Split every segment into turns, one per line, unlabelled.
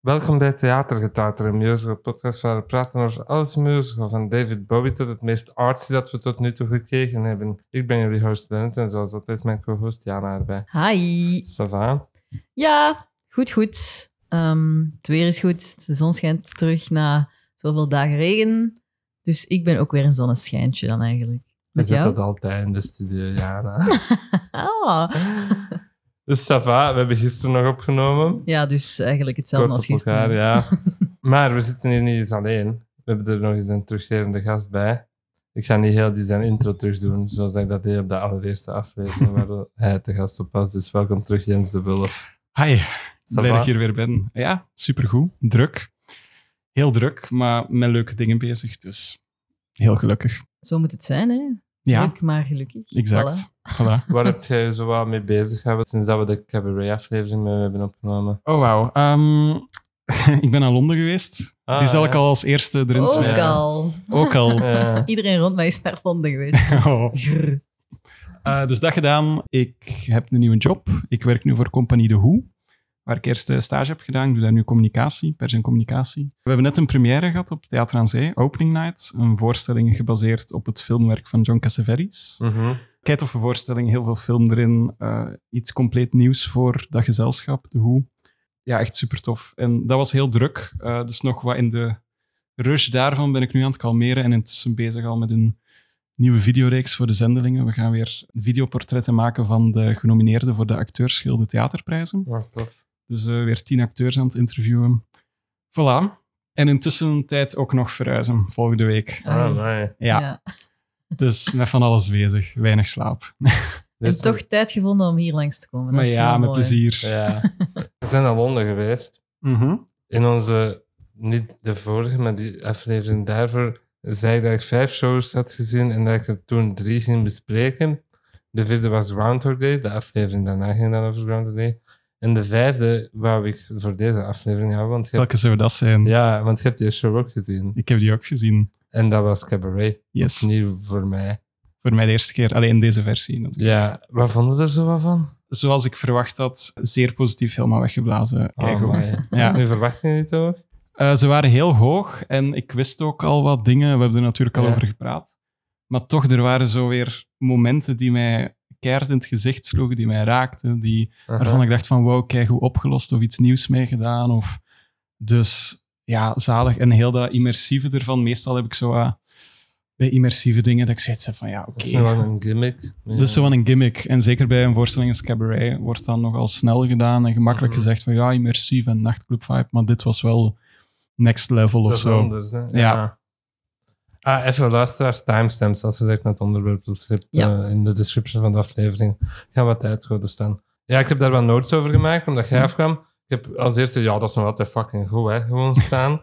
Welkom bij Theatergetater, een musical podcast waar we praten over alles musical, van David Bowie tot het meest artsy dat we tot nu toe gekregen hebben. Ik ben jullie host Bennett en zoals altijd is mijn co-host Jana erbij.
Hi.
Sava,
Ja, goed, goed. Ehm, het weer is goed. De zon schijnt terug na zoveel dagen regen. Dus ik ben ook weer een zonneschijntje dan eigenlijk.
ik
Met
zit
jou?
dat altijd in de studio, Jana.
Ah.
dus Sava, we hebben gisteren nog opgenomen.
Ja, dus eigenlijk hetzelfde
Kort
als
op
gisteren.
elkaar, ja. maar we zitten hier niet eens alleen. We hebben er nog eens een terugkerende gast bij. Ik ga niet heel die zijn intro terug doen, zoals ik dat deed op de allereerste aflevering waar hij te gast op was. Dus welkom terug, Jens de Wulf.
Hi,
Ça
blij
va?
dat ik hier weer ben. Ja, supergoed. Druk. Heel druk, maar met leuke dingen bezig, dus heel gelukkig.
Zo moet het zijn, hè?
Ja,
Druk, maar gelukkig.
exact.
Voilà.
Voilà.
Waar heb jij je zo wat mee bezig gehouden sinds dat we de cabaret-aflevering mee hebben opgenomen?
Oh, wauw. Ehm, ik ben naar Londen geweest.
Ah,
Die zal
ja.
ik al als eerste erin
Ook
smijten.
ja.
al.
Ook al.
Ja.
Iedereen rond mij is naar Londen geweest.
Oh.
Grr.
Eh, dus dat gedaan. Ik heb een nieuwe job. Ik werk nu voor Compagnie De Hoe, waar ik eerst eh, stage heb gedaan. Ik doe daar nu communicatie, pers en communicatie. We hebben net een première gehad op Theater aan Zee, Opening Night. Een voorstelling gebaseerd op het filmwerk van John Cassavetes.
Mhm.
Keitoffe voorstelling, heel veel film erin. eh, iets compleet nieuws voor dat gezelschap, de Hoe. Ja, echt super tof. En dat was heel druk. eh, dus nog wat in de rush daarvan ben ik nu aan het kalmeren en intussen bezig al met een nieuwe videoreeks voor de zendelingen. We gaan weer videoportretten maken van de genomineerden voor de Acteursgilde Theaterprijzen.
Ja, tof.
Dus eh, weer tien acteurs aan het interviewen. Voilà. En intussen tijd ook nog verhuizen, volgende week.
Ah,
Ah,
mooi.
Ja, dus met van alles bezig. Weinig slaap.
En
Dus-
toch tijd gevonden om hier langs te komen. Dat
Maar
is
ja,
heel
met
mooi.
plezier.
Ja. We zijn naar Londen geweest.
Mhm.
in onze, niet de vorige, maar die aflevering daarvoor, zei ik dat ik vijf shows had gezien en dat ik er toen drie ging bespreken. De vierde was Groundhog Day, de aflevering daarna ging dan over Groundhog Day. En de vijfde wou ik voor deze aflevering houden, want je hebt,
Welke zou dat zijn?
ja, want je hebt die show ook gezien.
Ik heb die ook gezien.
En dat was Cabaret,
Yes.
nieuw voor mij.
Voor mij de eerste keer. Alleen in deze versie natuurlijk.
Ja, wat vonden we er zo wat van?
Zoals ik verwacht had, zeer positief helemaal weggeblazen. Kijk
oh,
hoor.
amai.
Ja.
Nu verwacht je niet ook?
Eh, ze waren heel hoog en ik wist ook al wat dingen. We hebben er natuurlijk al
Ja.
over gepraat. Maar toch, er waren zo weer momenten die mij keihard in het gezicht sloegen, die mij raakten, die waarvan ik dacht van wow, kijk hoe opgelost of iets nieuws mee gedaan. Of, dus ja, zalig. En heel dat immersieve ervan. Meestal heb ik zo eh, bij immersieve dingen dat ik zoiets heb van ja,
Dat
oké.
is nog wel een gimmick.
Dat is zo wel een gimmick. En zeker bij een voorstelling als cabaret wordt dan nogal snel gedaan en gemakkelijk
Mhm.
gezegd van ja, immersief en nachtclub vibe. Maar dit was wel next level of
dat
zo.
is anders, hè?
Ja.
Ah, even luisteraars, timestamps, als je direct naar het onderwerp wilt schrijven,
Ja.
eh, in de description van de aflevering, gaan wat tijdschoten staan. Ja, ik heb daar wat notes over gemaakt, omdat jij afkwam. Ik heb als eerste, ja, dat is nog altijd fucking goed, hè, gewoon staan.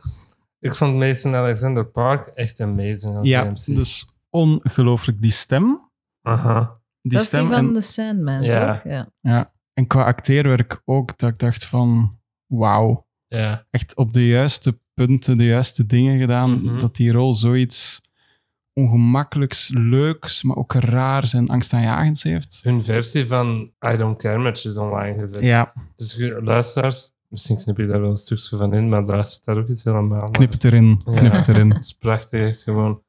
ik vond Mason Alexander Park echt amazing als
Ja,
MC.
dus ongelooflijk die stem.
Aha.
Die
Dat is
stem
die van
en,
de Sandman,
Ja.
toch? Ja.
en qua acteerwerk ook, dat ik dacht van wauw.
Ja,
echt op de juiste punten de juiste dingen gedaan.
Mhm.
Dat die rol zoiets ongemakkelijks, leuks, maar ook raars en angstaanjagends heeft.
hun versie van I Don't Care Much is online gezet.
Ja,
Dus je- luisteraars, misschien knip je daar wel een stukje van in, maar luister daar ook iets helemaal naar.
knip het erin,
Ja.
knip het erin.
Dat is prachtig, echt gewoon.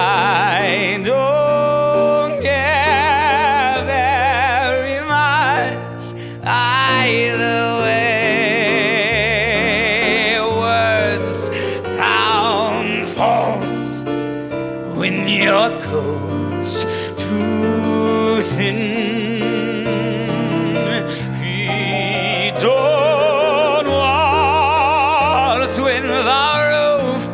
I don't care very much either way. Words sound false when your coat's too thin. Feet on walls when the roof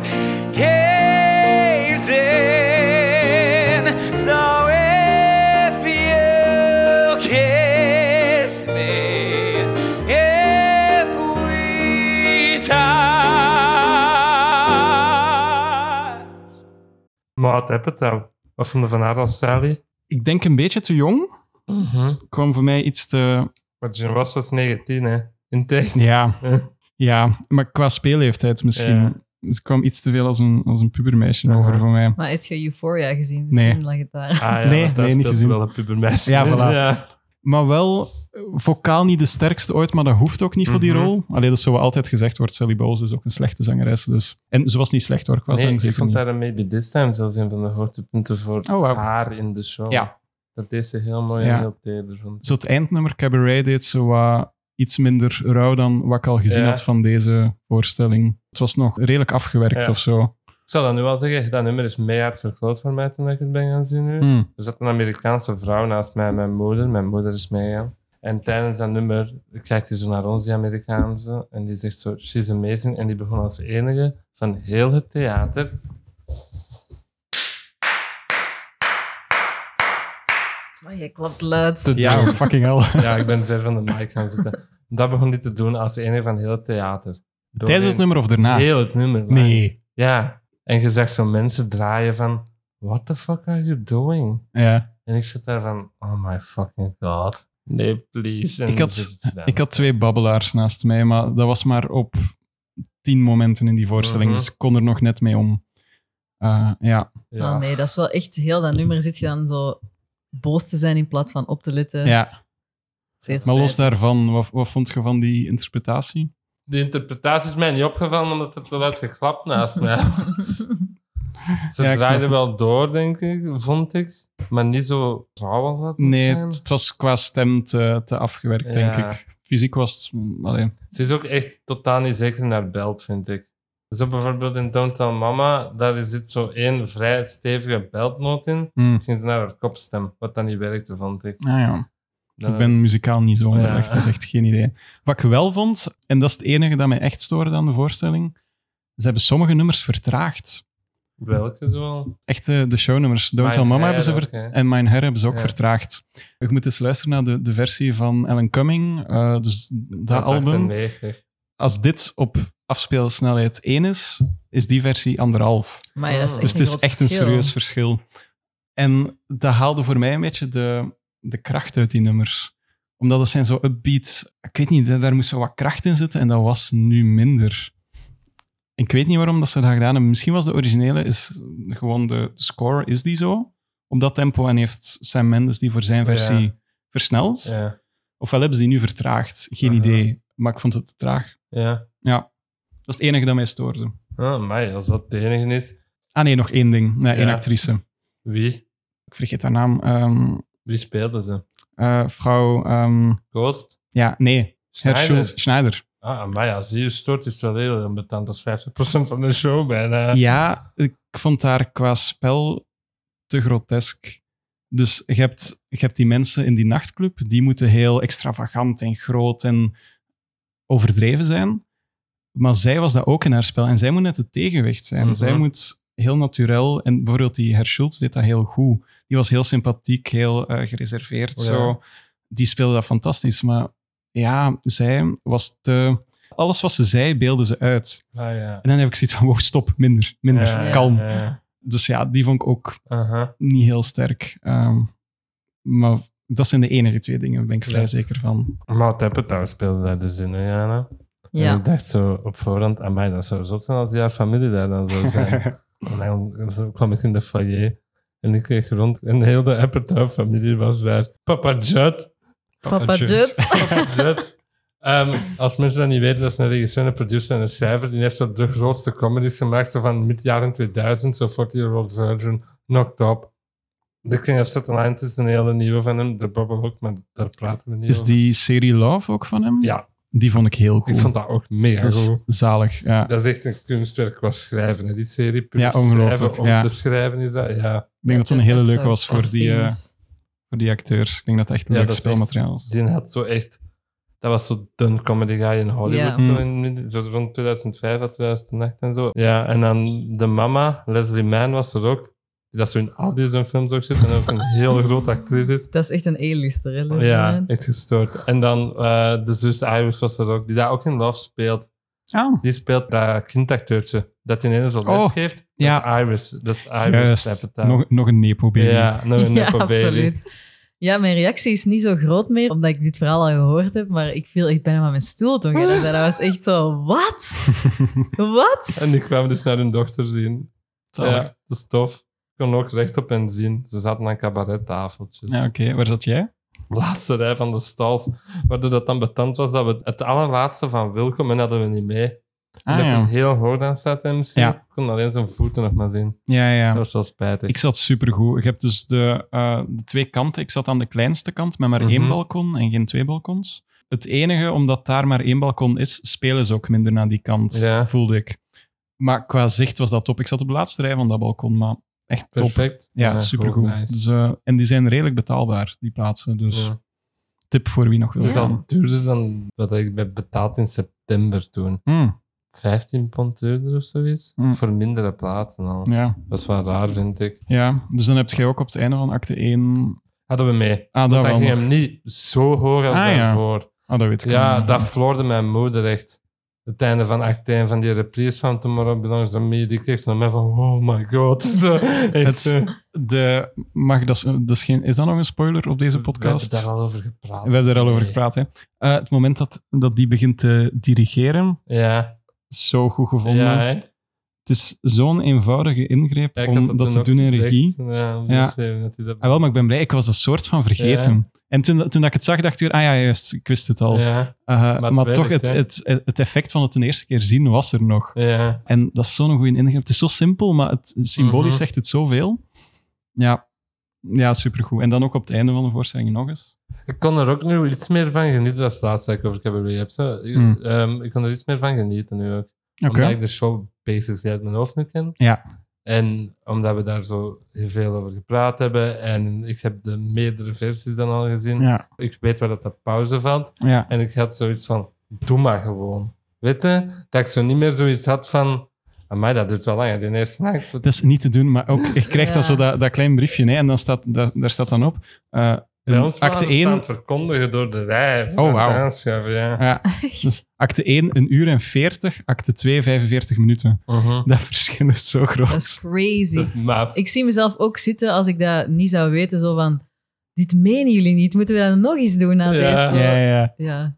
caves in. So if you kiss me, if we touch.
Maar wat heb het dan? Wat vonden van haar als Sally?
Ik denk een beetje te jong.
Mhm.
Kwam voor mij iets te...
Want Jim Ross was 19, hè? In techniek.
Ja, ja maar qua speelleeftijd misschien.
Ja.
Dus het kwam iets te veel als een, als een pubermeisje over
Aha.
voor mij.
Maar heb je Euphoria gezien?
Nee.
Misschien lag het daar.
Ah, ja,
Nee,
want daar
nee, niet
speelt ze
gezien.
wel een pubermeisje.
Ja, voilà.
Ja.
Maar wel eh, vocaal niet de sterkste ooit, maar dat hoeft ook niet voor die
Mhm.
rol. Alleen dat is zo wat altijd gezegd wordt. Sally Bowles is ook een slechte zangeres. Dus. En ze was niet slecht hoor, qua
Nee,
zang
ik
zeker
vond
niet.
daar een Maybe This Time zelfs een van de hoogtepunten voor
Oh, wauw.
haar in de show.
Ja.
Dat deed ze heel mooi
Ja.
en heel teder. vond ik.
Zo het eindnummer Cabaret deed zo wat iets minder rauw dan wat ik al gezien
Ja.
had van deze voorstelling. Het was nog redelijk afgewerkt
Ja.
of zo.
Ik zal dat nu wel zeggen, dat nummer is meejaard verkloot voor mij toen ik het ben gaan zien nu.
Hmm.
Er zat een Amerikaanse vrouw naast mij en mijn moeder. Mijn moeder is meegegaan. En tijdens dat nummer kijkt hij zo naar ons, die Amerikaanse. En die zegt zo, she's amazing. En die begon als enige van heel het theater.
Maar je klapt luid.
te
Ja,
doen.
fucking hell.
Ja, ik ben ver van de mic gaan zitten. Dat begon die te doen als enige van heel het theater.
Tijdens het
Doorheen
nummer of daarna?
Heel het nummer.
Ah. Nee.
Ja. En je zag zo mensen draaien van, what the fuck are you doing?
Ja.
En ik zit daar van, oh my fucking god. Nee, please. En
Ik had-
dan zit het daar.
Ik had twee babbelaars naast mij, maar dat was maar op tien momenten in die voorstelling.
Mhm.
Dus ik kon er nog net mee om. Eh, ja.
Ja.
Oh nee, dat is wel echt heel dat nummer. Zit je dan zo boos te zijn in plaats van op te letten?
ja,
Zeer
maar los
spijtig.
daarvan, wat, wat vond je van die interpretatie?
De interpretatie is mij niet opgevallen omdat er te luid geklapt naast mij was. Ze
Ja, ik snap
draaiden
het.
wel door, denk ik, vond ik. Maar niet zo rauw als dat moet
Nee,
zijn.
het, het was qua stem te, te afgewerkt,
Ja.
denk ik. Fysiek was het... mm, allee.
Ze is ook echt totaal niet zeker naar belt, vind ik. Zo bijvoorbeeld in Don't Tell Mama, daar zit zo één vrij stevige beltnoot in.
Mm.
Ging ze naar haar kopstem, wat dan niet werkte, vond ik.
Ah ja.
Dan-
Ik ben muzikaal niet zo onderlegd,
Ja.
dat is echt geen idee. Wat ik wel vond, en dat is het enige dat mij echt stoorde aan de voorstelling, ze hebben sommige nummers vertraagd.
Welke zoal?
Echt eh, de shownummers. Don't Tell
Mijn
Mama hebben ze
haar
ver-
ook, hè.
en Mijn Hair hebben ze ook
Ja.
vertraagd. Je moet eens luisteren naar de, de versie van Alan Cumming, eh, dus dat album.
98.
Als dit op afspeelsnelheid 1 is, is die versie anderhalf.
Maar ja, dat is
Dus
echt een
Dus het is
groot
echt een
verschil.
serieus verschil. En dat haalde voor mij een beetje de, de kracht uit die nummers. Omdat dat zijn zo upbeat. Ik weet niet, daar- daar moest zo wat kracht in zitten en dat was nu minder. En ik weet niet waarom dat ze dat gedaan hebben. Misschien was de originele is gewoon de, de score, is die zo? Op dat tempo en heeft Sam Mendes die voor zijn versie
Ja.
versneld.
Ja.
Ofwel hebben ze die nu vertraagd. Geen
Aha.
idee. Maar ik vond het te traag.
Ja.
Dat is het enige dat mij stoorde.
Oh, amai, als dat de enige is.
Ah nee, nog één ding. Nee, één
Ja.
actrice.
Wie?
Ik vergeet haar naam. Ehm,
Wie speelde ze?
Eh, vrouw. ehm,
Ghost?
ja, nee. Herr
Schneider?
Schulz- Schneider.
Ah, maar ja, als je je stoort, is het wel heel ambetant. Dat is 50% van de show bijna.
Ja, ik vond haar qua spel te grotesk. Dus je hebt, je hebt die mensen in die nachtclub, die moeten heel extravagant en groot en overdreven zijn. Maar zij was dat ook in haar spel. En zij moet net het tegenwicht zijn.
Mhm.
Zij moet heel natuurlijk... En bijvoorbeeld die Herr Schulz deed dat heel goed. Die was heel sympathiek, heel eh, gereserveerd.
Oh Ja.
Zo. Die speelde dat fantastisch. Maar ja, zij was te... Alles wat ze zei, beelden ze uit.
Ah, ja.
En dan heb ik zoiets van, wow, stop, minder, minder,
Ja,
kalm.
ja.
Dus ja, die vond ik ook
Aha.
niet heel sterk. Ehm, maar dat zijn de enige twee dingen, daar ben ik vrij
Ja.
zeker van.
Maud Apatow speelde daar dus in, hè, Jana? En
Ja.
eh,
ik dacht zo op voorhand, amai, dat zou zot zijn als die haar familie daar dan zou zijn. en dan zo kwam ik in de foyer en ik kreeg rond en heel de Apatow-familie was daar. Papa Judd.
Papa Judd.
Papa Judd. Ehm, als mensen dat niet weten, dat is een regisseur, een producer en een schrijver. Die heeft zo de grootste comedies gemaakt, zo van mid-jaren 2000, zo 40 Year Old Virgin, Knocked Up. The King of Staten Island is een hele nieuwe van hem, de Bubble ook, maar daar praten we niet
Is
over.
die serie Love ook van hem?
Ja,
Die vond ik heel goed.
ik vond dat ook mega
dat is
goed.
zalig. Ja.
Dat is echt een kunstwerk qua schrijven, hè? die serie. Puur
Ja, ongelooflijk,
schrijven om
ja.
te schrijven is dat. Ja,
Ik denk dat het een hele leuke was voor die, eh,
Famous.
voor die acteurs. Ik denk dat het echt
Ja,
leuk
dat is
speelmateriaal is.
die had zo echt. Dat was zo de comedy guy in Hollywood,
Ja.
zo, in, zo rond 2005 à 2008 en zo. Ja, en dan de mama, Leslie Mann, was er ook. Die dat zo in al die zijn films ook zit en ook een heel grote actrice is.
Dat is echt een E-lister, hè? Leslie
Ja,
Mann?
echt gestoord. En dan eh, de zus Iris was er ook, die daar ook in Love speelt.
Ah,
Die speelt dat kindacteurtje dat ineens zo les
Oh,
geeft. Dat
ja.
is Iris. Dat is Iris
juist.
Apatow.
Nog, nog een Nepo-baby.
Ja, nog een
ja,
nepo
dus-
baby.
absoluut. Ja, mijn reactie is niet zo groot meer, omdat ik dit verhaal al gehoord heb, maar ik viel echt bijna van mijn stoel toen jij dat zei. Dat was echt zo, wat? Wat?
En die kwamen dus naar hun dochter zien.
Zalig.
Ja, dat is tof. Ik kon ook recht op hen zien. Ze zaten aan cabarettafeltjes.
Ja, oké. Waar zat jij?
laatste rij van de stalls. Waardoor dat dan betand was dat we het allerlaatste van Wilcomen hadden we niet mee. Omdat
Ah,
er
ja.
heel hoog aan staat MC.
Ja.
Ik kon alleen zijn voeten nog maar zien.
Ja,
Dat
ja.
was wel spijtig.
Ik zat supergoed. Je hebt dus de, eh, de twee kanten. Ik zat aan de kleinste kant met maar één
Mhm.
balkon en geen twee balkons. Het enige, omdat daar maar één balkon is, spelen ze ook minder naar die kant,
Ja.
voelde ik. Maar qua zicht was dat top. Ik zat op de laatste rij van dat balkon, maar echt top.
Perfect.
Ja,
goed,
supergoed.
nice.
Dus, eh, en die zijn redelijk betaalbaar, die plaatsen. Dus
Ja.
tip voor wie nog wil
Het is
Ja.
gaan.
al duurder dan wat ik ben betaald in september toen.
Hmm,
15 pond duurder of zoiets.
Mm.
Voor mindere plaatsen al.
ja.
Dat is wel raar, vind ik.
ja, dus dan heb jij ook op het einde van acte 1...
Hadden we mee.
Ah, dat
Dat
wel
ging
nog.
hem niet zo hoog als
Ah, ja.
daarvoor.
Ah, dat weet ik
Ja,
niet.
dat floorde mijn moeder echt. Het einde van acte 1 van die reprise van Tomorrow Belongs to Me, die kreeg ze naar mij van, oh my god. Zo, echt,
Het-
eh,
De, mag, dat, is, dat is, geen, is dat nog een spoiler op deze podcast?
We hebben daar al over gepraat.
We hebben er al over
Nee.
gepraat. Hè. Eh, het moment dat, dat die begint te dirigeren,
Ja,
is zo goed gevonden.
ja, hè? ja
het is zo'n eenvoudige ingreep
ik had
eh, om dat te
toen
doen
ook
in
gezegd.
regie.
Ja, om
Ja.
te schrijven dat hij dat...
Ah, wel, maar ik ben blij, ik was dat soort van vergeten. En toen, toen dat ik het zag, dacht ik weer, ah ja, juist, ik wist het al.
Ja,
Eh,
het
maar toch,
werkt,
het, het, het effect van het een eerste keer zien was er nog.
ja.
En dat is zo'n goede ingreep. Het is zo simpel, maar het, symbolisch
Mhm.
zegt het zoveel. Ja. ja, supergoed. En dan ook op het einde van de voorstelling nog eens.
Ik kon er ook nu iets meer van genieten. Dat is het laatste dat ik over cabaret heb. Zo. Ik-
Mm.
ehm, ik kon er iets meer van genieten nu ook.
Oké.
Omdat ik de show basically uit mijn hoofd nu ken.
Ja.
En omdat we daar zo heel veel over gepraat hebben. En ik heb de meerdere versies dan al gezien.
Ja,
Ik weet waar dat de pauze valt.
ja.
En ik had zoiets van, doe maar gewoon. Weet je? Dat ik zo niet meer zoiets had van... Amai, dat duurt wel lang. hè, Die eerste nacht.
Dat is niet te doen, maar ook, je krijgt dan
Ja.
zo dat, dat klein briefje hè, en dan staat, daar, daar staat dan op. eh,
Bij ons
acte
acte
1.
verkondigen door de rij.
Oh, wauw.
Aanschuiven, ja.
Ja, dus acte 1, een uur en 40, acte 2, 45 minuten.
Mhm. Dus,
Dat verschil is zo
Dat is
groot.
Dat
crazy.
is maf.
Ik zie mezelf ook zitten als ik dat niet zou weten. Zo van, dit menen jullie niet. Moeten we dat nog eens doen
Ja.
na deze?
Ja, ja, ja.
Ja.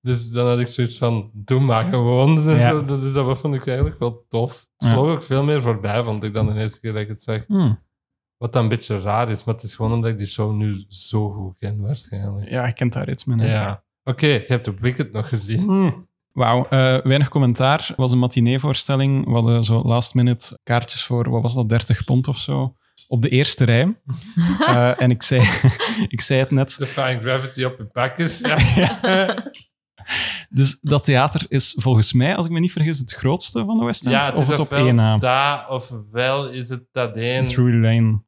Dus dan had ik zoiets van, doe maar gewoon.
Ja.
Zo, dat- Dus dat vond ik eigenlijk wel tof. Het
Ja.
vloog ook veel meer voorbij, vond ik, dan de eerste keer dat ik het zag.
Hm.
Wat dan een beetje raar is, maar het is gewoon omdat ik die show nu zo goed ken, waarschijnlijk.
Ja, je kent daar iets mee.
Ja.
hè.
Oké, je hebt de Wicked nog gezien.
Hmm. Wauw, eh, weinig commentaar. Het was een matineevoorstelling. We hadden zo last minute kaartjes voor, wat was dat, 30 pond of zo? Op de eerste rij. Eh, en ik zei, ik zei het net.
Defying Gravity op je bakjes. Ja.
Dus dat theater is volgens mij, als ik me niet vergis, het grootste van de West End.
ja, het
of
is
het op
ofwel
één na.
dat, ofwel is het dat één.
True Lane.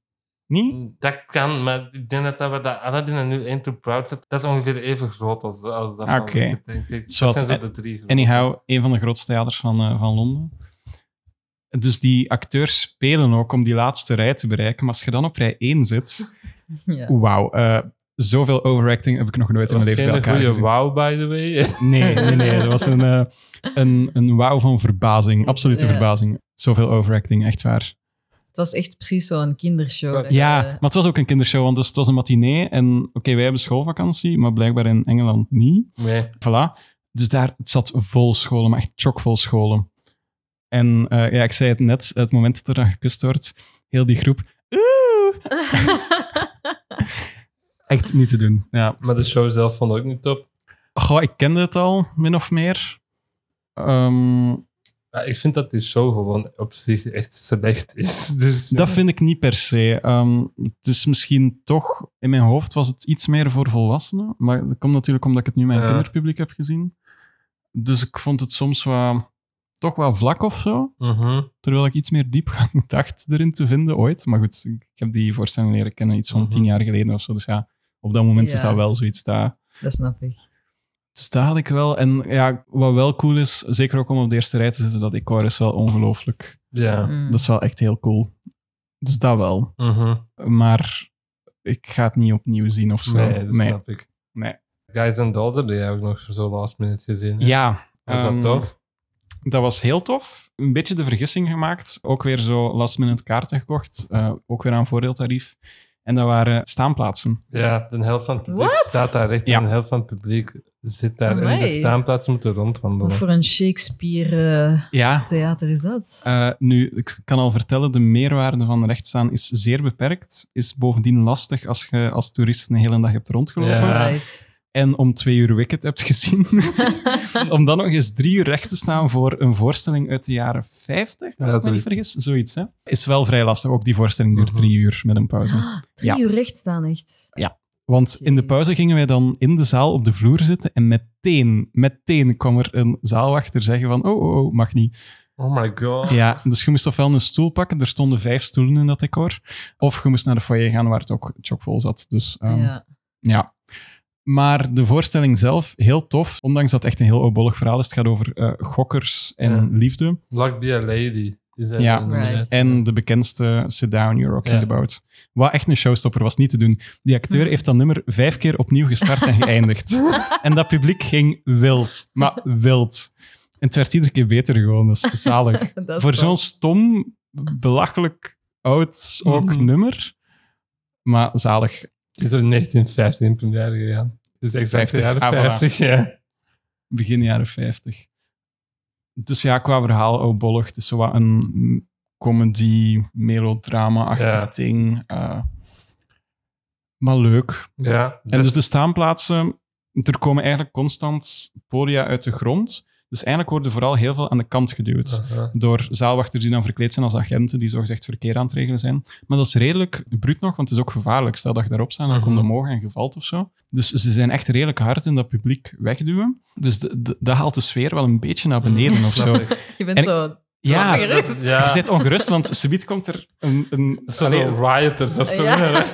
Niet?
Dat kan, maar ik denk dat we dat Aladdin en nu één to Proud zet, dat is ongeveer even groot als, als dat van
Oké.
Wicked, denk ik.
Zwat,
Dat zijn
eh,
zo de drie grote.
Anyhow, een van de grootste theaters van, eh, van Londen. Dus die acteurs spelen ook om die laatste rij te bereiken. Maar als je dan op rij 1 zit,
ja.
wauw. eh, zoveel overacting heb ik nog nooit in
Dat
mijn
was
leven bij
geen
elkaar
goede
gezien.
wow, by the way.
Nee, nee, nee. Dat was een, eh, een, een wauw van verbazing. Absolute
Ja.
verbazing. Zoveel overacting, echt waar.
Het was echt precies zo'n kindershow. dat eh, je-
Ja, maar het was ook een kindershow, want dus het was een matinee. En oké, wij hebben schoolvakantie, maar blijkbaar in Engeland niet.
Nee.
Voilà. Dus daar het zat vol scholen, maar echt chockvol scholen. En eh, ja, ik zei het net, het moment dat er aan gekust wordt, heel die groep, oeh, echt niet te doen. Ja.
Maar de show zelf vond ik ook niet top.
Goh, ik kende het al, min of meer. Ehm,
Ja, ik vind dat die show gewoon op zich echt slecht is. Dus,
Dat vind ik niet per se. Ehm, het is misschien toch, in mijn hoofd was het iets meer voor volwassenen. Maar dat komt natuurlijk omdat ik het nu met een
Ja.
kinderpubliek heb gezien. Dus ik vond het soms wel, toch wel vlak of zo.
Mhm.
Terwijl ik iets meer diepgang dacht erin te vinden ooit. Maar goed, ik heb die voorstelling leren kennen iets van
Mhm.
tien jaar geleden of zo. Dus ja, op dat moment is
Ja.
dat wel zoiets daar.
Dat snap ik.
Dus daar had ik wel. En ja, wat wel cool is, zeker ook om op de eerste rij te zitten, dat decor is wel ongelooflijk.
Ja.
Mm.
Dat is wel echt heel cool. Dus dat wel.
Mhm.
maar ik ga het niet opnieuw zien of zo.
Nee, dat snap ik.
Nee.
Guys and Dolls heb jij ook nog zo last minute gezien. hè?
Ja.
Was dat
ehm,
tof?
Dat was heel tof. Een beetje de vergissing gemaakt. Ook weer zo last minute kaarten gekocht. Eh, ook weer aan voordeeltarief. En dat waren staanplaatsen.
Ja, de helft van het publiek
What?
staat daar recht
Ja.
en de helft van het publiek zit daar. En de
Amai.
staanplaats moeten
Wat
rondwandelen.
voor een Shakespeare-theater
Ja,
is dat?
Eh, nu, ik kan al vertellen, de meerwaarde van rechtstaan is zeer beperkt. Is bovendien lastig als je als toerist een hele dag hebt rondgelopen.
Ja.
Right.
En om twee uur Wicked hebt gezien. om dan nog eens drie uur recht te staan voor een voorstelling uit de jaren 50, als
Ja,
ik me niet
zoiets.
vergis. Zoiets, hè. Is wel vrij lastig. Ook die voorstelling duurt
Mhm.
drie uur met een pauze.
Ah, Drie
Ja.
uur recht staan, echt.
Want in de pauze gingen wij dan in de zaal op de vloer zitten en meteen, meteen kwam er een zaalwachter zeggen van oh, oh, oh, mag niet.
Oh my god.
Ja, dus je moest ofwel een stoel pakken, er stonden vijf stoelen in dat decor, of je moest naar de foyer gaan waar het ook chockvol zat. Dus ehm, ja.
ja.
Maar de voorstelling zelf, heel tof, ondanks dat het echt een heel obollig verhaal is. Het gaat over eh, gokkers en
Ja.
liefde.
Black Be a Lady. Is dat
Ja.
dan,
Right.
eh,
En de bekendste Sit Down, You're Rocking
Ja.
the Boat. Wat echt een showstopper was, niet te doen. Die acteur
Hm.
heeft dat nummer vijf keer opnieuw gestart en geëindigd. En dat publiek ging wild. Maar wild. En het werd iedere keer beter gewoon. Dat is zalig.
Dat is
Voor
tof.
zo'n stom, belachelijk, oud ook
Mhm.
nummer. Maar zalig.
Het is in 1915 in première gegaan. Dus exact de
50.
jaren
Ah, voilà.
50, ja.
Begin jaren 50. Dus ja, qua verhaal, oudbollig. Het is zo wat een mm, comedy, melodrama-achtig
Ja.
ding. eh. maar leuk.
ja.
En dus de staanplaatsen, er komen eigenlijk constant podia uit de grond. Dus eigenlijk worden vooral heel veel aan de kant geduwd.
Aha.
Door zaalwachters die dan verkleed zijn als agenten, die zogezegd verkeer aan het regelen zijn. Maar dat is redelijk bruut nog, want het is ook gevaarlijk. Stel dat je daarop staat, dan komt
Mhm.
omhoog en gevalt of zo. Dus ze zijn echt redelijk hard in dat publiek wegduwen. Dus de- de- dat haalt de sfeer wel een beetje naar beneden of
Mhm. Snap
zo.
ik.
Je bent
En-
zo...
Ja,
Snap ik.
je
Ja.
zit ongerust, want subiet komt er een... een
Zo,
Allee,
zo rioters of zo.
Ja.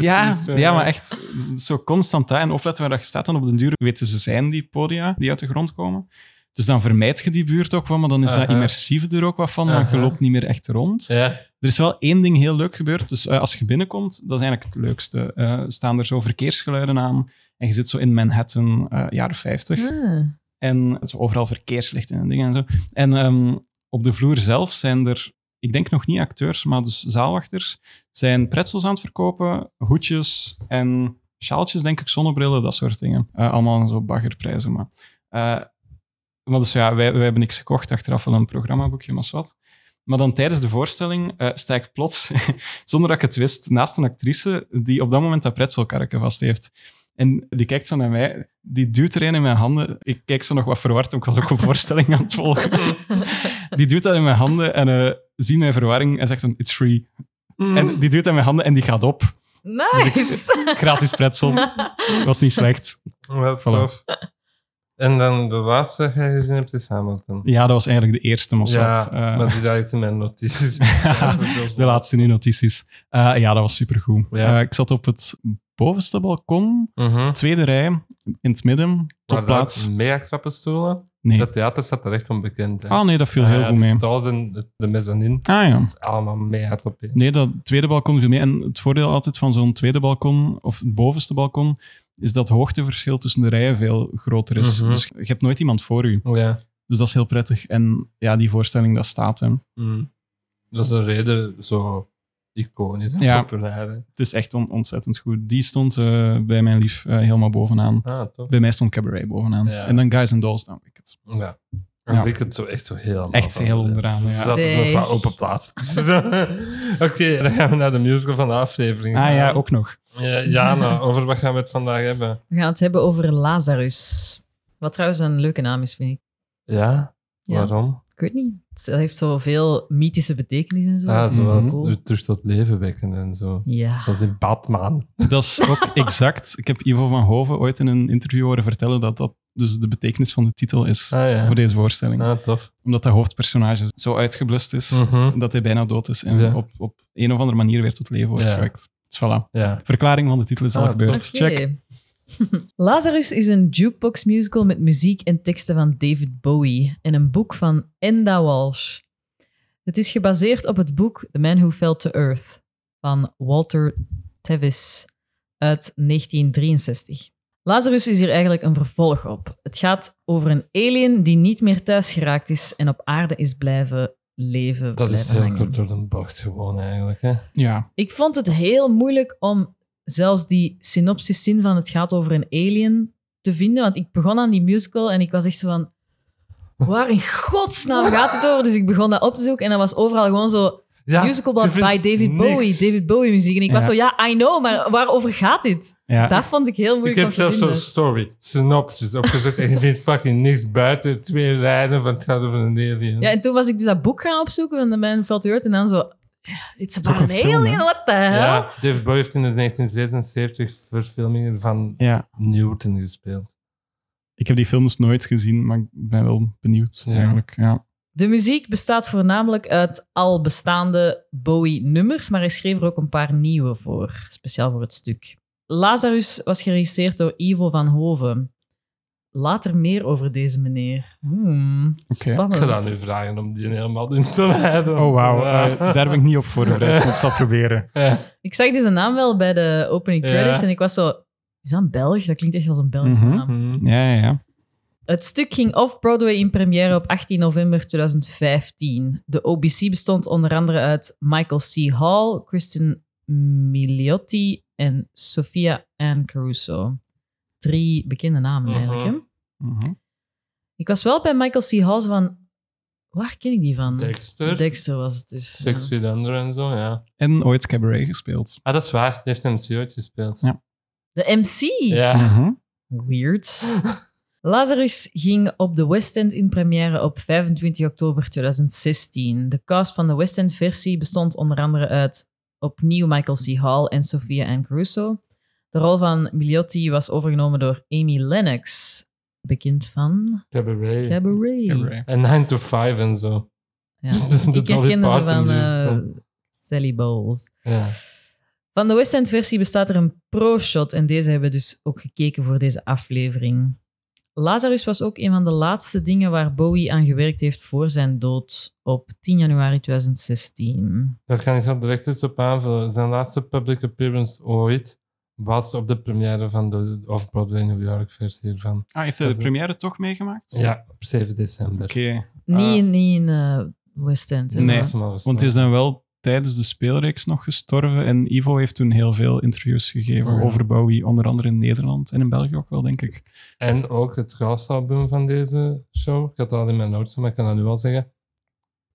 Ja,
eh.
ja, maar echt zo constant dat. En opletten waar dat je staat, dan op den duur weten ze zijn die podia die uit de grond komen. Dus dan vermijd je die buurt ook wel, maar dan is dat
Aha.
immersieve er ook wat van, want je
Aha.
loopt niet meer echt rond.
Ja,
Er is wel één ding heel leuk gebeurd, dus eh, als je binnenkomt, dat is eigenlijk het leukste. Eh, staan er zo verkeersgeluiden aan en je zit zo in Manhattan, eh, jaren 50.
Ah.
En zo overal verkeerslichten en dingen en zo. En ehm, op de vloer zelf zijn er, ik denk nog niet acteurs, maar dus zaalwachters, zijn pretzels aan het verkopen, hoedjes en sjaaltjes, denk ik, zonnebrillen, dat soort dingen. Eh, allemaal zo baggerprijzen, maar... eh, maar dus ja, wij, wij hebben niks gekocht, achteraf wel een programmaboekje, maar wat. Maar dan tijdens de voorstelling eh, sta ik plots, zonder dat ik het wist, naast een actrice die op dat moment dat pretzelkarretje vast heeft. En die kijkt zo naar mij, die duwt er een in mijn handen. Ik kijk zo nog wat verward, want ik was ook een voorstelling aan het volgen. Die duwt dat in mijn handen en eh ziet mijn verwarring en zegt van, it's free. En die duwt dat in mijn handen en die gaat op. Dus
Nice!
Gratis pretzel. Was niet slecht.
wat
Voilà.
tof. En dan de laatste dat jij gezien hebt is Hamilton.
Ja, dat was eigenlijk de eerste, maar
Ja,
zwart. Eh,
maar die dacht ik in mijn notities.
de laatste in notities. Eh, ja, dat was supergoed.
Ja.
Eh, ik zat op het bovenste balkon,
Mhm.
tweede rij, in het midden,
Maar
topplaats.
dat mega krappe stoelen.
Nee.
Dat theater staat er echt onbekend. hè.
Ah nee, dat viel heel
Ah,
goed mee.
De stalls en de- de mezzanine.
Ah ja.
Het is allemaal mega trappé.
Nee, dat tweede balkon viel mee. En het voordeel altijd van zo'n tweede balkon, of het bovenste balkon, is dat het hoogteverschil tussen de rijen veel groter is.
Mhm.
Dus je hebt nooit iemand voor u.
Ja.
Dus dat is heel prettig. En ja, die voorstelling, dat staat hem.
Mm. Dat is een reden zo iconisch en
Ja.
populair. hè.
Het is echt on- ontzettend goed. Die stond eh, bij mijn lief eh, helemaal bovenaan.
Ah, tof.
Bij mij stond Cabaret bovenaan.
Ja.
En dan Guys and Dolls, dan Wicked.
Ja. En
Ja.
ik het zo echt zo heel
Echt heel onderaan, ja.
Dat is een
Zeg.
open plaats. Oké, dan gaan we naar de musical van de aflevering.
Ah ja, ook nog.
Ja, Jana, over wat gaan we het vandaag hebben?
We gaan het hebben over Lazarus. Wat trouwens een leuke naam is, vind ik.
Ja?
Ja.
Waarom?
Ik weet niet. Het heeft zoveel mythische betekenis en zo.
Ah,
Dat vind ik
zoals
cool.
u terug tot leven wekken en zo.
Ja.
Zoals in Batman.
Dat is ook exact. Ik heb Ivo van Hoven ooit in een interview horen vertellen dat dat dus de betekenis van de titel is
Ah ja.
voor deze voorstelling.
Ah, tof.
Omdat dat hoofdpersonage zo uitgeblust is.
Mhm.
dat hij bijna dood is en
Ja.
op, op een of andere manier weer tot leven wordt
Ja.
gewekt. Dus voilà.
Ja.
Verklaring van de titel is al
Ah,
gebeurd.
Oké.
Check.
Lazarus is een jukebox musical met muziek en teksten van David Bowie en een boek van Enda Walsh. Het is gebaseerd op het boek The Man Who Fell to Earth van Walter Tevis uit 1963. Lazarus is hier eigenlijk een vervolg op. Het gaat over een alien die niet meer thuis geraakt is en op aarde is blijven leven
Dat is
blijven
heel
hangen.
kort door de bocht gewoon eigenlijk. Hè?
Ja,
Ik vond het heel moeilijk om zelfs die synopsis zin van het gaat over een alien te vinden. Want ik begon aan die musical en ik was echt zo van... Waar in godsnaam gaat het over? Dus ik begon dat op te zoeken en dat was overal gewoon zo...
Ja,
musicalblad
je vindt
by David Bowie.
niks.
David Bowie muziek. En ik was
Ja.
zo, ja, I know, maar waarover gaat dit?
ja.
Dat vond ik heel
Ik
moeilijk
heb
om te
zelfs zo'n
vinden.
story, synopsis opgezocht en je vindt fucking niks buiten twee lijnen van het gaat over een alien.
Ja, en toen was ik dus dat boek gaan opzoeken van de Man Felt the Earth en dan zo... It's about
ook
an
een film,
alien,
hè?
what the hell?
Ja, David Bowie heeft in de 1976 verfilmingen van
ja.
Newton gespeeld.
Ik heb die films nooit gezien, maar ik ben wel benieuwd
Ja.
eigenlijk. Ja.
De muziek bestaat voornamelijk uit al bestaande Bowie-nummers, maar hij schreef er ook een paar nieuwe voor, speciaal voor het stuk. Lazarus was geregisseerd door Ivo van Hoven. Later meer over deze meneer. Hmm,
Oké.
Ik ga dat
spannend.
nu vragen om die helemaal in te leiden.
Oh, wauw.
Ja.
eh, daar ben ik niet op voorbereid, maar ik zal het proberen.
Ja.
Ik zag deze naam wel bij de opening
Ja.
credits en ik was zo... Is dat een Belg? Dat klinkt echt als een Belgische
Mhm.
naam.
Mhm.
Ja, ja, ja.
Het stuk ging off-Broadway in première op 18 november 2015. De OBC bestond onder andere uit Michael C. Hall, Kristen Miliotti en Sophia Ann Caruso. Drie bekende namen
Mhm.
eigenlijk. hè?
Mhm.
Ik was wel bij Michael C. Hall zo van... Waar ken ik die van?
Dexter,
Dexter was het dus. ja.
Six Feet Under en zo, ja.
En ooit cabaret gespeeld.
Ah, dat is waar. Die heeft hem ooit gespeeld.
Ja.
De MC!
Ja.
Mhm.
Weird. Lazarus ging op de West End in première op 25 oktober 2016. De cast van de West End versie bestond onder andere uit opnieuw Michael C. Hall en Sophia Ann Caruso. De rol van Miliotti was overgenomen door Amy Lennox, bekend van
Cabaret.
Cabaret.
Cabaret.
En 9 to 5 en zo.
Ja.
De- de
Ik
Dolly
herkende ze
Parton
van eh,
musical.
Sally Bowles.
Ja.
Van de West End versie bestaat er een pro-shot en deze hebben we dus ook gekeken voor deze aflevering. Lazarus was ook een van de laatste dingen waar Bowie aan gewerkt heeft voor zijn dood op 10 januari 2016.
Daar kan ik al direct eens op aanvullen. Zijn laatste public appearance ooit was op de première van de Off-Broadway New York versie ervan.
Ah, heeft hij de
Dat is-
première toch meegemaakt?
Ja, op 7 december.
Oké.
niet,
Ah.
in- niet in eh, West End. hè,
Nee.
maar-
Want hij is dan wel tijdens de speelreeks nog gestorven. En Ivo heeft toen heel veel interviews gegeven
Oh, ja.
over Bowie, onder andere in Nederland en in België ook wel, denk ik.
En ook het gastalbum van deze show, ik had dat al in mijn notes, maar ik kan dat nu al zeggen,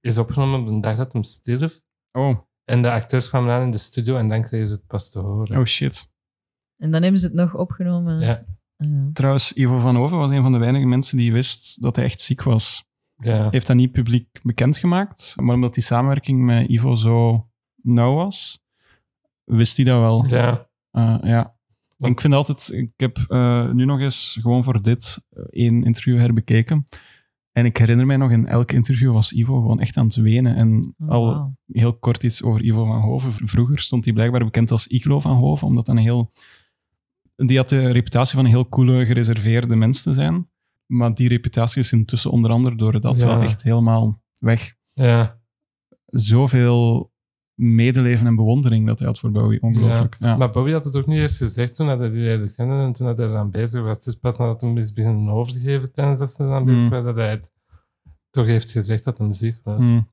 is opgenomen op een dag dat hem stierf.
Oh,
En de acteurs kwamen aan in de studio en dan kregen ze het pas te horen.
oh shit.
En dan hebben ze het nog opgenomen.
Ja.
Eh,
Trouwens, Ivo van Hoven was een van de weinige mensen die wist dat hij echt ziek was.
Ja.
Heeft dat niet publiek bekendgemaakt, maar omdat die samenwerking met Ivo zo nauw was, wist hij dat wel.
ja.
Eh, ja.
Want-
En ik vind altijd, ik heb eh, nu nog eens gewoon voor dit eh, één interview herbekeken. En ik herinner mij nog, in elk interview was Ivo gewoon echt aan het wenen. En
oh,
al
wauw.
heel kort iets over Ivo van Hoven. V- Vroeger stond hij blijkbaar bekend als Iglo van Hoven, omdat dat een heel... Die had de reputatie van een heel coole, gereserveerde mens te zijn. Maar die reputatie is intussen onder andere door dat
Ja.
wel echt helemaal weg.
Ja.
Zoveel medeleven en bewondering dat hij had voor Bowie, ongelooflijk. Ja.
Maar Bobby had het ook niet eerst gezegd toen hij die leerde kennen en toen hij eraan bezig was. Het is pas nadat hij is beginnen over te geven tijdens dat ze eraan bezig
Mm.
waren, dat hij het toch heeft gezegd dat hij ziek was.
Hmm.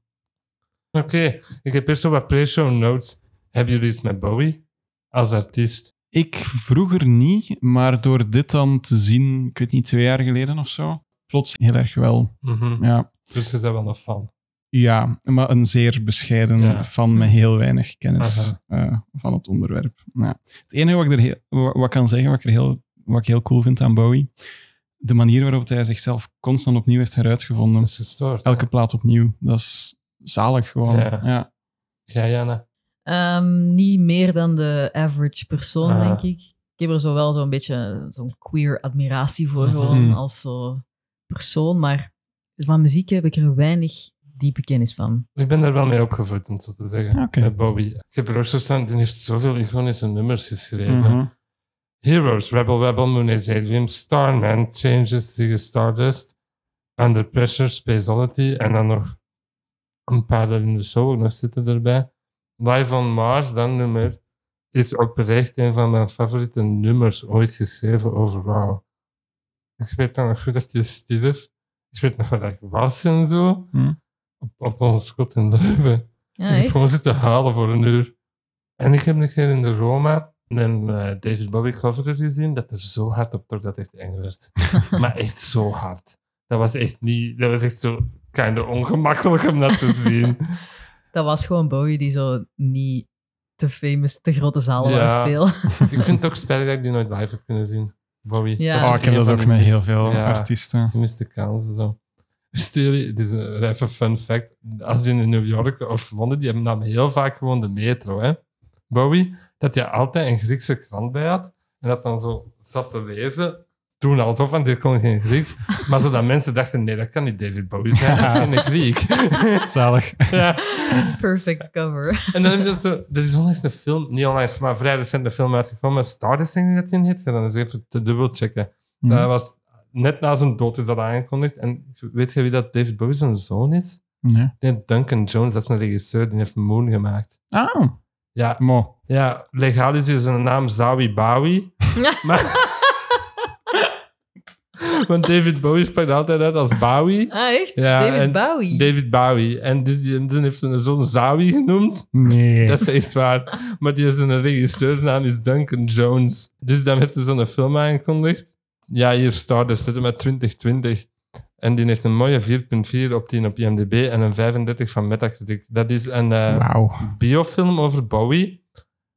Oké, ik heb eerst zo wat pre-show notes. Hebben jullie iets met Bowie als artiest?
Ik vroeger niet, maar door dit dan te zien, ik weet niet, twee jaar geleden of zo, plots heel erg wel.
Mhm.
Ja, Mm.
Dus je bent wel een fan.
ja maar een zeer bescheiden
Ja.
fan met heel weinig kennis eh, van het onderwerp. Ja. Het enige wat ik, er heel, wa- wat ik kan zeggen, wat ik, er heel, wat ik heel cool vind aan Bowie, de manier waarop hij zichzelf constant opnieuw heeft heruitgevonden.
Dat is gestoord. hè?
Elke plaat opnieuw, dat is zalig gewoon.
Ja.
Ja.
Ja, Jana.
Ehm, niet meer dan de average persoon,
Ah.
denk ik. Ik heb er zo wel zo'n beetje zo'n queer admiratie voor,
Mhm.
gewoon als zo persoon. Maar van muziek heb ik er weinig diepe kennis van.
Ik ben daar wel mee opgevoed, om het zo te zeggen.
Oké.
Met Bobby. Ik heb er ook zo staan, die heeft zoveel iconische nummers geschreven.
Mhm.
Heroes, Rebel Rebel, Moon Age Daydream, Starman, Changes, Ziggy Stardust, Under Pressure, Spaceology en dan nog een paar daar in de show ook nog zitten erbij. Live on Mars, dat nummer, is oprecht een van mijn favoriete nummers ooit geschreven overal. Ik weet dan nog goed dat je stierf. Ik weet nog wat ik was en zo.
Hmm.
op, op ons kot in Leuven. Dus Ik
Ja,
heb
Ah, echt?
gewoon zitten halen voor een uur. En ik heb een keer in de Roma een eh, David Bowie cover gezien dat er zo hard op trok dat het echt eng werd. maar echt zo hard. Dat was echt niet... Dat was echt zo kind of ongemakkelijk om dat te zien.
Dat was gewoon Bowie die zo niet te famous, te grote zalen
Ja.
wou spelen.
ik vind het ook spijtig dat ik die nooit live heb kunnen zien. Bowie.
Ja.
is
Oh, ik heb
een
dat
van
ook
die
met
mis-
heel veel
ja,
artiesten.
Gemiste kansen, zo. Wist jullie, dit is een even fun fact. Als je in New York of Londen, die hebben nam heel vaak gewoon de metro, hè. Bowie, dat je altijd een Griekse krant bij had en dat dan zo zat te lezen. Toen al zo van, dit kon geen Grieks. Maar zodat mensen dachten, nee, dat kan niet David Bowie zijn, dat is geen Griek.
Zalig.
ja.
Perfect cover.
En dan heb je dat zo, er is onlangs een film, niet onlangs, maar vrij recent een film uitgekomen, Stardust denk ik dat die in heet. Ga dan eens even te dubbelchecken.
Mhm.
Dat was net na zijn dood is dat aangekondigd. En weet je wie dat David Bowie zijn zoon is?
Nee.
Nee, Duncan Jones, dat is een regisseur, die heeft Moon gemaakt.
Ah,
Ja,
mo.
ja legaal is hier zijn naam Zawi Bawi. maar... Want David Bowie spreekt altijd uit als Bowie.
Ah, echt?
Ja, en
David Bowie.
David Bowie. En dus die, dan heeft zijn zoon Zawi genoemd.
Nee.
Dat is echt waar. Maar die is een regisseur, naam is Duncan Jones. Dus dan heeft hij zo'n film aangekondigd. Ja, hier Stardust, zitten met 2020. En die heeft een mooie 4.4 op 10 op IMDb en een 35 van Metacritic. Dat is een eh,
Wauw.
biofilm over Bowie,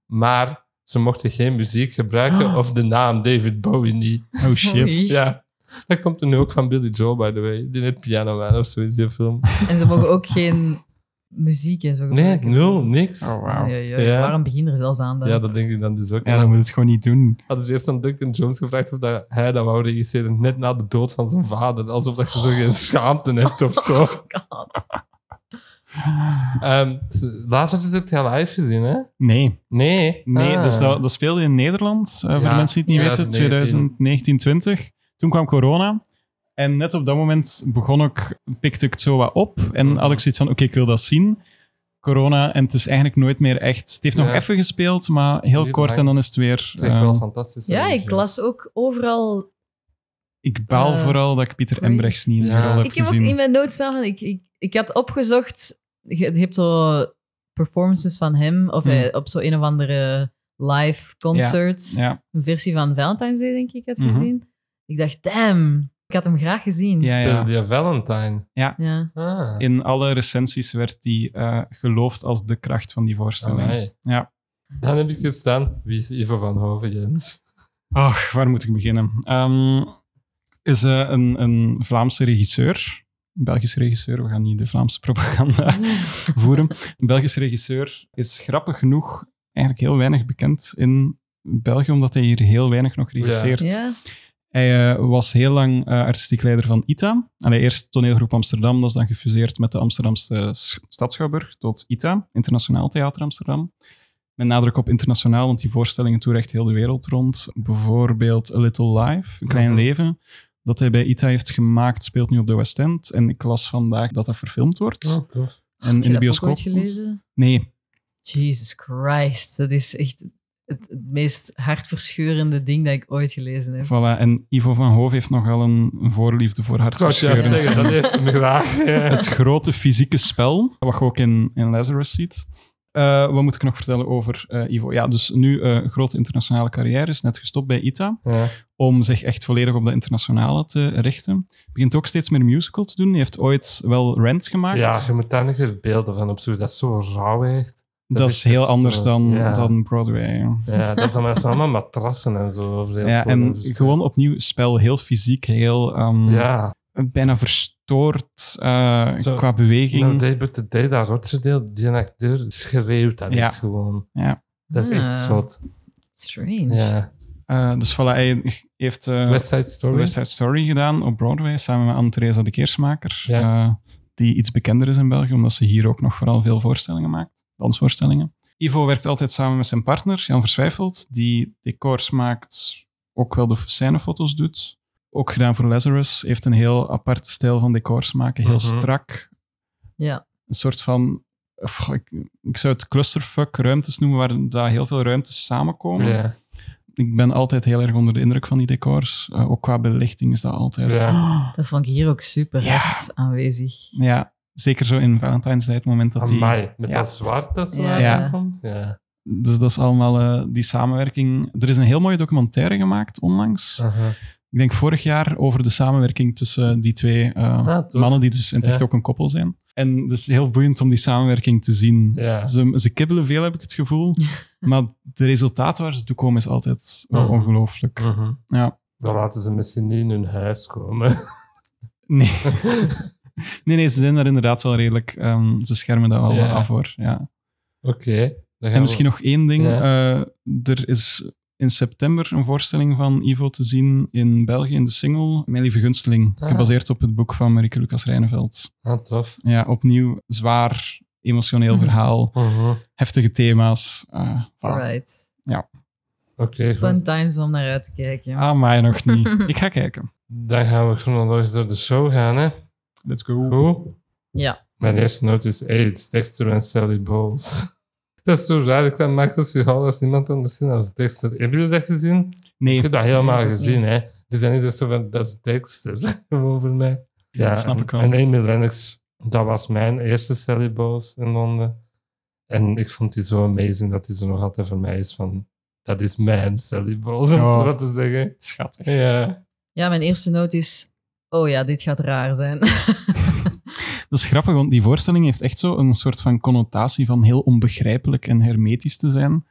maar ze mochten geen muziek gebruiken of de naam David Bowie niet.
Oh shit.
Oei.
Ja, dat komt er nu ook van Billy Joel, by the way. Die net Piano Man of zoiets, die film.
Oh,
En ze mogen ook geen muziek en zo
Nee,
gebruiken.
nul, niks.
Oh,
Ja,
wauw.
Ja.
Waarom beginnen er zelfs aan dan?
Ja, dat denk ik dan dus ook.
Ja, dan moet het gewoon niet doen.
hadden ze dus eerst aan Duncan Jones gevraagd of dat hij dat wou regisseren, net na de dood van zijn vader. Alsof dat je zo geen schaamte hebt of zo.
God.
Ehm, s- laatst heb je het heel live gezien, hè?
Nee.
Nee.
Nee,
Ah.
dus dat, dat speelde in Nederland. eh, voor
Ja,
de mensen die het niet weten,
2019.
2019, 20. Toen kwam corona. En net op dat moment begon ik, pikte ik het zo wat op. En had ik zoiets van, oké, ik wil dat zien. Corona, en het is eigenlijk nooit meer echt... Het heeft nog
Ja.
even gespeeld, maar heel
Niet
kort.
lang.
En dan is het weer...
Zeg
ehm,
wel fantastisch.
Ja,
hè,
ik las ook overal...
ik baal
Eh,
vooral dat ik Pieter
Craig.
Embrechts niet in de
Ja.
rol heb
Ik heb ook
gezien.
in mijn notes staan, van, ik, ik, ik had opgezocht... Je, je hebt zo performances van hem, of
Hmm.
hij- op zo'n een of andere live concert.
Ja,
Een versie van Valentine's Day, denk ik, had
Mhm.
gezien. Ik dacht, damn, ik had hem graag gezien.
ja,
Speelde
ja.
die Valentine.
Ja.
Ah.
In alle recensies werd die eh, geloofd als de kracht van die voorstelling.
Amai.
Ja.
Dan heb ik gestaan, wie is Ivo van Hoven, Jens?
Och, waar moet ik beginnen? Ehm, is eh, een, een Vlaamse regisseur. Een Belgische regisseur, we gaan niet de Vlaamse propaganda voeren. Een Belgische regisseur is grappig genoeg eigenlijk heel weinig bekend in België, omdat hij hier heel weinig nog regisseert.
ja.
Hij eh, was heel lang eh, artistiek leider van ITA. Allee, eerst toneelgroep Amsterdam, dat is dan gefuseerd met de Amsterdamse S- Stadschouwburg tot ITA, Internationaal Theater Amsterdam. Met nadruk op internationaal, want die voorstellingen toeren echt heel de wereld rond. Bijvoorbeeld A Little Life, Een Klein
Mhm.
Leven, dat hij bij ITA heeft gemaakt, speelt nu op de West End. En ik las vandaag dat dat verfilmd wordt.
Oh, tof.
Heb
En
je
in de
dat ook
bioscoop.
ooit
komt.
gelezen?
Nee,
Jesus Christ, dat is echt het, het meest hartverscheurende ding dat ik ooit gelezen heb.
voilà. En Ivo van Hoof heeft nogal een, een voorliefde voor
Ik wou het juist
hartverscheurend.
zeggen, dat heeft hem graag.
het grote fysieke spel, wat je ook in, in Lazarus ziet. Eh, wat moet ik nog vertellen over eh, Ivo? Ja, dus nu eh, een grote internationale carrière, is net gestopt bij ITA,
Ja.
om zich echt volledig op dat internationale te richten. Begint ook steeds meer musical te doen. Hij heeft ooit wel Rent gemaakt.
ja, je moet daar nog eens beelden van opzoeken. Dat is zo rauw, echt.
dat,
dat
is
is
heel
dus,
anders
eh,
dan,
ja.
dan Broadway. ja.
Ja, dat zijn mensen allemaal matrassen en zo. over de hele
Ja, en
toren.
gewoon opnieuw spel, heel fysiek, heel ehm,
dus- Ja,
bijna verstoord eh,
Zo.
qua beweging.
nou, Day by Day, dat rotsdeel, die acteur schreeuwt dat
Ja.
echt gewoon.
Ja.
Dat is echt
Ah.
zot.
Strange.
Ja.
Eh, dus voilà, hij heeft... eh,
West Side Story.
West Side Story gedaan op Broadway samen met Anne-Theresa de Keersmaker,
Ja.
eh, die iets bekender is in België, omdat ze hier ook nog vooral veel voorstellingen maakt, dansvoorstellingen. Ivo werkt altijd samen met zijn partner, Jan Verswijfeld, die decors maakt, ook wel de scènefoto's doet. Ook gedaan voor Lazarus, heeft een heel aparte stijl van decors maken, heel
Mhm.
strak.
Ja.
Een soort van, pff, ik, ik zou het clusterfuck ruimtes noemen, waar daar heel veel ruimtes samenkomen
Ja.
ik ben altijd heel erg onder de indruk van die decors. Eh, ook qua belichting is dat altijd.
Ja.
Dat vond ik hier ook super
Ja.
hard aanwezig.
Ja, Zeker zo in Valentijnsdag, het moment dat die...
Amai, met
ja.
dat zwart dat zo
Ja.
ja. komt. Ja.
Dus dat is allemaal eh, die samenwerking. Er is een heel mooie documentaire gemaakt onlangs.
Aha.
Ik denk vorig jaar over de samenwerking tussen die twee eh,
Ah, tof.
mannen, die dus in het echt
Ja.
ook een koppel zijn. En het is heel boeiend om die samenwerking te zien.
Ja.
Ze, ze kibbelen veel, heb ik het gevoel. maar de resultaten waar ze toe komen is altijd wel
Mhm.
ongelooflijk.
Mhm.
Ja.
Dan laten ze misschien niet in hun huis komen.
Nee. nee, nee, ze zijn daar inderdaad wel redelijk. ehm, ze schermen dat wel
Ja.
af hoor. Ja.
Oké. dan gaan
En
we-
misschien nog één ding.
Ja.
eh, er is in september een voorstelling van Ivo te zien in België in de single Mijn Lieve Gunsteling,
Ah.
gebaseerd op het boek van Marieke Lucas Rijneveld.
Ah, tof.
Ja, opnieuw zwaar, emotioneel
Mhm.
verhaal,
Mhm.
heftige thema's. eh, voilà.
Alright.
Oké, goed.
Fun times om naar uit te kijken.
Ah, maar nog niet. Ik ga kijken.
Dan gaan we chronologisch door de show gaan, hè.
Let's go.
Hoe?
Ja.
Mijn eerste noot is AIDS, Dexter en Sally Bowles. dat is zo raar, ik dat Michael C. Hall als niemand anders zien als Dexter. Hebben jullie dat gezien? Ik
Nee,
heb dat helemaal
Nee, dat
gezien, hè. Dus dan is het zo van, dat is Dexter, gewoon voor mij.
ja, snap ik wel.
En Amy Lennox, dat was mijn eerste Sally Bowles in Londen. En ik vond die zo amazing dat die zo nog altijd voor mij is van... Dat is mijn Sally Bowles, om
Ja.
zo wat te zeggen.
Schattig.
Ja.
Ja, mijn eerste noot is... Oh ja, dit gaat raar zijn.
Dat is grappig, want die voorstelling heeft echt zo een soort van connotatie van heel onbegrijpelijk en hermetisch te zijn.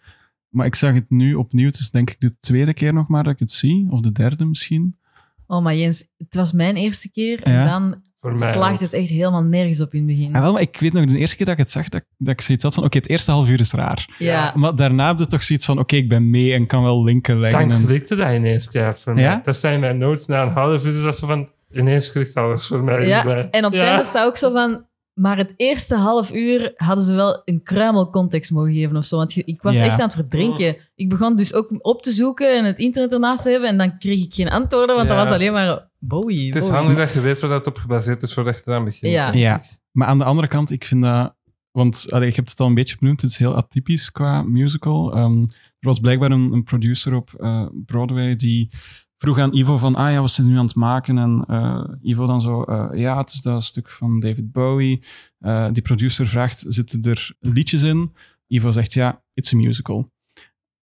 Maar ik zag het nu opnieuw. Het is denk ik de tweede keer nog maar dat ik het zie. Of de derde misschien.
Oh, maar Jens, het was mijn eerste keer. En
Ja.
dan
Voor mij
slaagt
ook.
het echt helemaal nergens op in het begin.
Ah, wel, maar ik weet nog de eerste keer dat ik het zag, dat, ik- dat ik zoiets had van... Oké, het eerste half uur is raar.
Ja.
Maar daarna heb je toch zoiets van... Oké, ik ben mee en kan wel linken leggen.
Dan
en-
klikte dat ineens keihard voor mij.
Ja?
Dat zijn mijn notes na een half uur. dus Dat ze van, ineens klikt alles voor mij.
Ja, en op het einde staat ook zo van... Maar het eerste half uur hadden ze wel een kruimel context mogen geven of zo. Want je- ik was
Ja.
echt aan het verdrinken. Ik begon dus ook op te zoeken en het internet ernaast te hebben. En dan kreeg ik geen antwoorden, want
Ja.
dat was alleen maar Bowie.
Het is
Bowie.
handig dat je weet waar dat op gebaseerd is voordat je eraan begint.
Ja.
denk
Ja.
ik.
Maar aan de andere kant, ik vind dat... Want allee, ik heb het al een beetje benoemd, het is heel atypisch qua musical. Ehm, er was blijkbaar een, een producer op eh, Broadway die vroeg aan Ivo van... Ah ja, wat zit nu aan het maken? En eh, Ivo dan zo... eh, ja, het is dat stuk van David Bowie. Eh, die producer vraagt, zitten er liedjes in? Ivo zegt, ja, it's a musical.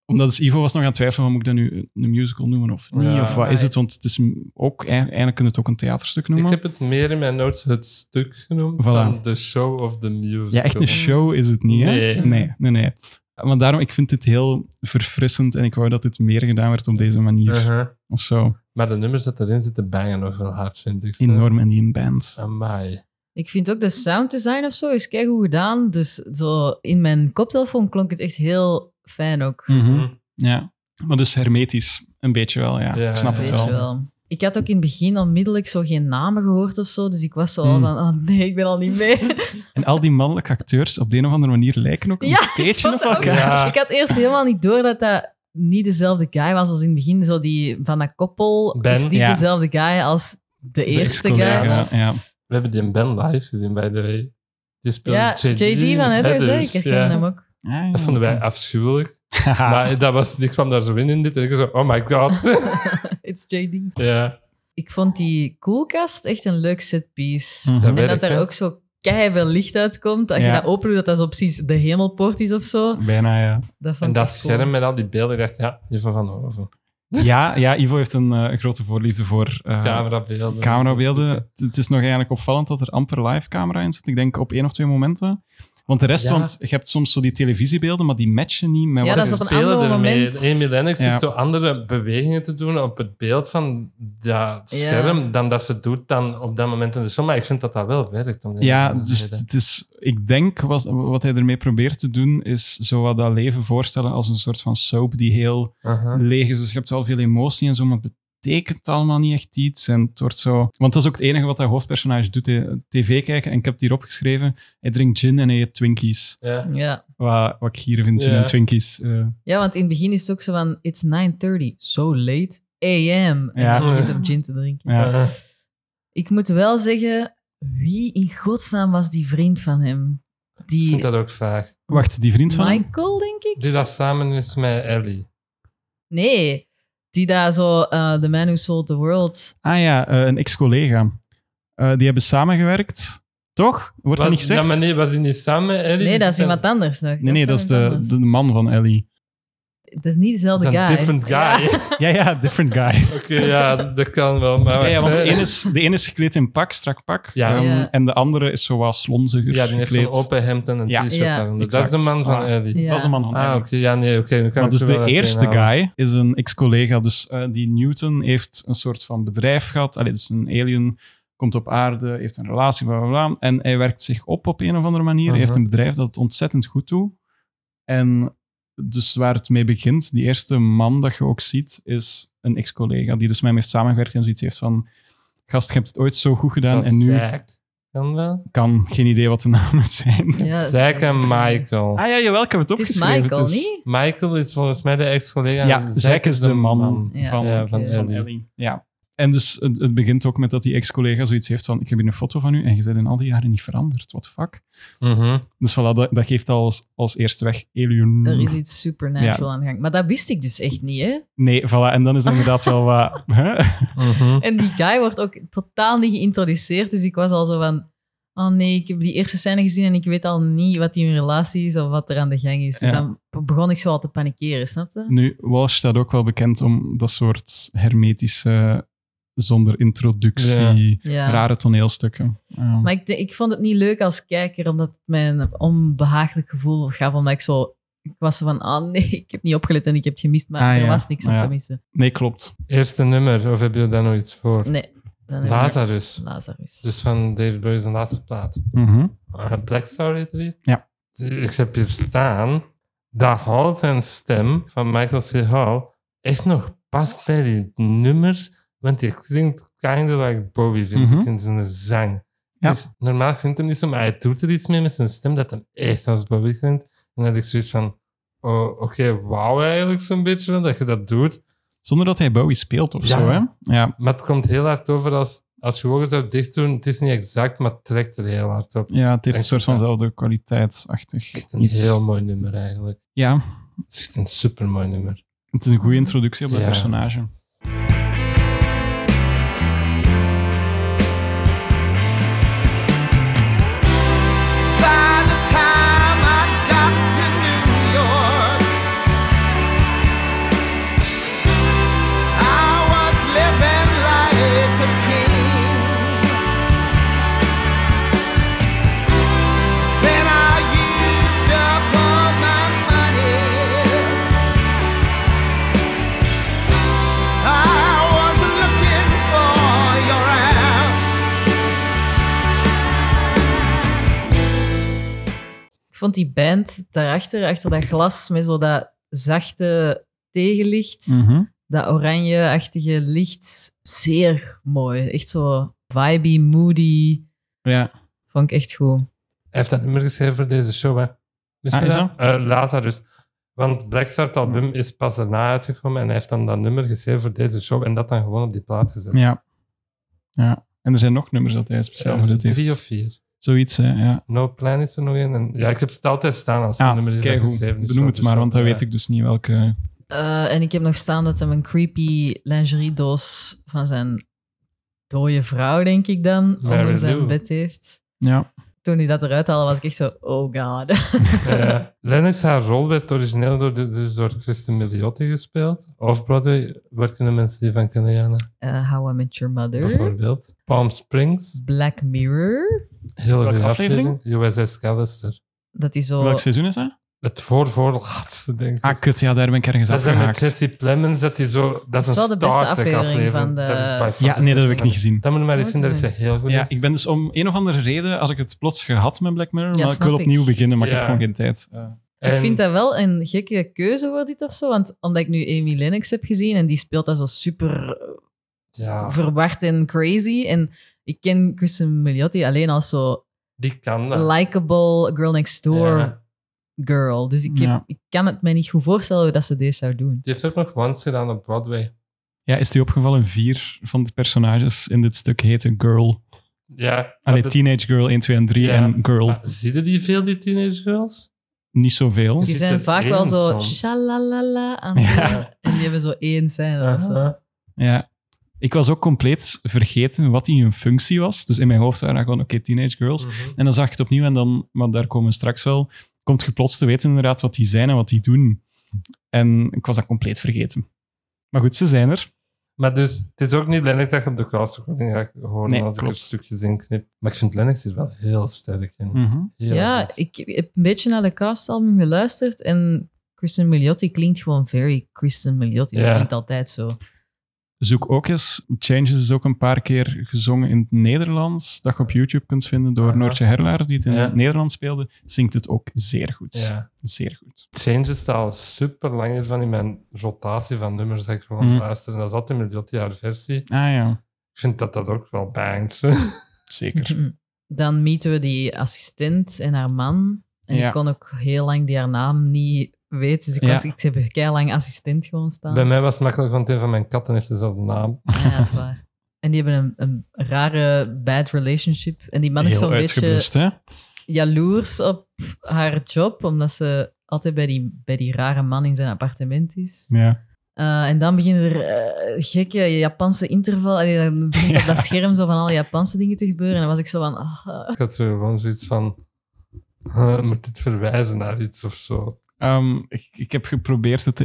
Omdat dus Ivo was nog aan het twijfelen, van, moet ik dat nu een musical noemen of niet?
Ja.
of wat is het? Want het is ook, eh, eigenlijk kunnen we het ook een theaterstuk noemen.
Ik heb het meer in mijn notes het stuk genoemd
Voilà.
dan de show of the music.
Ja, echt een show is het niet, hè?
Nee.
Nee, nee, nee. Want daarom, ik vind dit heel verfrissend en ik wou dat dit meer gedaan werd op deze manier. Of zo.
Uh-huh. Maar de nummers dat erin zitten bangen nog wel hard, vind ik. ze.
Enorm en die een band.
Amai.
Ik vind ook de sound design of zo is keigoed gedaan. Dus zo in mijn koptelefoon klonk het echt heel fijn ook.
Mhm, Ja. Maar dus hermetisch, een beetje wel, ja.
Ja,
ik snap
ja,
het
Weet
wel.
je wel. Ik had ook in het begin onmiddellijk zo geen namen gehoord of zo. Dus ik was zo al
Hmm.
van, oh nee, ik ben al niet mee.
En al die mannelijke acteurs op de een of andere manier lijken ook een
Ja,
beetje
vond
op
dat ook.
elkaar.
Ja.
Ik had eerst helemaal niet door dat dat niet dezelfde guy was als in het begin. Zo die van dat koppel
Ben,
is niet
ja.
dezelfde guy als de
De
eerste
ex-collega,
guy.
was.
Ja.
We hebben die in Ben live gezien, by the way. Die speelde
Ja,
JD,
JD, van Heather,
Heathers,
zeker.
ja.
ken hem ook.
Ja, ja.
Dat vonden wij afschuwelijk.
Haha.
Maar dat was, die kwam daar zo in in dit. En ik zo, oh my god.
It's JD.
ja.
Ik vond die koelkast echt een leuk setpiece.
Mhm.
Dat
En
werkt,
dat er
Hmm. hè?
ook zo keihard licht uitkomt. Dat je
Ja.
dat opent, dat dat zo precies de hemelpoort is of zo.
Bijna, ja.
Dat vond
En
ik
dat
echt cool.
scherm met al die beelden, ik dacht, ja, Juffen van Hoven.
ja. Ja, Ivo heeft een eh, grote voorliefde voor eh,
Camerabeelden.
camerabeelden. Het- Het is nog eigenlijk opvallend dat er amper live camera in zit. Ik denk op één of twee momenten. Want de rest,
Ja.
want je hebt soms zo die televisiebeelden, maar die matchen niet met
Ja,
wat
dat
Ze
is op
er-
een
spelen
ander
ermee.
moment.
Amy Lennox
Ja.
zit zo andere bewegingen te doen op het beeld van dat scherm dan dat ze doet dan op dat moment in de show. Maar ik vind dat dat wel werkt. om de een of
Ja,
andere
dus
reden.
het is, ik denk wat, wat hij ermee probeert te doen, is zo wat dat leven voorstellen als een soort van soap die heel
Aha.
leeg is. Dus je hebt wel veel emotie en zo, maar het betekent allemaal niet echt iets. En het wordt zo... Want dat is ook het enige wat dat hoofdpersonage doet, hè. tv kijken. En ik heb het hier opgeschreven, hij drinkt gin en hij eet Twinkies.
Ja.
Ja.
Wat, wat ik hier vind, gin
Ja.
en Twinkies. eh.
ja, want in het begin is het ook zo van... It's 9.30, so late, am. En
Ja.
dan begint om gin te drinken.
Ja.
Aha.
Ik moet wel zeggen... Wie in godsnaam was die vriend van hem?
Ik
Die
vind dat ook vaag.
Wacht, die vriend van hem?
Michael, denk ik?
Die dat samen is met Ellie.
Nee. Die daar zo... eh the Man Who Sold the World...
Ah ja, eh, een ex-collega. Eh, die hebben samengewerkt Toch? Wordt dat niet gezegd?
Ja, maar nee, was hij niet samen met Ellie?
Nee, dat is
Ze
iemand anders nog.
nee, nee, dat is de,
iemand
de man van Ellie.
anders. Dat is niet dezelfde
zijn-
guy.
zijn different guy.
Ja.
Ja, ja, different guy.
Oké, ja, dat kan wel. Maar
Ja, ja, want de
wacht, hè.
ene is, de ene is gekleed in pak, strak pak.
Eh, Ja.
ehm,
Ja.
En de andere is zo wat slonziger
Ja, die heeft zo'n
gekleed.
open hemd en een
Ja.
t-shirt
Ja.
aan. Dat is
Dus Exact.
de man van
Ah.
Ellie.
Ja.
Dat is de man van
Ah,
Ellie.
oké. Ja, nee, oké. dan kan
Maar
ik
dus
er
de
wel eh,
eerste
uiteen halen.
guy is een ex-collega. Dus eh, die Newton heeft een soort van bedrijf gehad. Allee, dus een alien komt op aarde, heeft een relatie, bla bla bla. En hij werkt zich op op een of andere manier. Hij
Mhm.
heeft een bedrijf dat het ontzettend goed doet. En dus waar het mee begint, die eerste man dat je ook ziet, is een ex-collega die dus met hem heeft samengewerkt en zoiets heeft van. Gast, je hebt het ooit zo goed gedaan
Dat
en nu
Zack. Kan wel?
kan geen idee wat de namen zijn.
Ja, dat
Zack
is-
en Michael.
Ah ja, jawel, ik heb het
Het is
opgeschreven.
Michael,
Het is-
niet?
Michael is volgens mij de ex-collega. en
Ja, Zack is de man,
Ja,
van,
Ja,
van
van
oké.
van
Ellie.
Ellie. Ja. En dus het, het begint ook met dat die ex-collega zoiets heeft van: Ik heb hier een foto van u en je bent in al die jaren niet veranderd. What the fuck?
Mhm.
Dus voilà, dat, dat geeft al als, als eerste weg Alien.
Er is iets supernatural aan de gang. Maar dat wist ik dus echt niet, hè?
Nee, voilà. En dan is dat inderdaad wel wat. hè?
Mhm.
En die guy wordt ook totaal niet geïntroduceerd. Dus ik was al zo van... Oh nee, ik heb die eerste scène gezien en ik weet al niet wat die hun relatie is of wat er aan de gang is. Dus
Ja.
dan be- begon ik zo al te panikeren, snap je?
Nu, Walsh staat ook wel bekend om dat soort hermetische, zonder introductie,
Ja.
rare toneelstukken. Ehm, Ja.
Maar ik, de- ik vond het niet leuk als kijker, omdat het mij een onbehagelijk gevoel gaf. Omdat ik zo... Ik was zo van, oh nee, ik heb niet opgelet en ik heb het gemist. Maar
Ah,
er
ja.
was niks om
Ja.
te missen.
Nee, klopt.
Eerste nummer, of heb je daar nog iets voor?
Nee. Dan heb ik-
Lazarus.
Lazarus.
Dus van David Bowie's zijn laatste plaat.
Mhm.
Ah, Black Star heette die?
Ja.
Ik heb hier staan dat Hall zijn stem van Michael C. Hall echt nog past bij die nummers, want die klinkt kind of like Bowie, vind ik,
Mhm.
in zijn zang.
Ja.
Dus normaal klinkt hem niet zo, maar hij doet er iets mee met zijn stem dat hem echt als Bowie klinkt. En dat ik zoiets van, oh, oké, wauw eigenlijk zo'n beetje, dat je dat doet.
Zonder dat hij Bowie speelt of
Ja.
zo, hè? Ja.
Maar het komt heel hard over als, als je ogen zou dicht doen. Het is niet exact, maar het trekt er heel hard op.
ja, het heeft een soort
Ja.
vanzelfde kwaliteitsachtig
Echt een
iets.
heel mooi nummer eigenlijk.
Ja,
Het is echt een super mooi nummer.
Het is een goede introductie op dat
Ja.
personage.
By the time I got to New York, I was living like a king. Then I used up all my money. I was looking for your ass.
Ik vond die band daarachter, achter dat glas, met zo dat zachte tegenlicht,
Mhm.
dat oranje-achtige licht, zeer mooi. Echt zo vibey, moody.
Ja.
Vond ik echt goed.
Hij heeft dat nummer geschreven voor deze show, hè? Wist
Ah,
je
is
Eh, later dus. Want Black Star het album is pas daarna uitgekomen en hij heeft dan dat nummer geschreven voor deze show en dat dan gewoon op die plaat gezet.
ja. Ja. En er zijn nog nummers dat hij speciaal
Eh,
voor dit heeft.
drie of vier.
Zoiets, hè. Ja.
No Plan is er nog één. en- Ja, ik heb het altijd staan als het
Ah,
nummer is dat
keigoed.
geschreven is.
Benoem
voor
het
de
maar,
show.
want dan
Ja.
weet ik dus niet welke...
Eh, en ik heb nog staan dat hem een creepy lingeriedoos van zijn dode vrouw, denk ik dan,
Mary
onder zijn
Lou.
bed heeft.
Ja.
Toen hij dat eruit haalde, was ik echt zo, oh god.
Ja. Lennox, haar rol werd origineel door, de- dus door Kristen Milioti gespeeld. Off-Broadway, waar kunnen mensen die van kennen, Jana?
Eh, How I Met Your Mother.
Bijvoorbeeld. Palm Springs.
Black Mirror.
Heel
Welke
goede
aflevering?
aflevering. USS Callister.
Dat hij zo...
Welk seizoen is dat?
Het voorvoorlaatste, denk ik.
Ah, kut. Ja, daar ben ik ergens
dat is dan met
afgehaakt.
Jesse Plemons, dat hij zo... Dat, is
is
een
wel de beste
Star Trek
aflevering van de-
Dat is bij Star
Ja,
Trek
nee, dat heb ik
beste.
niet gezien.
Dat moet je maar eens
Oh,
zien, dat is
dat
een heel goed.
Ja, ik ben dus om een of andere reden, had ik het plots gehad met Black Mirror,
Ja,
maar ik
snap
wil
ik.
opnieuw beginnen, maar ik
Ja.
heb gewoon geen tijd. Eh,
Ik vind dat wel een gekke keuze voor dit of zo. Want omdat ik nu Amy Lennox heb gezien en die speelt dat zo super eh,
Ja,
verward en crazy. En ik ken Kristen Milioti alleen als zo
die kan dat.
likable girl next door
Ja.
girl. Dus ik, heb-
Ja.
ik kan het mij niet goed voorstellen hoe dat ze deze zou doen.
Die heeft ook nog once gedaan op Broadway.
ja, is die opgevallen? Vier van de personages in dit stuk heten Girl.
Ja.
Allee,
Ah, dat-
Teenage Girl 1, 2 en 3
Ja.
en Girl.
Ah, Zie je die veel, die teenage girls?
Niet zoveel.
Er
Die
zit
zijn
er
vaak
één
wel zo
soms.
shalalala aan het
Ja.
Ah. doen. En die hebben zo één scène. of zo.
Aha.
Ja. Ik was ook compleet vergeten wat die hun functie was. Dus in mijn hoofd waren dat gewoon, oké, Teenage Girls.
Mm.
En dan zag ik het opnieuw en dan, maar daar komen we straks wel, komt je plots te weten inderdaad wat die zijn en wat die doen. En ik was dat compleet vergeten. Maar goed, ze zijn er.
Maar dus, het is ook niet Lennox dat je op de crossrecording gaat horen
Nee,
als ik
klopt. Mm.
er stukjes in knip. Maar ik vind Lennox is wel heel sterk. in. Heel
Ja,
goed.
ik heb een beetje naar de castalbum geluisterd en Kristen Milioti klinkt gewoon very Kristen Milioti.
Ja.
Dat klinkt altijd zo.
Zoek ook eens. Changes is ook een paar keer gezongen in het Nederlands. Dat je op YouTube kunt vinden door
Aha.
Noortje Herlaar, die het in
Ah. Ja.
het Nederlands speelde. Zingt het ook zeer goed.
Ja.
Zeer goed.
Changes staat al super lang van in mijn rotatie van nummers dat ik gewoon
Mhm.
luister. En dat zat in mijn jaar versie.
Ah ja,
Ik vind dat dat ook wel bangt.
zeker.
Dan meeten we die assistent en haar man. En
Ja.
ik kon ook heel lang die haar naam niet weten. Dus ik,
Ja.
was, ik heb heel lang assistent gewoon staan.
Bij mij was het makkelijk, want een van mijn katten heeft dezelfde naam.
Ja, dat is waar. En die hebben een, een rare bad relationship. En die man is
Heel
zo'n beetje
uitgeblust, hè?
jaloers op haar job, omdat ze altijd bij die, bij die rare man in zijn appartement is.
Ja.
Eh, en dan beginnen er eh, gekke Japanse interval. Allee, dan begint op dat scherm zo van alle Japanse dingen te gebeuren. En dan was ik zo van... ah.
Ik had zo gewoon zoiets van... eh, moet dit verwijzen naar iets of zo?
Ehm, ik, ik heb geprobeerd het te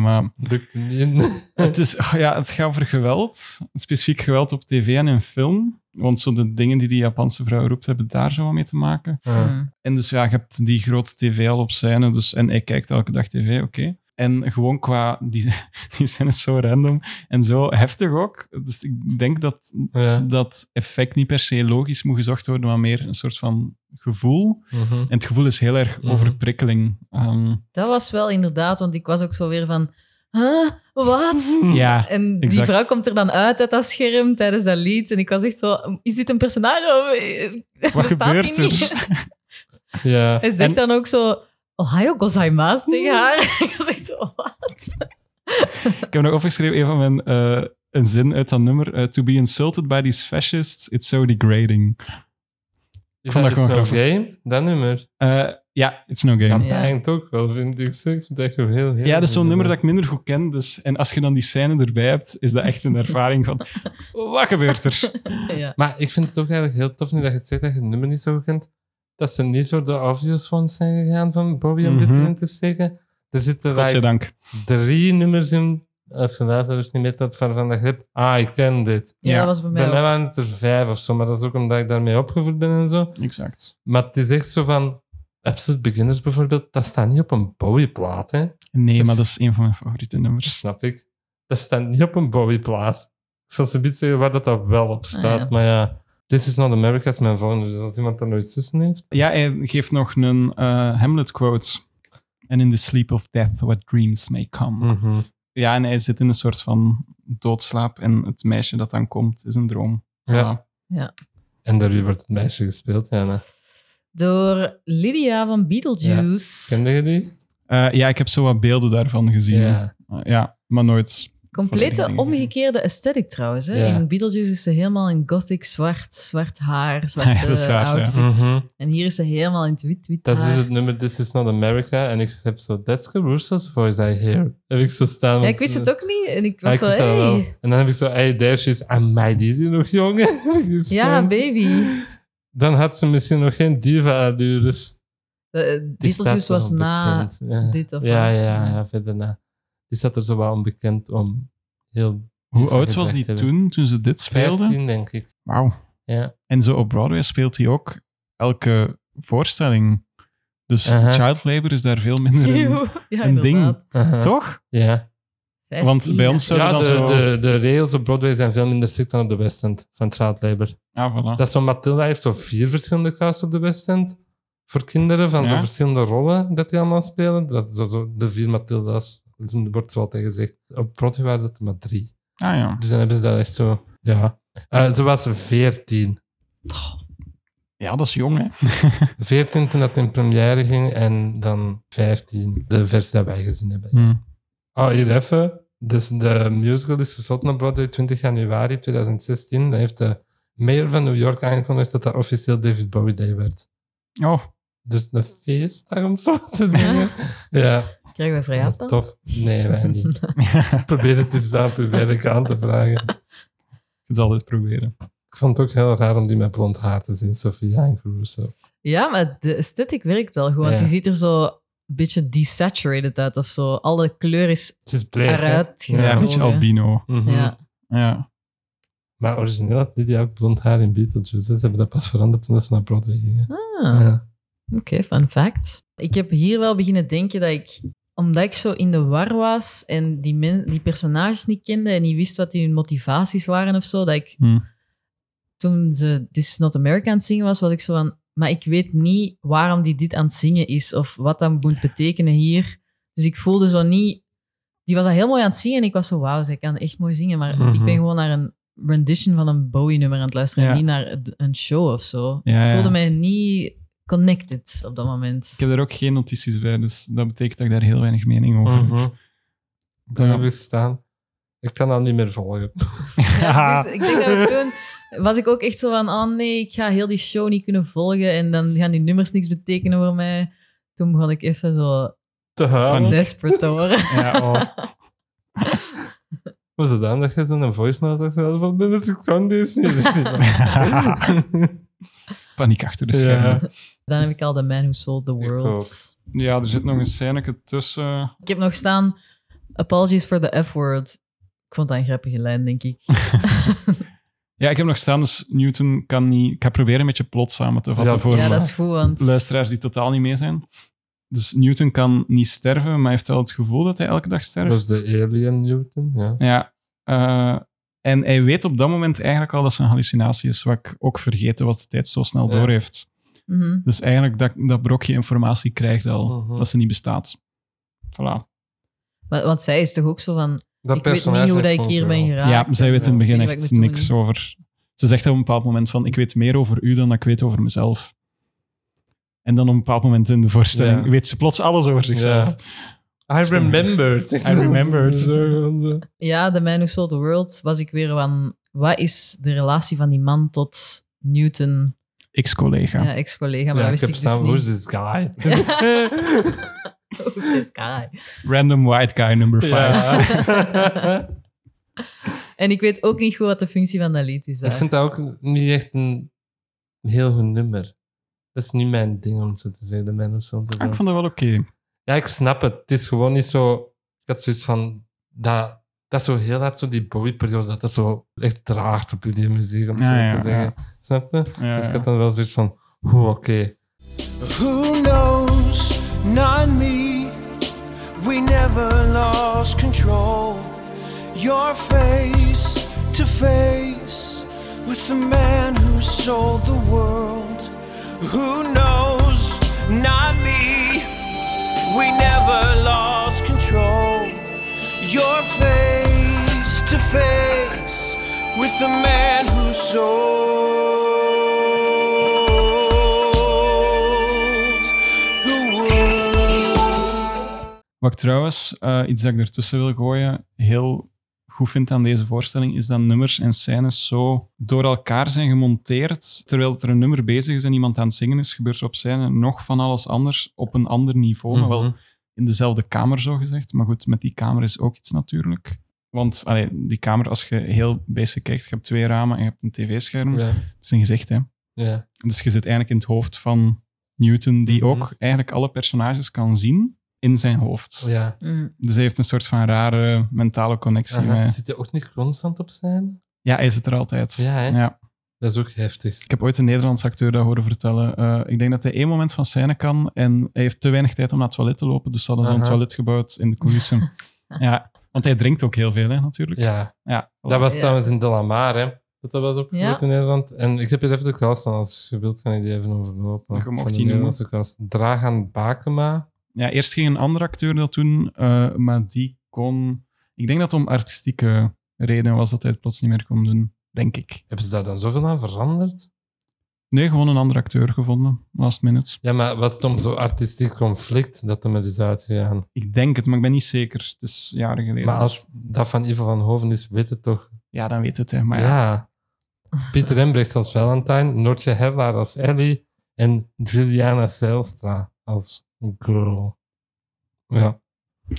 maar
Lukte niet in.
het, is, ah ja, het gaat over geweld. Specifiek geweld op tv en in film. Want zo de dingen die die Japanse vrouw roept, hebben daar zo wat mee te maken.
Ja.
Hmm.
En dus ja, je hebt die grote tv al op scène, dus, en ik kijk elke dag tv, oké. En gewoon qua, die, die scène is zo random en zo heftig ook. Dus ik denk dat
Ja.
dat effect niet per se logisch moet gezocht worden, maar meer een soort van gevoel.
Mhm.
En het gevoel is heel erg
Mhm.
overprikkeling. Ehm,
Dat was wel inderdaad, want ik was ook zo weer van... Huh? Wat?
ja,
En die
exact.
vrouw komt er dan uit uit dat scherm tijdens dat lied. En ik was echt zo... Is dit een personage? Of, eh, bestaat
wat
die
gebeurt
niet?
er?
ja.
Hij zegt
En- Hmm.
dan ook zo... Ohio gozaimasu tegen haar. ik was echt zo... Wat?
Ik heb nog opgeschreven een van mijn... eh, een zin uit dat nummer. eh, to be insulted by these fascists, it's so degrading.
Is
vond
dat
dat
gewoon
gewoon
zo'n
grappig.
game? Dat nummer.
Eh, Ja, it's no game.
Dat
Ja.
bangt ook wel, vind ik. Ik vind het echt een heel, heel
Ja, dat is zo'n
goed
nummer dat ik minder goed ken. Dus, en als je dan die scène erbij hebt, is dat echt een ervaring van... Wat gebeurt er?
ja.
Maar ik vind het ook eigenlijk heel tof nu dat je het zegt dat je het nummer niet zo goed kent. Dat ze niet voor de obvious ones zijn gegaan van Bobby om dit
Mhm.
erin te steken. Er zitten like,
Godzijdank.
drie nummers in. Als je luisteraars niet meer dat van, van dat je hebt, ah, ik ken dit.
Ja,
Ja.
dat was bij mij
Bij mij
ook.
waren het er vijf of zo, maar dat is ook omdat ik daarmee opgevoed ben en zo.
Exact.
Maar het is echt zo van, Absolute Beginners bijvoorbeeld, dat staat niet op een Bowie-plaat, hè.
Nee, maar dat is een van mijn favoriete
Dat
nummers.
snap ik. Dat staat niet op een Bowie-plaat. Ik zal ze niet zeggen waar dat, dat wel op staat,
Ah, ja.
maar ja. This is not America is mijn volgende, dus als iemand daar nooit tussen heeft.
Ja, hij geeft nog een eh, Hamlet-quote. And in the sleep of death, what dreams may come.
Mhm.
Ja, en hij zit in een soort van doodslaap. En het meisje dat dan komt, is een droom. Ah.
Ja.
Voilà.
En daaruit wordt het meisje gespeeld, nou. Jana.
Door Lydia van Beetlejuice.
Kende je die?
Eh, ja, ik heb zo wat beelden daarvan gezien.
Ja.
Eh, ja maar nooit.
Complete
Volledig
omgekeerde aesthetic trouwens. Hè?
Ja.
In Beetlejuice is ze helemaal in gothic zwart, zwart haar,
Ja, dat
zwarte
is waar, ja.
outfits.
Mhm.
En hier is ze helemaal in het wit, wit
Dat is
haar.
dus het nummer This is not America. En ik heb zo, that's Caruso's voice I hear. Heb ik zo staan.
Ja,
want- eh,
ik wist het ook niet en ik
Ja,
was
ik
zo,
wist dat wel.
hey.
En dan heb ik zo, hey, there she is. Amai, die is hier nog jong. Heb ik hier
Ja,
staan.
baby.
Dan had ze misschien nog geen dus diva-allures.
Eh,
Die staat
Beetlejuice
wel
was na
bekend, ja.
dit of
ja,
wat.
ja, ja, verder na. Die staat er zo wel onbekend om. Heel
Hoe
diva
oud was
gebracht
die
hebben.
toen, toen ze dit speelden?
15, denk ik.
Wauw.
Ja.
En zo op Broadway speelt hij ook elke voorstelling. Dus
Aha.
child labor is daar veel minder in.
Eeuw. Ja,
Een ding.
inderdaad.
Aha.
Toch?
Ja,
Want
15,
bij
ja.
ons zouden
ja
dan
de,
zo...
de, de rails op Broadway zijn veel minder strikt dan op de West End van Child Labour.
Ah, voilà.
Dat is zo, Matilda heeft zo vier verschillende casts op de West End voor kinderen van zo
Ja.
verschillende rollen dat die allemaal spelen. Dat, zo, zo, de vier Matilda's, dat wordt zo altijd gezegd. Op Broadway waren dat er maar drie.
Ah ja.
Dus dan hebben ze dat echt zo. Ja. Eh, ze was 14.
Ja, dat is jong, hè.
14 toen dat in première ging en dan 15, de versie dat wij gezien hebben. Oh, hier even. Dus de musical is gesloten op Broadway 20 januari 2016. Dan heeft de mayor van New York aangekondigd dat dat officieel David Bowie Day werd.
Oh,
Dus een feestdag om zo te zeggen. ja.
Krijgen we vrij af dan?
Tof. Nee, wij niet. Ik probeer het eens aan publiek aan te vragen.
Ik zal dit proberen.
Ik vond het ook heel raar om die met blond haar te zien, Sophia en Caruso.
Ja, maar de aesthetic werkt wel gewoon.
Ja.
Die ziet er zo een beetje desaturated uit of zo. Alle kleur is
Het is bleek, hè?
eruit
Ja,
Ja, een beetje
gezogen.
albino.
Mhm.
Ja.
Ja.
Maar origineel had Lydia ook blond haar in Beetlejuice. hè. Ze hebben dat pas veranderd toen ze naar Broadway gingen.
Ah.
Ja.
Oké, fun fact. Ik heb hier wel beginnen denken dat ik, omdat ik zo in de war was en die, men, die personages niet kende en niet wist wat die hun motivaties waren of zo, dat ik
Hm.
toen ze This is Not America aan het zingen was, was ik zo van, maar ik weet niet waarom die dit aan het zingen is of wat dat moet betekenen hier. Dus ik voelde zo niet, die was dat heel mooi aan het zingen en ik was zo, wauw, zij kan echt mooi zingen, maar
Mhm.
ik ben gewoon naar een rendition van een Bowie-nummer aan het luisteren en
Ja.
niet naar een- een show of zo.
Ja,
ik
ja.
voelde mij niet connected op dat moment.
Ik heb daar ook geen notities bij, dus dat betekent dat ik daar heel weinig mening over heb.
Mhm. Dan
Ja.
heb ik staan. Ik kan dat niet meer volgen.
Ja, dus ik denk dat we toen was ik ook echt zo van, oh nee, ik ga heel die show niet kunnen volgen en dan gaan die nummers niks betekenen voor mij. Toen begon ik even zo
Te huilen.
Paniek.
desperate te worden.
Ja, oh.
Was het dan dat je zo'n voicemail had gezet van, nee, ik kan dit niet. dit is niet waar.
Paniek achter de schermen. Ja.
Dan heb ik al The Man Who Sold The World.
ook.
er zit nog een scène tussen.
Ik heb nog staan, apologies for the F-word. Ik vond dat een grappige lijn, denk ik.
Ja, ik heb nog staan, dus Newton kan niet... Ik ga proberen met je plot samen te vatten
Ja.
voor
Ja, dat is goed, want...
luisteraars die totaal niet mee zijn. Dus Newton kan niet sterven, maar hij heeft wel het gevoel dat hij elke dag sterft.
Dat is de alien Newton, ja.
Ja. eh, en hij weet op dat moment eigenlijk al dat zijn hallucinatie is, wat ik ook vergeten was, de tijd zo snel
Ja.
door heeft.
Mhm.
Dus eigenlijk dat, dat brokje informatie krijgt al,
Mhm.
dat ze niet bestaat. Voilà.
Maar- Want zij is toch ook zo van,
Dat
ik weet niet
personage
hoe dat ik
heeft
hier ben
gewoon
Ja,
geraakt.
zij weet in het
Ik
begin
weet wat
echt
ik moet
niks
doen.
over... Ze zegt op een bepaald moment van, ik weet meer over u dan ik weet over mezelf. En dan op een bepaald moment in de voorstelling
Ja.
weet ze plots alles over zichzelf.
I remembered.
I remembered.
Ja, The Man Who Sold The World was ik weer van... Wat is de relatie van die man tot Newton,
Ex-collega.
ja. ex-collega? Maar
Ja,
dat
ik
wist
heb
ik,
staan,
dus niet.
who's this guy?
Who's this guy?
Random white guy number five.
Ja.
En ik weet ook niet goed wat de functie van dat lied is.
Ik
Daar.
vind dat ook niet echt een heel goed nummer. Dat is niet mijn ding om zo te zeggen, de Man of Something.
Ah, ik vond dat wel oké.
Ja, ik snap het. Het is gewoon niet zo. Ik had zoiets van. Dat, dat is zo heel hard, zo die Bowie-periode, dat dat zo echt draagt op die muziek, om zo
Ja, ja,
te zeggen. Snap je?
Ja,
dus ik
ja.
had dan wel zoiets van. Oeh, oké.
Who knows? Not me. We never lost control. Your face to face with the man who sold the world. Who knows? Not me. We never lost control. Your face to face with the man who sold the world.
Wat ik trouwens, eh, iets dat ik ertussen wil gooien, heel goed vind aan deze voorstelling, is dat nummers en scènes zo door elkaar zijn gemonteerd. Terwijl er een nummer bezig is en iemand aan het zingen is, gebeurt er op scène nog van alles anders op een ander niveau. Maar wel
Mhm.
in dezelfde kamer, zo gezegd. Maar goed, met die kamer is ook iets natuurlijk. Want allee, die kamer, als je heel basic kijkt, je hebt twee ramen en je hebt een tv-scherm.
Ja,
Dat is een gezicht, hè.
ja.
Dus je zit eigenlijk in het hoofd van Newton, die
Mhm.
ook eigenlijk alle personages kan zien in zijn hoofd.
ja.
Mm.
Dus hij heeft een soort van rare mentale connectie.
Aha.
Met...
Zit je ook niet constant op zijn?
Ja, hij zit er altijd.
Ja, hè?
Ja.
Dat is ook heftig.
Ik heb ooit een Nederlands acteur dat horen vertellen. Eh, ik denk dat hij één moment van scène kan en hij heeft te weinig tijd om naar het toilet te lopen. Dus ze hadden zo'n
Aha.
toilet gebouwd in de coulissen. ja, want hij drinkt ook heel veel, hè, natuurlijk.
Ja.
Ja,
Dat was
Ja.
trouwens in Delamar, hè? Dat dat was opgevoerd in Nederland. En ik heb hier even de kast van, als je wilt kan ik die even overlopen.
Je mag
Van de
die
Nederlandse kast. Dragan Bakema.
ja, eerst ging een andere acteur dat doen, eh, maar die kon... Ik denk dat het om artistieke reden was dat hij het plots niet meer kon doen, denk ik.
Hebben ze daar dan zoveel aan veranderd?
Nee, gewoon een andere acteur gevonden, last minute.
Ja, maar was het om zo'n artistiek conflict dat hem er is uitgegaan?
Ik denk het, maar ik ben niet zeker. Het is jaren geleden.
Maar als dat van Ivo van Hoven is, weet het toch?
Ja, dan weet het, hè. Maar
Ja.
ja.
Pieter Rembrecht als Valentine, Noortje Herlaar als Ellie en Juliana Zijlstra als girl. Ja,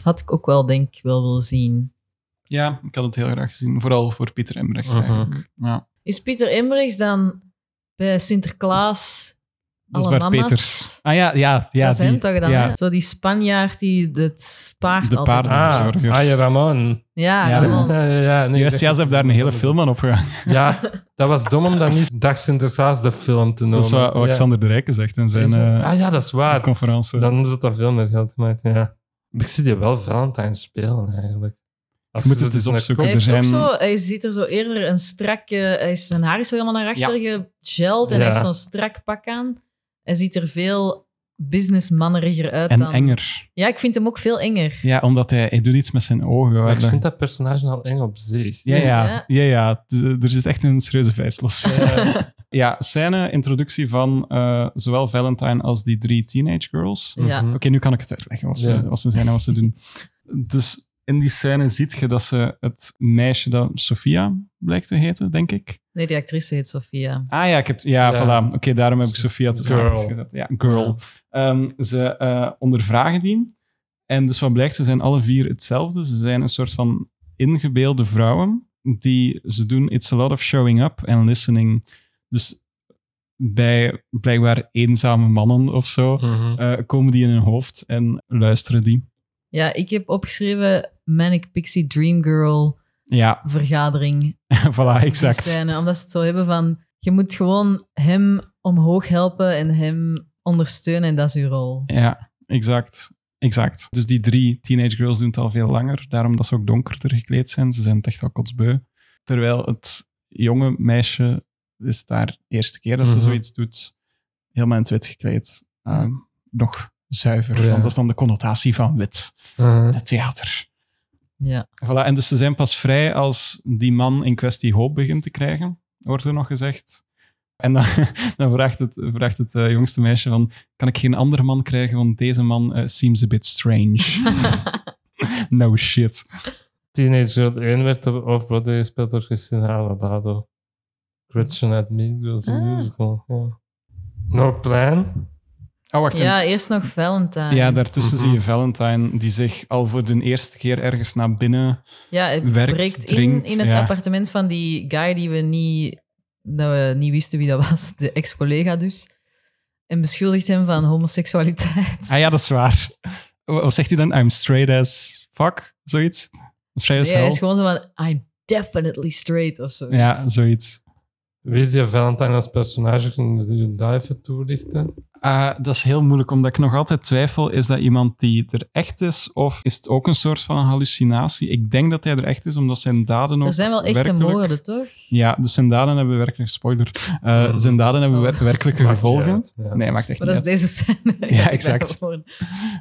Had ik ook wel, denk ik, wel willen zien.
Ja, ik had het heel graag gezien. Vooral voor Pieter Embrechts
Mhm.
eigenlijk. Ja,
Is Pieter Imbrechts dan bij Sinterklaas
dat is
alle
Bert
mama's?
Peters. Ah ja, ja, ja.
dat is
die,
hem toch dan,
ja.
hè? Zo die Spanjaard die het paard
De
altijd...
paarden.
Ah,
Zorger.
Aya Ramon.
Ja,
Ja,
ja,
dat-
dan-
Ja, ja, ja, nee,
Juist,
dat-
ja, ze hebben daar een hele film aan opgehangen.
Ja, dat was dom om dan niet Dag Sinterklaas de film te noemen.
Dat is wat Alexander de Rijken zegt in
ja.
zijn eh,
Ah ja, dat is waar.
conferentie.
Dan is het dan veel meer geld gemaakt, ja. Ik zie die wel Valentine spelen, eigenlijk. Als
Je moet
ze
het
dus
eens
naar
opzoeken.
Hij,
Kobe-
Er
heeft ook
zijn-
zo, hij ziet er zo eerder een strak... eh, hij is, zijn haar is zo helemaal naar achter gegeld en hij
Ja.
heeft zo'n strak pak aan. Hij ziet er veel businessmanneriger uit
En
dan...
enger.
Ja, ik vind hem ook veel enger.
Ja, omdat hij, hij doet iets met zijn ogen.
Maar
Waar
ik
de-
vind dat personage al eng op zich.
Ja, ja,
Ja.
ja, ja. D- Er zit echt een serieuze vijs los.
Ja.
ja, scène, introductie van eh, zowel Valentine als die drie teenage girls.
Ja.
Mhm.
Oké, nu kan ik het uitleggen wat ze,
Ja.
wat ze zijn en wat ze doen. Dus in die scène ziet je dat ze het meisje dat Sophia blijkt te heten, denk ik.
Nee, die actrice heet Sophia.
Ah ja, ik heb, ja,
Ja.
voilà. Oké, daarom heb ik Sophia tussen
Girl.
haakjes gezet. Ja, girl. Ehm, ze eh, ondervragen die. En dus wat blijkt, ze zijn alle vier hetzelfde. Ze zijn een soort van ingebeelde vrouwen. Die, ze doen it's a lot of showing up and listening. Dus bij blijkbaar eenzame mannen of zo
Mhm.
eh, komen die in hun hoofd en luisteren die.
Ja, ik heb opgeschreven Manic Pixie Dream Girl
Ja,
vergadering.
voilà, exact.
Die scène, omdat ze het zo hebben van... Je moet gewoon hem omhoog helpen en hem ondersteunen. En dat is uw rol.
Ja, exact. Exact. Dus die drie teenage girls doen het al veel langer, daarom dat ze ook donkerder gekleed zijn. Ze zijn het echt al kotsbeu. Terwijl het jonge meisje is daar de eerste keer dat
Mhm.
ze zoiets doet, helemaal in het wit gekleed. Ehm, nog zuiver,
Ja.
want dat is dan de connotatie van wit.
Mhm.
Het theater.
Ja.
Voilà, en dus ze zijn pas vrij als die man in kwestie hoop begint te krijgen, wordt er nog gezegd. En dan, dan vraagt het, vraagt het eh, jongste meisje van, kan ik geen andere man krijgen, want deze man eh, seems a bit strange. no shit.
Teenage Girl 1 werd op Off-Broadway gespeeld door Christina Alabado. Gretchen at Mean Girls, the
Ah.
musical. ja. No Plan.
Oh, wacht. Ja,
ja, eerst nog Valentine.
ja daartussen
Mhm.
zie je Valentine, die zich al voor de eerste keer ergens naar binnen...
Ja, hij
werkt,
breekt
drinkt,
in in het
ja.
appartement van die guy die we niet, dat we niet wisten wie dat was. De ex-collega dus. En beschuldigt hem van homoseksualiteit.
Ah ja, dat is waar. Wa- Wat zegt hij dan? I'm straight as fuck? Zoiets? Straight as
Nee, hij
hell?
is gewoon zo van... I'm definitely straight of zo.
Ja, zoiets.
Wie is die Valentine als personage? Kunnen jullie dat even toelichten?
Eh, dat is heel moeilijk, omdat ik nog altijd twijfel: is dat iemand die er echt is, of is het ook een soort van hallucinatie? Ik denk dat hij er echt is, omdat zijn daden ook.
Er zijn wel echte
werkelijk-
moorden, toch?
Ja, dus zijn daden hebben werkelijk. Spoiler. Eh,
Mhm.
Zijn daden hebben wer- werkelijke
Maakt niet
gevolgen.
uit, ja.
Nee, maakt echt
Maar
niet
dat is
uit.
deze scène.
Ja, exact.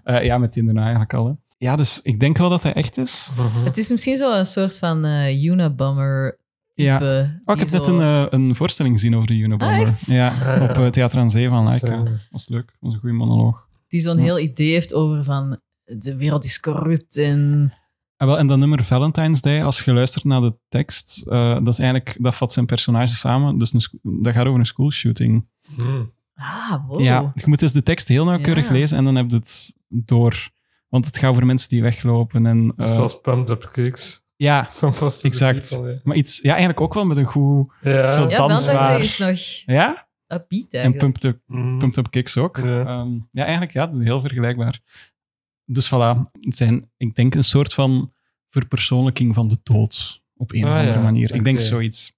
Eh, ja, meteen daarna eigenlijk al. Hè. Ja, dus ik denk wel dat hij echt is.
Mhm.
Het is misschien zo een soort van eh Unabomber
Ja.
type.
Oh, ik heb
die
net
zo-
een, eh, een voorstelling gezien over de Unabomber.
Ah, echt?
Ja, op eh, Theater aan Zee van Laika.
Zo.
was leuk. was een goede monoloog.
Die zo'n heel idee heeft over van... De wereld is corrupt en...
Ah, wel, en dat nummer Valentine's Day, als je luistert naar de tekst, eh, dat is eigenlijk, dat vat zijn personage samen. Dus een sco- dat gaat over een schoolshooting.
Mhm.
Ah, wow.
Ja, je moet dus de tekst heel nauwkeurig
Ja.
lezen en dan heb je het door. Want het gaat over mensen die weglopen en... eh,
Dus Zoals Pumped Up Kicks
ja,
van Foster the
exact.
People,
maar iets... Ja, eigenlijk ook wel met een goed...
hè. Ja.
Zo-
Ja,
dansbaar.
Valentine's is nog
Ja?
upbeat
En
eigenlijk.
Pumped Up,
Mhm.
pumped up Kicks ook.
Ja.
Ehm, ja, eigenlijk ja, dat is heel vergelijkbaar. Dus voilà, het zijn, ik denk, een soort van verpersoonlijking van de dood. Op een
Ah,
of andere
ja.
manier. Ik denk
Oké.
zoiets.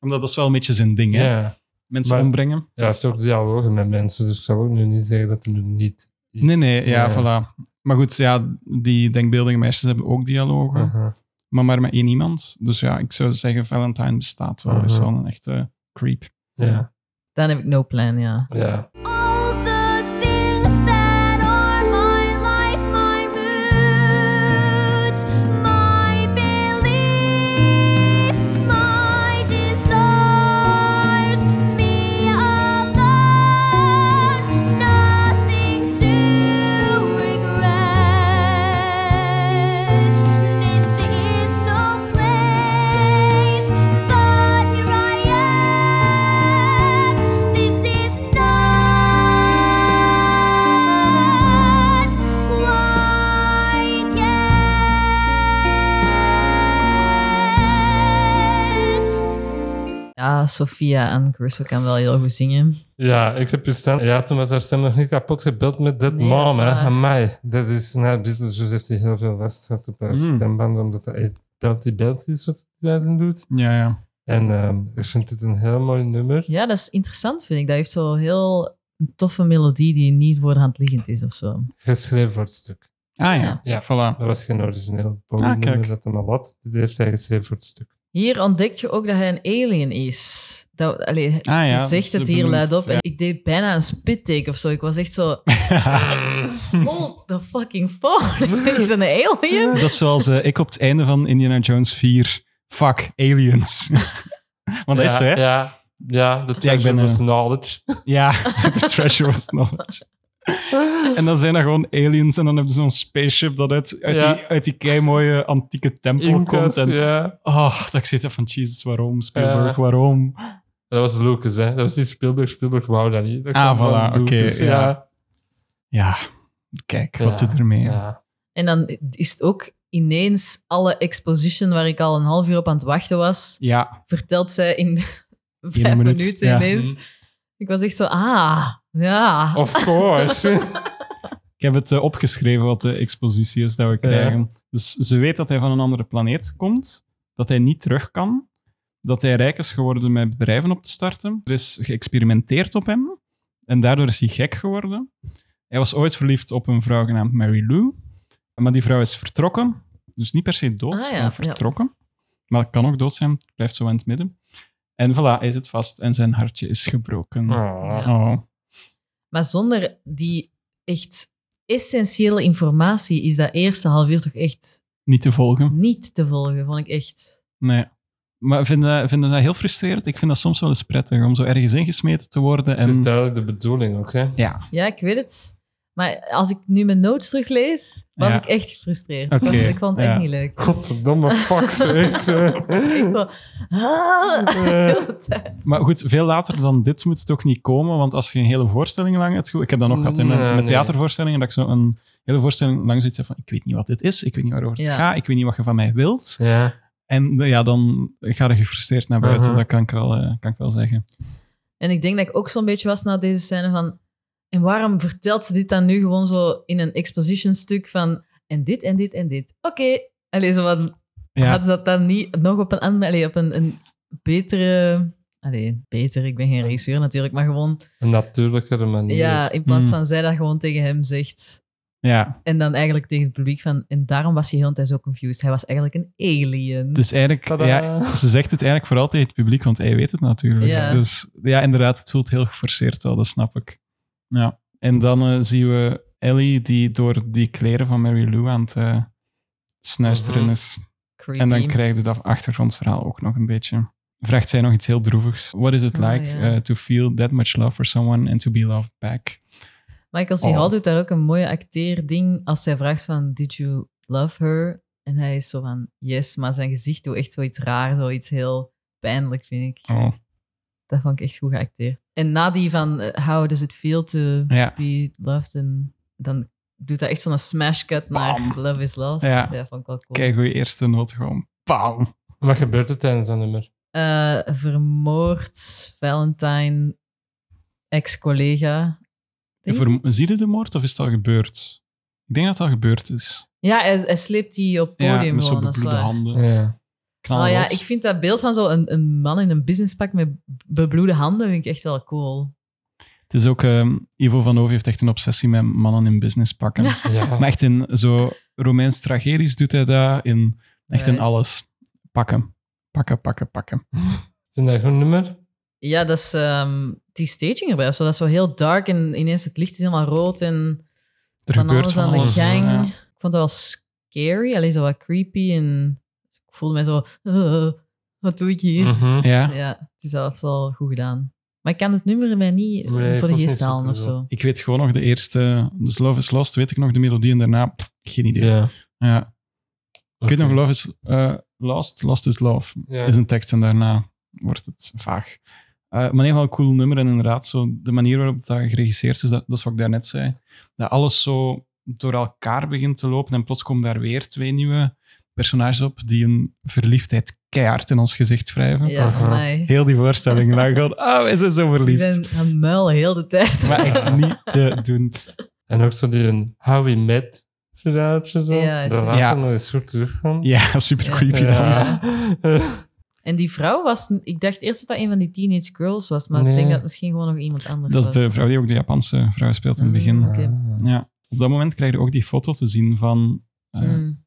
Omdat dat is wel een beetje zijn ding, hè?
Ja.
mensen
Maar-
ombrengen.
Ja, hij heeft ook dialogen met mensen, dus ik zou ook nu niet zeggen dat hij nu niet. iets-
Nee, nee, ja, voilà. Maar goed, ja, die denkbeeldige meisjes hebben ook dialogen,
Mhm.
maar maar met één iemand. Dus ja, ik zou zeggen, Valentine bestaat wel. Is
Mhm.
wel een echte creep.
Ja.
Dan heb ik no plan, ja.
ja.
All the things that are my life, my moods, my beliefs, my desires, me alone, nothing to regret. This is no place, but here I am. This is not.
Sophia en Caruso kan wel heel goed zingen.
Ja, ik heb je stem... Ja, toen was haar stem nog niet kapot gebeld met dit
Nee,
mom,
dat is
hè.
waar.
Amai. Dat is... Nou, Beatles heeft hij heel veel last gehad op haar
Mm.
stemband, omdat hij belty belty is wat hij daarin doet.
Ja, ja.
En ehm, ik vind dit een heel mooi nummer.
Ja, dat is interessant, vind ik. Dat heeft zo heel een toffe melodie die niet voor de hand liggend is of zo.
Geschreven voor het stuk.
Ah ja,
Ja.
Ja.
voilà.
Dat was geen origineel
Ah,
Bowie-nummer
kijk.
dat hem al had. Dit heeft hij geschreven voor het stuk.
Hier ontdekt je ook dat hij een alien is. Dat, allee,
Ah ja,
ze
dat is
zegt het
de
hier luid
benoemd,
op. En ik deed bijna een spittake of zo. Ik was echt zo... Hold the fucking phone. is dat een alien?
Dat is zoals eh, ik op het einde van Indiana Jones 4. Fuck, aliens. Want Oh, dat
ja,
is zo, hè? Ja,
Ja, ja de
Ja, ik
treasure
ben,
was
eh,
knowledge.
the treasure was knowledge. En dan zijn er gewoon aliens en dan hebben ze zo'n spaceship dat uit, uit
Ja.
die, uit die keimooie antieke tempel komt.
Inkt,
En,
ja.
oh, dat ik zit er van, Jesus, waarom? Spielberg,
Ja.
waarom?
Dat was Lucas, hè. Dat was niet Spielberg. Spielberg wou dat niet. Dat
Ah,
kwam
voilà,
van
oké,
Lucas,
ja. Ja, kijk, wat
Ja.
doet ermee? hè?
ja.
En dan is het ook ineens alle exposition waar ik al een half uur op aan het wachten was,
Ja,
vertelt zij in vijf
minuut,
minuten
ja.
ineens. Ik was echt zo, ah, ja.
Hm.
Oh.
Of course.
ik heb het eh, opgeschreven wat de expositie is dat we krijgen. Dus ze weet dat hij van een andere planeet komt, dat hij niet terug kan, dat hij rijk is geworden met bedrijven op te starten. Er is geëxperimenteerd op hem en daardoor is hij gek geworden. Hij was ooit verliefd op een vrouw genaamd Mary Lou, maar die vrouw is vertrokken. Dus niet per se dood,
Ah, ja,
maar vertrokken. Maar het kan ook dood zijn, het blijft zo in het midden. En voilà, hij zit vast en zijn hartje is gebroken.
Ah.
Oh.
Oh.
Maar zonder die echt essentiële informatie is dat eerste half uur toch echt
Niet te volgen.
niet te volgen, vond ik echt.
Nee. Maar vinden vind dat heel frustrerend? Ik vind dat soms wel eens prettig om zo ergens ingesmeten te worden.
Het is
En...
duidelijk de bedoeling ook, hè.
Ja,
Ja, ik weet het. Maar als ik nu mijn notes teruglees, was
Ja.
ik echt gefrustreerd.
Oké,
Want Ik vond het
ja.
echt niet leuk.
Godverdomme fuck, zeg. Eh,
Echt zo... Ah, de hele tijd.
maar goed, veel later dan dit moet het toch niet komen, want als je een hele voorstelling lang hebt... ge- Ik heb dat nog gehad in mijn,
Nee,
met
nee.
theatervoorstellingen, dat ik zo een hele voorstelling lang zit van ik weet niet wat dit is, ik weet niet waarover het
Ja.
gaat, ik weet niet wat je van mij wilt.
Ja.
En eh, ja, dan ga je gefrustreerd naar buiten,
Mhm.
dat kan ik, wel, eh, kan ik wel zeggen.
En ik denk dat ik ook zo'n beetje was na deze scène van... En waarom vertelt ze dit dan nu gewoon zo in een exposition stuk van... En dit, en dit, en dit. Oké. Allee, zo wat...
Ja.
Had ze dat dan niet nog op een andere... Allee, op een, een betere... Allee, beter, ik ben geen regisseur natuurlijk, maar gewoon...
Een natuurlijkere manier.
Ja, in plaats
Hmm.
van zij dat gewoon tegen hem zegt.
ja,
En dan eigenlijk tegen het publiek van... En daarom was hij heel de tijd zo confused. Hij was eigenlijk een alien.
dus eigenlijk...
Tadaa.
Ja, ze zegt het eigenlijk vooral tegen het publiek, want hij weet het natuurlijk.
Ja.
Dus ja, inderdaad, het voelt heel geforceerd al, dat snap ik. Ja. En dan eh, zien we Ellie die door die kleren van Mary Lou aan het eh, snuisteren
Mhm.
is.
Creepy.
En dan krijg je dat achtergrondverhaal ook nog een beetje. Vraagt zij nog iets heel droevigs. What is it
Oh,
like
ja.
eh, to feel that much love for someone and to be loved back?
Michael C. Hall
Oh.
doet daar ook een mooie acteerding als zij vraagt van, did you love her? En hij is zo van, yes, maar zijn gezicht doet echt zoiets raar, zoiets heel pijnlijk, vind ik.
Oh.
Dat vond ik echt goed geacteerd. En na die van, eh, how does it feel to
Ja.
be loved? En dan doet hij echt zo'n smash cut naar Love is Lost.
Ja.
Ja, vond ik wel cool.
Kijk, goede eerste noot gewoon. Bam!
Wat gebeurt er tijdens dat nummer?
Eh, vermoord Valentine, ex-collega.
En
denk
Voor,
ik.
zie je de moord of is het al gebeurd? Ik denk dat het al gebeurd is.
Ja, hij, hij sleept die op het podium
ja, met zo'n
gewoon, dat is
bebloede
waar.
handen.
Ja.
Oh
Knalrood.
ja, ik vind dat beeld van zo'n een, een man in een businesspak met bebloede handen vind ik echt wel cool.
Het is ook, ehm, Ivo van Oof heeft echt een obsessie met mannen in business pakken.
ja.
Maar echt in zo Romeins tragedisch doet hij dat, in, echt in
Right.
alles. Pakken, pakken, pakken, pakken.
Vind je dat een goed nummer?
Ja, dat is ehm, die staging erbij. of zo. Dat is wel heel dark en ineens het licht is helemaal rood en
Er
van
gebeurt
alles
van
aan de
alles.
gang.
Ja.
Ik vond dat wel scary, alleen zo wat creepy en ik voelde mij zo, "Eh, wat doe ik
Mm.
hier?
Mhm.
Ja.
Ja, dus dat is wel goed gedaan. Maar ik kan het nummer mij niet eh,
Nee, ik
voor de
ook
geest
niet
halen of
superveel.
zo.
Ik weet gewoon nog de eerste, dus Love is Lost, weet ik nog de melodie en daarna, pff, geen idee. Ja.
Ja.
Ik weet nog, Love is eh, Lost, Lost is Love.
Ja.
eh, is een tekst en daarna wordt het vaag. Eh, maar in ieder geval een cool nummer. En inderdaad, zo de manier waarop dat geregisseerd is, dat, dat is wat ik daarnet zei. Dat alles zo door elkaar begint te lopen en plots komen daar weer twee nieuwe personages op die een verliefdheid keihard in ons gezicht wrijven.
Ja,
Aha.
voor mij.
Heel die voorstelling lang gewoon, oh, is ze zo
Die
verliefd.
zijn aan het muilen heel de tijd.
Maar echt niet te doen.
En ook zo die een How We Met verhaaltje zo.
Ja,
dat
is-
later
Ja.
nog eens goed terugkomt.
Ja, super
Ja.
creepy dan.
Ja.
En die vrouw was... Ik dacht eerst dat dat een van die teenage girls was, maar
Nee.
ik denk dat het misschien gewoon nog iemand anders
Dat is
was.
de vrouw die ook de Japanse vrouw speelt in het
Mm,
begin.
Oké.
Ja. Op dat moment krijg je ook die foto te zien van eh,
Mm.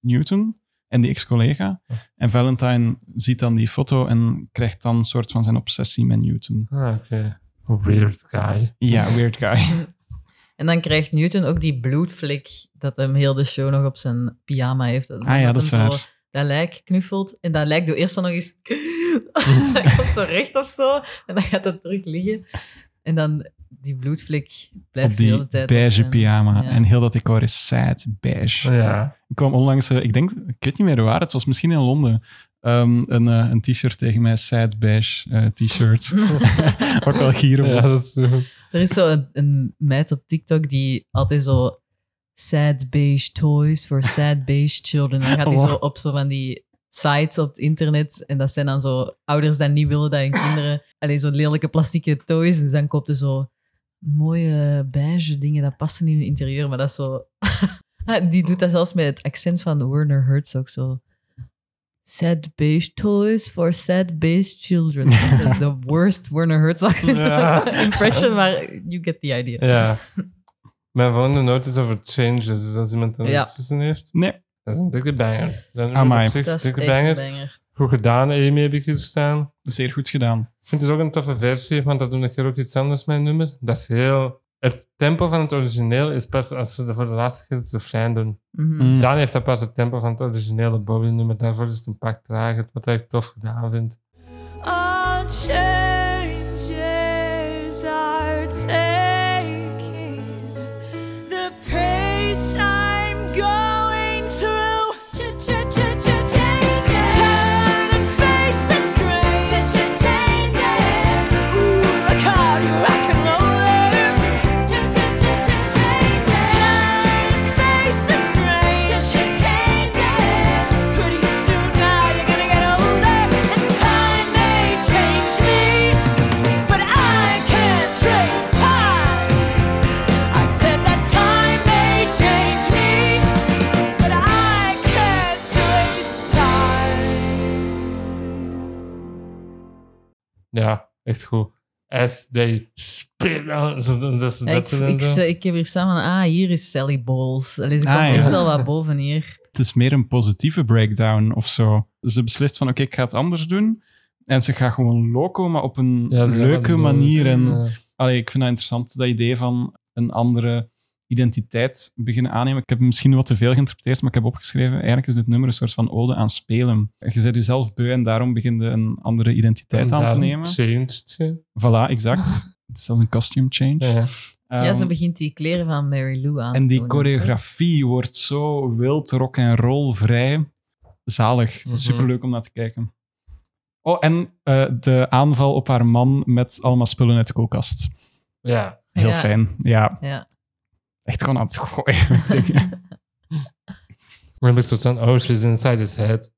Newton en die ex-collega. En Valentine ziet dan die foto en krijgt dan een soort van zijn obsessie met Newton.
Ah, oké. Weird guy.
Ja, weird guy.
En dan krijgt Newton ook die bloedvlek dat hem heel de show nog op zijn pyjama heeft. Dat,
Ah ja, dat is
hem zo
waar.
Dat lijk knuffelt. En dat lijk doet eerst dan nog eens... dat komt zo recht of zo. En dan gaat dat terug liggen. En dan die bloedvlek blijft
Op
de
die
hele tijd... op
beige
zijn-
pyjama.
Ja.
En heel dat decor is sad beige.
Oh, Ja.
Ik kwam onlangs, eh, ik denk, ik weet niet meer waar, het was misschien in Londen, ehm, een, eh, een t-shirt tegen mij, sad beige eh, t-shirt. Ook wel gieren.
Ja, dat is
Er is zo een, een meid op TikTok die altijd zo sad beige toys for sad beige children. Dan gaat die zo
Wow.
op zo van die sites op het internet en dat zijn dan zo ouders die niet willen dat hun kinderen alleen zo lelijke plastieke toys en dan koopt ze zo mooie beige dingen dat passen in hun interieur, maar dat is zo die doet dat zelfs met het accent van Werner Herzog zo sad beige toys for sad beige children. Dat is echt de worst Werner Herzog
Ja.
impression, maar you get the idea.
Ja. Mijn volgende noot is over changes. Dus als iemand een
Ja.
obsessie heeft,
Nee,
dat is een dikke banger. Dat is
Amai.
op zich een
Dat is echt
dikke
een
banger.
banger.
Goed gedaan, Amy, heb ik hier staan.
zeer goed gedaan.
Ik vind het ook een toffe versie, want dat doe ik hier ook iets anders mijn nummer. Dat is heel... Het tempo van het origineel is pas als ze de- voor de laatste keer het refrein doen.
Mhm.
Mm.
Dan heeft dat pas het tempo van het originele Bowie-nummer. Daarvoor is het een pak trager, wat ik tof gedaan vind.
All changes are taking the pace I'm going through. Turn and face the strange. Ooh, I call you rock and rollers. Turn and face the strange. Pretty soon now you're gonna get older, and time may change me, but I can't trace time. I said that time may change me, but I can't trace time.
Ja, echt goed. As they spit on... zo- zo- zo-
Ja, ik,
dat en
ik,
zo.
ik heb hier staan van, ah, hier is Sally Bowles. Allee, ze
Ah,
komt
ja.
echt wel wat boven hier.
Het is meer een positieve breakdown of zo. Dus Ze beslist van, oké, ik ga het anders doen. En ze gaat gewoon loco, maar op een
Ja, ze-
leuke
ja,
manier. En,
ja.
Allee, ik vind dat interessant, dat idee van een andere identiteit beginnen aannemen. Ik heb misschien wat te veel geïnterpreteerd, maar ik heb opgeschreven, eigenlijk is dit nummer een soort van ode aan spelen. Je bent jezelf beu en daarom begin je een andere identiteit aan te
Daarom
nemen.
changed ze.
Voilà, exact. het is zelfs een costume change.
Ja.
Ehm,
ja, ze begint die kleren van Mary Lou aan
en
te
die
doen,
choreografie wordt zo wild, rock en roll vrij. Zalig.
Mhm.
Superleuk om naar te kijken. Oh, en eh, de aanval op haar man met allemaal spullen uit de koelkast.
ja.
toch?
Heel
Ja,
fijn. Ja,
Ja.
echt gewoon aan het gooien. met dingen.
Maar heb ik zo van, oh, she's inside his head.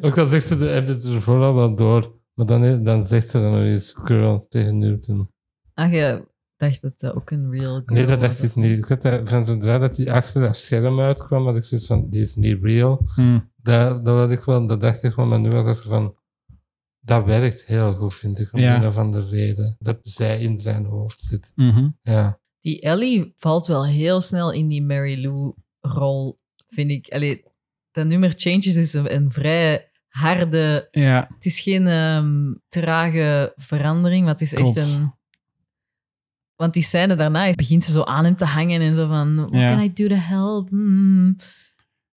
Ook dan zegt ze, de- heb je het er vooral wel door. Maar dan, dan zegt ze dan nog eens girl tegen Newton.
Ach, Ah, je dacht dat dat ook een real girl
Nee, dat
was,
dacht
of-
ik niet. Ik had dat- van zodra dat die achter dat scherm uitkwam, had ik zoiets van, die is niet real.
Hmm.
Dat, dat, had ik wel, dat dacht ik wel, maar nu was dat zo van, dat werkt heel goed, vind ik. Om
Ja.
een of andere reden. Dat zij in zijn hoofd zit.
Mhm.
Ja.
Die Ellie valt wel heel snel in die Mary Lou-rol, vind ik. Allee, dat nummer Changes is een, een vrij harde...
Ja,
Het is geen ehm, trage verandering, maar het is
Klopt.
echt een... Want die scène daarna is- begint ze zo aan hem te hangen en zo van... What
Ja.
can I do to help? Hmm.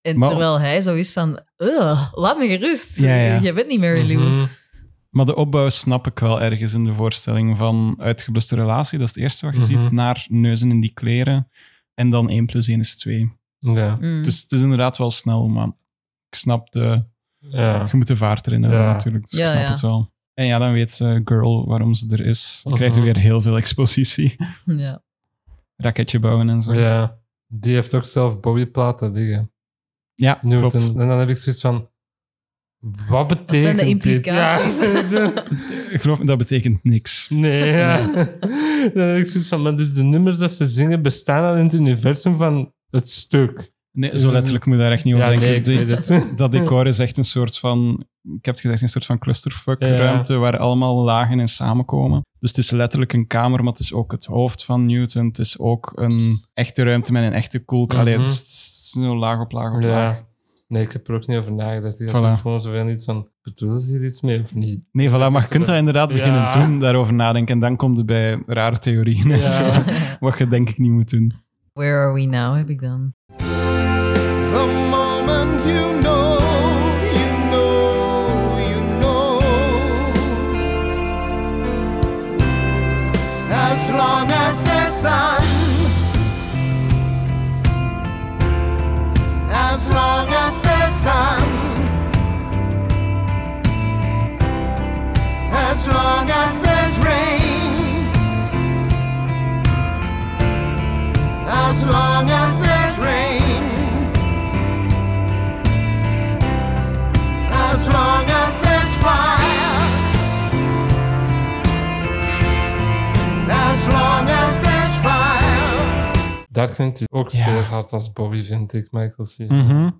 En
Maar-
terwijl hij zo is van... "Ugh, laat me gerust.
Ja, ja.
Je bent niet Mary Lou.
Mhm.
maar de opbouw snap ik wel ergens in de voorstelling van uitgebluste relatie, dat is het eerste wat je ziet,
Mhm.
naar neuzen in die kleren en dan 1 plus 1 is 2.
Ja.
Mm.
Het, is, het is inderdaad wel snel, maar ik snap de...
Ja.
Je moet de vaart erin hebben
Ja.
natuurlijk, dus
Ja,
ik snap
ja.
het wel. En ja, dan weet ze, girl, waarom ze er is. Dan krijgt
Mhm.
weer heel veel expositie.
Ja.
Raketje bouwen en zo.
Ja, die heeft ook zelf Bobby platen liggen.
Ja,
Newton.
klopt.
En dan heb ik zoiets van, Wat betekent
zijn de implicaties?
Dit? Ja.
Ik geloof me, dat betekent niks.
nee, ja. Dan heb ik zoiets van, maar dus de nummers dat ze zingen bestaan al in het universum van het stuk.
Nee, zo letterlijk moet je daar echt niet over
Ja,
denken.
nee, ik
Die-
weet het.
dat decor is echt een soort van, ik heb het gezegd, een soort van
Ja.
clusterfuck-ruimte waar allemaal lagen in samenkomen. Dus het is letterlijk een kamer, maar het is ook het hoofd van Newton. Het is ook een echte ruimte met een echte koelkast. Allee, het
Mhm.
is- het is zo laag op laag op laag.
Ja. Nee, ik heb er ook niet over nagedacht. Ik had
Voilà.
ook gewoon zoveel iets van, bedoelen ze hier iets mee of niet?
Nee, voilà, maar je kunt dat inderdaad
Ja.
beginnen doen, daarover nadenken. En dan komt het bij rare theorieën
Ja.
en zo, wat je denk ik niet moet doen.
Where are we now, heb ik dan.
The moment you know, you know, you know. As long as there's sun, as long as there's sun, as long as there's rain, as long as there's rain. as long as there's fire. As long as there's fire.
Daar klinkt hij ook
Ja. Hm.
zeer hard als Bobby, vind ik, Michael C.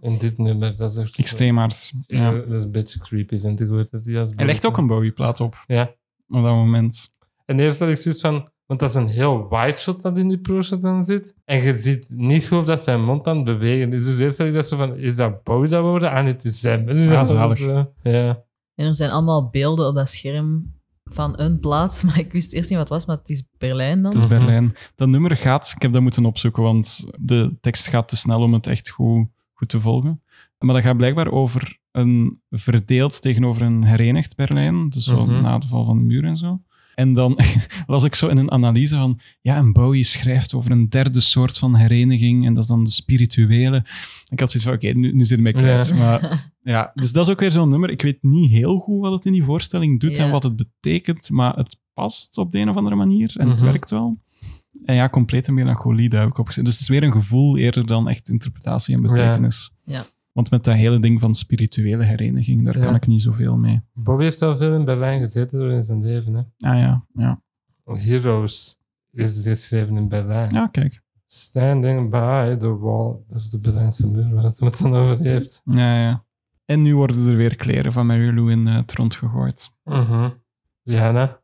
En dit nummer, dat is echt...
Extreem hard.
Ja,
Ja.
Dat is een beetje creepy, vind ik. Hoor, dat hij als
Hij legt ook een Bowie-plaat op
Ja.
op dat moment.
En eerst had ik zoiets van... Want dat is een heel wide shot dat in die pro-shot dan zit. En je ziet niet goed dat zijn mond aan het bewegen is. Dus eerst had ik dat zo van... Is dat Bowie dat worden? Ah, het is hem. Dus
Ah,
dat
zalig.
was, eh, Ja.
En er zijn allemaal beelden op dat scherm van een plaats, maar ik wist eerst niet wat het was, maar het is Berlijn dan.
Het is
Mhm.
Berlijn. Dat nummer gaat, ik heb dat moeten opzoeken, want de tekst gaat te snel om het echt goed, goed te volgen. Maar dat gaat blijkbaar over een verdeeld tegenover een herenigd Berlijn. Dus zo
Mhm.
na de val van de muur en zo. En dan las ik zo in een analyse van, ja, en Bowie schrijft over een derde soort van hereniging. En dat is dan de spirituele. Ik had zoiets van, oké, nu, nu zit ik mij kwijt.
Ja.
Maar ja, dus dat is ook weer zo'n nummer. Ik weet niet heel goed wat het in die voorstelling doet
Ja.
en wat het betekent, maar het past op de een of andere manier en het
Mhm.
werkt wel. En ja, complete melancholie, daar heb ik op gezet. Dus het is weer een gevoel eerder dan echt interpretatie en betekenis.
Ja.
Want met dat hele ding van spirituele hereniging, daar
Ja.
kan ik niet zoveel mee.
Bobby heeft wel veel in Berlijn gezeten door in zijn leven. Hè.
Ah ja, ja.
Heroes is geschreven in Berlijn.
Ja, kijk.
Standing by the wall. Dat is de Berlijnse muur waar het het dan over heeft.
Ja, ja. En nu worden er weer kleren van Mary Lou in eh, het rond gegooid.
Mhm. Rihanna?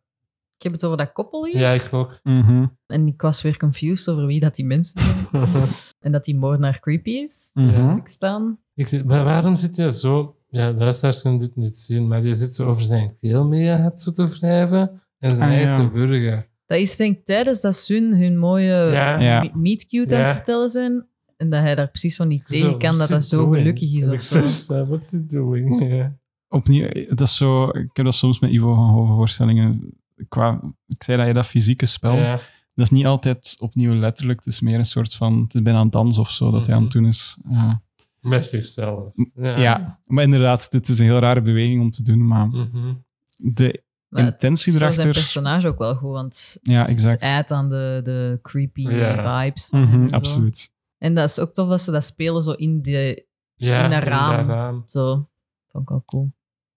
Ik heb het over dat koppel hier.
Ja, ik ook.
Mhm,
En ik was weer confused over wie dat die mensen zijn. en dat die moordenaar creepy is.
mhm.
Ik staan.
Ik, maar waarom zit hij zo... Ja, de luisteraars kunnen dit niet zien, maar die zit zo over zijn keel mee het zo te wrijven en zijn
Ah,
eigen
ja.
te burgen.
Dat is denk ik tijdens dat Sun hun mooie
Ja.
Ja.
me- meet cute aan het
Ja.
vertellen zijn. En dat hij daar precies van niet tegen kan dat dat zo gelukkig is of zo.
zo. What's he doing? Ja.
opnieuw, dat is zo, ik heb dat soms met Ivo van Hoven voorstellingen. Qua, ik zei dat je dat fysieke spel,
Ja.
dat is niet altijd opnieuw letterlijk. Het is meer een soort van, het is bijna een dans of zo dat hij aan het doen is. Ja.
Met zichzelf. Ja.
Mhm. ja, maar inderdaad, dit is een heel rare beweging om te doen, maar
Mhm.
de
Maar het
intentie
is voor zijn
erachter...
personage ook wel goed, want
Ja,
het
exact.
uit aan de, de creepy
Ja.
vibes. van hem
Mhm,
en zo.
absoluut.
En dat is ook tof dat ze dat spelen zo in de...
ja.
In een raam.
dat raam.
Zo. Vond ik wel cool.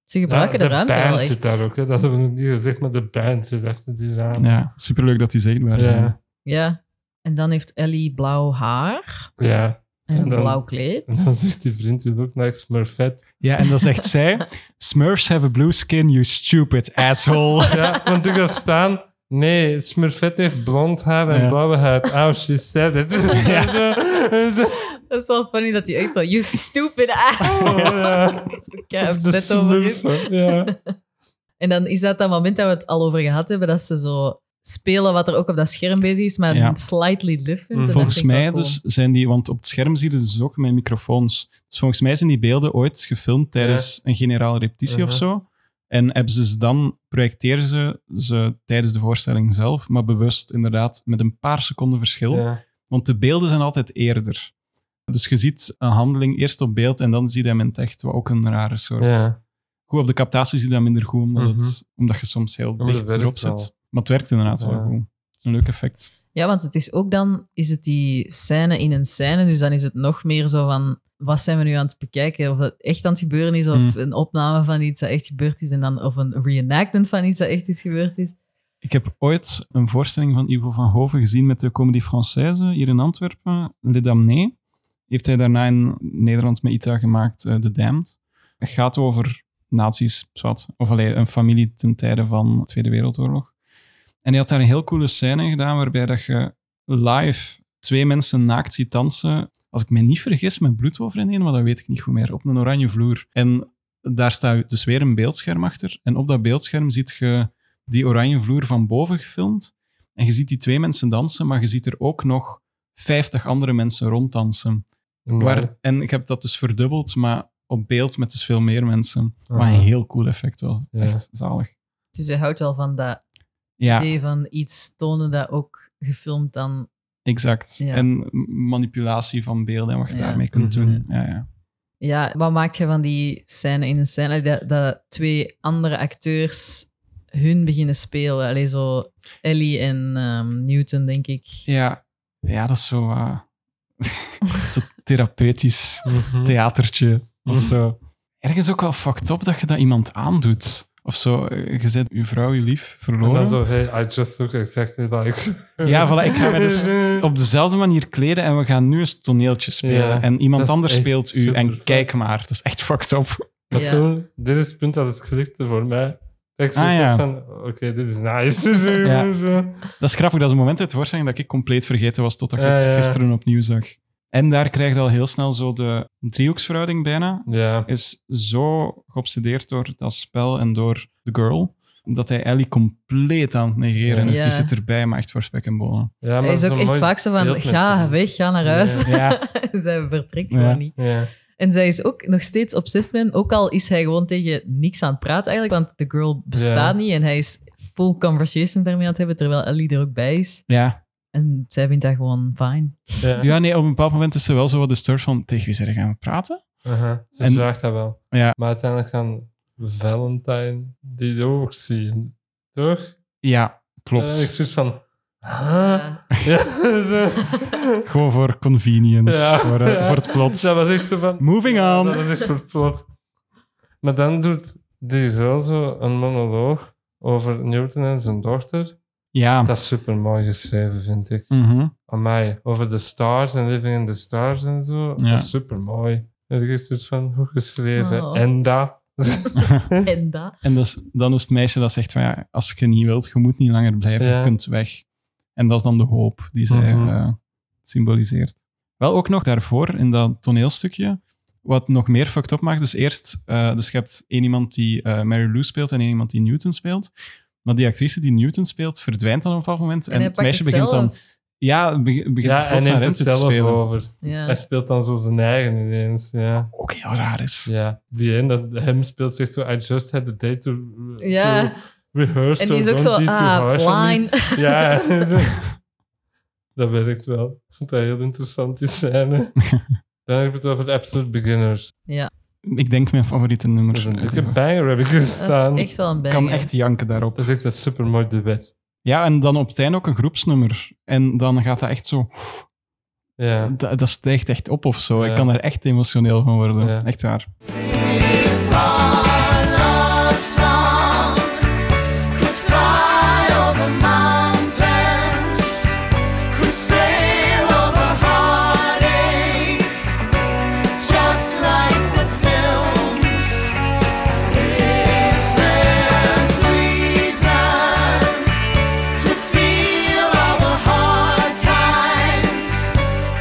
Ze
Ja,
gebruiken de, ruimte
band
wel echt.
zit daar ook. Hè. Dat hebben we nog niet gezegd, maar de band zit achter die raam.
Ja, superleuk dat hij zichtbaar is.
Ja.
Ja. En dan heeft Ellie blauw haar
Ja.
en,
En
een
dan-
blauw kleed.
En dan zegt die vriend, you look like Smurfette.
Ja, en dan zegt zij... Smurfs have a blue skin, you stupid asshole.
Ja, want ik had staan... Nee, Smurfette heeft blond haar en
Ja.
blauwe huid. Oh, she said it. Ja.
Dat is wel funny dat hij echt zo... You stupid ass!
ja.
Kei
Of de
upset over is.
smurfen, Ja.
En dan is dat dat moment dat we het al over gehad hebben, dat ze zo spelen wat er ook op dat scherm bezig is, maar
Ja.
slightly different. En dat
Volgens
vind ik wel
mij
cool.
dus zijn die, want op het scherm zie je dus ook mijn microfoons. Dus volgens mij zijn die beelden ooit gefilmd tijdens een generale repetitie of
Mhm.
zo. En hebben ze ze dan, projecteren ze ze tijdens de voorstelling zelf, maar bewust inderdaad met een paar seconden verschil.
Ja.
Want de beelden zijn altijd eerder. Dus je ziet een handeling eerst op beeld en dan zie je hem in het echt, wat ook een rare soort.
Ja.
Goed, op de captatie zie je dat minder goed, omdat, het- omdat je soms heel
dat
dicht
werkt
erop
wel.
zit. Maar het werkt inderdaad wel
Ja.
goed. Een leuk effect.
Ja, want het is ook dan, is het die scène in een scène, dus dan is het nog meer zo van, wat zijn we nu aan het bekijken? Of dat echt aan het gebeuren is, of
Mm.
een opname van iets dat echt gebeurd is, en dan, of een reenactment van iets dat echt is gebeurd is.
Ik heb ooit een voorstelling van Ivo van Hoven gezien met de Comédie Française hier in Antwerpen, Le Damné. Heeft hij daarna in Nederland met ITA gemaakt, eh, The Damned. Het gaat over nazi's, zwart, of alleen een familie ten tijde van de Tweede Wereldoorlog. En hij had daar een heel coole scène gedaan waarbij dat je live twee mensen naakt ziet dansen. Als ik me niet vergis, met bloed overheen, maar dat weet ik niet goed meer, op een oranje vloer. En daar staat dus weer een beeldscherm achter. En op dat beeldscherm ziet je die oranje vloer van boven gefilmd. En je ziet die twee mensen dansen, maar je ziet er ook nog 50 andere mensen ronddansen. Waar, en ik heb dat dus verdubbeld, maar op beeld met dus veel meer mensen. Wat een heel cool effect was.
Ah. Ja.
Echt zalig.
Dus je houdt wel van dat
Ja,
idee van iets tonen dat ook gefilmd dan...
exact.
Ja.
En manipulatie van beelden en wat je
Ja.
daarmee kunt
Mhm.
doen. Ja, ja.
Ja, wat maakt je van die scène in een scène, dat, dat twee andere acteurs hun beginnen spelen? Allee, zo Ellie en ehm, Newton, denk ik.
Ja, ja dat is zo, eh, zo therapeutisch
Mhm.
theatertje of
Mhm.
zo. Ergens ook wel fucked up dat je dat iemand aandoet. Of zo, eh, je zet je vrouw, je lief
En
verloren.
dan zo, hey, I just look exactly like...
Ja, voilà, ik ga me dus op dezelfde manier kleden en we gaan nu eens toneeltje spelen.
Ja,
en iemand
dat is
anders
echt
speelt u en
super
kijk maar. Dat is echt fucked up.
Maar
Ja.
toen, dit is het punt dat het klikte voor mij. Dat Ik
Ah,
zoiets
ja.
had van, oké, dit is nice.
Ja.
Zo.
Dat is grappig, dat is een moment uit de voorstelling dat ik compleet vergeten was totdat ik het
Ja, ja.
gisteren opnieuw zag. En daar krijg je al heel snel zo de driehoeksverhouding bijna.
Ja.
Is zo geobsedeerd door dat spel en door The Girl, dat hij Ellie compleet aan het negeren is.
Ja.
Die zit erbij, maar echt voor spek en bonen.
ja maar
Hij is
dat
ook
een
echt
mooi
vaak zo van,
beeld met
ga
hem.
weg, ga naar huis.
Ja.
zij vertrekt
Ja.
gewoon niet.
Ja.
En zij is ook nog steeds obsessed met hem, ook al is hij gewoon tegen niks aan het praten eigenlijk, want de girl bestaat
Ja.
niet en hij is full conversation daarmee aan het hebben, terwijl Ellie er ook bij is.
ja.
En zij vindt dat gewoon fijn.
Ja.
ja, nee, op een bepaald moment is ze wel zo wat disturbed van tegen wie ze gaan we praten.
Aha. Ze
En-
vraagt dat wel.
Ja.
Maar uiteindelijk gaan Valentine die ook zien. Toch?
Ja,
En Eh, ik
klopt.
zoiets van... Huh?
Ja.
Ja. zo.
Gewoon voor convenience,
Ja.
voor, eh,
Ja.
voor het plot.
Dat was echt zo van...
Moving
Ja,
on.
Dat is echt verplot. Maar dan doet die girl zo een monoloog over Newton en zijn dochter.
Ja.
Dat is super mooi geschreven, vind ik.
Mhm.
Amai, over de stars en living in the stars en zo.
Ja.
Dat is super mooi. Er is iets van goed geschreven.
Oh.
En dat.
En dat.
En dus, dan is het meisje dat zegt van ja, als je niet wilt, je moet niet langer blijven,
Ja.
je kunt weg. En dat is dan de hoop die zij
Mhm.
eh, symboliseert. Wel ook nog daarvoor, in dat toneelstukje, wat nog meer fucked up maakt. Dus eerst, eh, dus je hebt één iemand die eh, Mary Lou speelt en één iemand die Newton speelt. Maar die actrice die Newton speelt, verdwijnt dan op een bepaald moment. En,
hij
het
pakt
meisje
het
begint dan...
zelf.
Ja, beg- begint
ja, en
plots
neemt het
naar Rente te
zelf
spelen.
over. Hij
Ja.
speelt dan zo zijn eigen ineens. Ja.
Ook heel raar is.
ja. Die een, dat hem speelt, zegt zo: I just had the day to, to
Ja.
rehearse.
En die is
so
ook zo,
don't be too
ah,
harsh on me."
line.
Ja, dat werkt wel. Ik vond dat heel interessant, die scène. Dan heb ik het over de Absolute Beginners.
Ik denk mijn favoriete nummer.
Dat is een
uit die
dikke banger, heb ik
Dat
gestaan.
is echt wel een
Ik
banger.
kan echt janken daarop.
Dat is echt een supermooi duet.
Ja, en dan op het einde ook een groepsnummer. En dan gaat dat echt zo...
Ja.
Dat, dat stijgt echt op of zo.
Ja.
Ik kan er echt emotioneel van worden.
Ja.
Echt waar.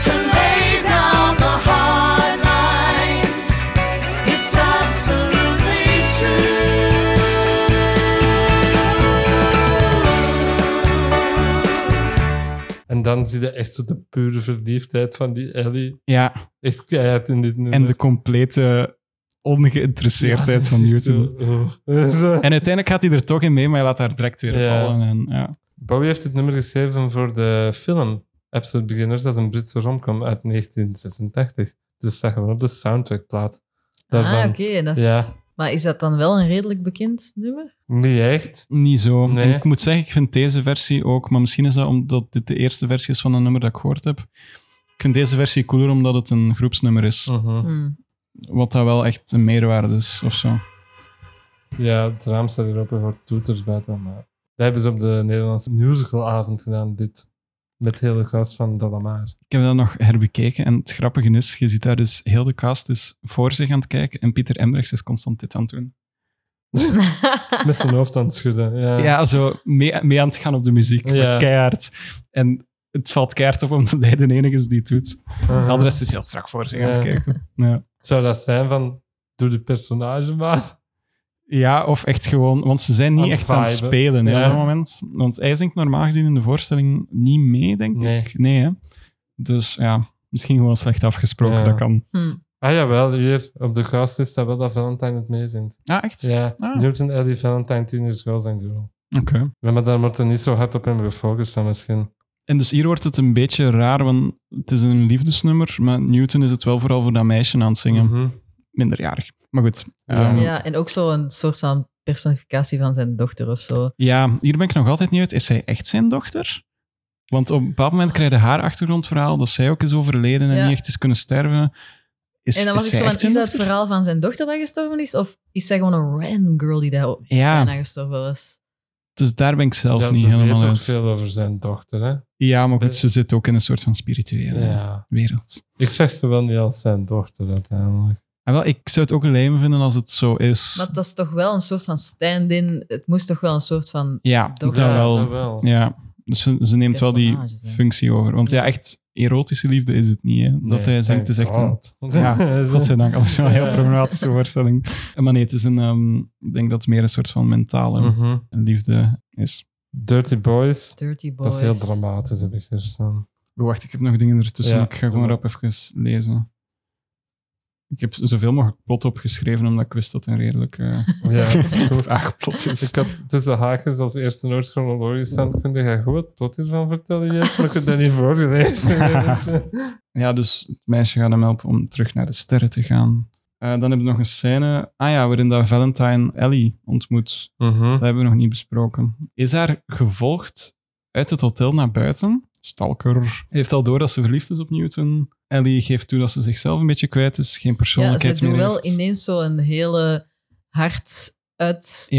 To lay down the hard lines it's absolutely true.
En dan zie je echt zo de pure verliefdheid van die Ellie.
Ja,
Echt keihard in dit nummer.
en de complete ongeïnteresseerdheid van Newton.
Newton.
En uiteindelijk gaat hij er toch in mee, maar hij laat haar direct weer
Ja.
vallen. En, ja.
Bowie heeft dit nummer geschreven voor de film Absolute Beginners. Dat is een Britse romcom uit 1986. Dus dat staat gewoon op de soundtrackplaat.
Ah,
daarvan.
oké. dat is...
Ja.
Maar is dat dan wel een redelijk bekend nummer?
Niet echt.
Niet zo.
Nee.
En Ik moet zeggen, ik vind deze versie ook, maar misschien is dat omdat dit de eerste versie is van een nummer dat ik gehoord heb. Ik vind deze versie cooler omdat het een groepsnummer is.
Mhm.
Hmm.
Wat dat wel echt een meerwaarde is, of zo.
Ja, het raam staat erop en voor toeters buiten. Maar dat hebben ze op de Nederlandse musicalavond gedaan, dit. Met hele gast van Dalamaar.
Ik heb dat nog herbekeken en het grappige is, je ziet daar dus heel de cast is voor zich aan het kijken en Pieter Embrechts is constant dit aan het doen.
Met zijn hoofd aan het schudden. Ja.
Ja, zo mee, mee aan het gaan op de muziek.
Ja.
maar Keihard. En het valt keihard op omdat hij de enige is die het doet.
Mhm.
De rest is heel strak voor zich aan het
Ja.
kijken. Ja.
Zou dat zijn van, doe de personage maar.
ja, of echt gewoon... Want ze zijn niet
Aan het
echt aan het
viben.
spelen hè,
Ja.
op dat moment. Want hij zingt normaal gezien in de voorstelling niet mee, denk
Nee.
ik. Nee, hè? Dus ja, misschien gewoon slecht afgesproken,
Ja.
dat kan.
Hmm.
Ah jawel, hier op de gast is dat wel dat Valentine het meezingt.
Ah, echt?
Ja,
Ah.
Newton, Ellie, Valentine, Teenage Girls and Girl.
Oké.
Ja, maar daar wordt er niet zo hard op hem gefocust dan misschien.
En dus hier wordt het een beetje raar, want het is een liefdesnummer, maar Newton is het wel vooral voor dat meisje aan het zingen.
Mhm.
Minderjarig. Maar goed.
Ja.
ehm,
Ja, en ook zo'n soort van personificatie van zijn dochter of zo.
Ja, hier ben ik nog altijd niet uit. Is zij echt zijn dochter? Want op een bepaald moment krijg je haar achtergrondverhaal dat zij ook is overleden en
Ja.
niet echt is kunnen sterven. Is,
en dan was
is
ik zo
zij
van,
echt zijn
is dat het
dochter?
verhaal van zijn dochter dat gestorven is? Of is zij gewoon een random girl die daar
Ja,
bijna gestorven was?
dus daar ben ik zelf
ja,
niet
ze
helemaal
weet ook
uit.
veel over zijn dochter, hè.
Ja, maar goed,
Eh.
ze zit ook in een soort van spirituele
Ja.
wereld.
Ik zeg ze wel niet als zijn dochter uiteindelijk.
En wel, ik zou het ook lijm vinden als het zo is.
Maar dat is toch wel een soort van stand-in. Het moest toch wel een soort van...
Ja, dat
Dochter.
Ja,
wel.
dat wel.
Ja, dus ze, ze neemt wel die
Personages, hè.
functie over. Want ja, echt erotische liefde is het niet. Hè. Dat
Nee,
hij zingt is
thank
echt een...
God.
Ja, godzijdank. Anders wel een heel
Ja.
problematische voorstelling. Maar nee, het is een... ehm, ik denk dat het meer een soort van mentale
Mhm.
liefde is.
Dirty Boys,
Dirty
dat
boys.
is heel dramatisch, heb ik hier staan.
Oh, Wacht, ik heb nog dingen ertussen.
Ja,
ik ga gewoon
doe
rap even lezen. Ik heb zoveel mogelijk plot opgeschreven, omdat ik wist dat het een redelijk eh,
Ja, dat is goed.
vaag plot is.
Ik had tussen haakjes als eerste nooit chronologisch staan. Kun je goed het plot hiervan vertellen? Jens? Maar ik heb dat niet voorgelezen.
Ja, dus het meisje gaat hem helpen om terug naar de sterren te gaan. Eh, dan hebben we nog een scène, ah ja, waarin dat Valentine Ellie ontmoet.
Mhm.
Dat hebben we nog niet besproken. Is haar gevolgd uit het hotel naar buiten? Stalker. Heeft al door dat ze verliefd is op Newton. Ellie geeft toe dat ze zichzelf een beetje kwijt is. Geen
Ja, ze
persoonlijkheid
doen
meer
wel
heeft.
ineens zo'n hele hard
Ja.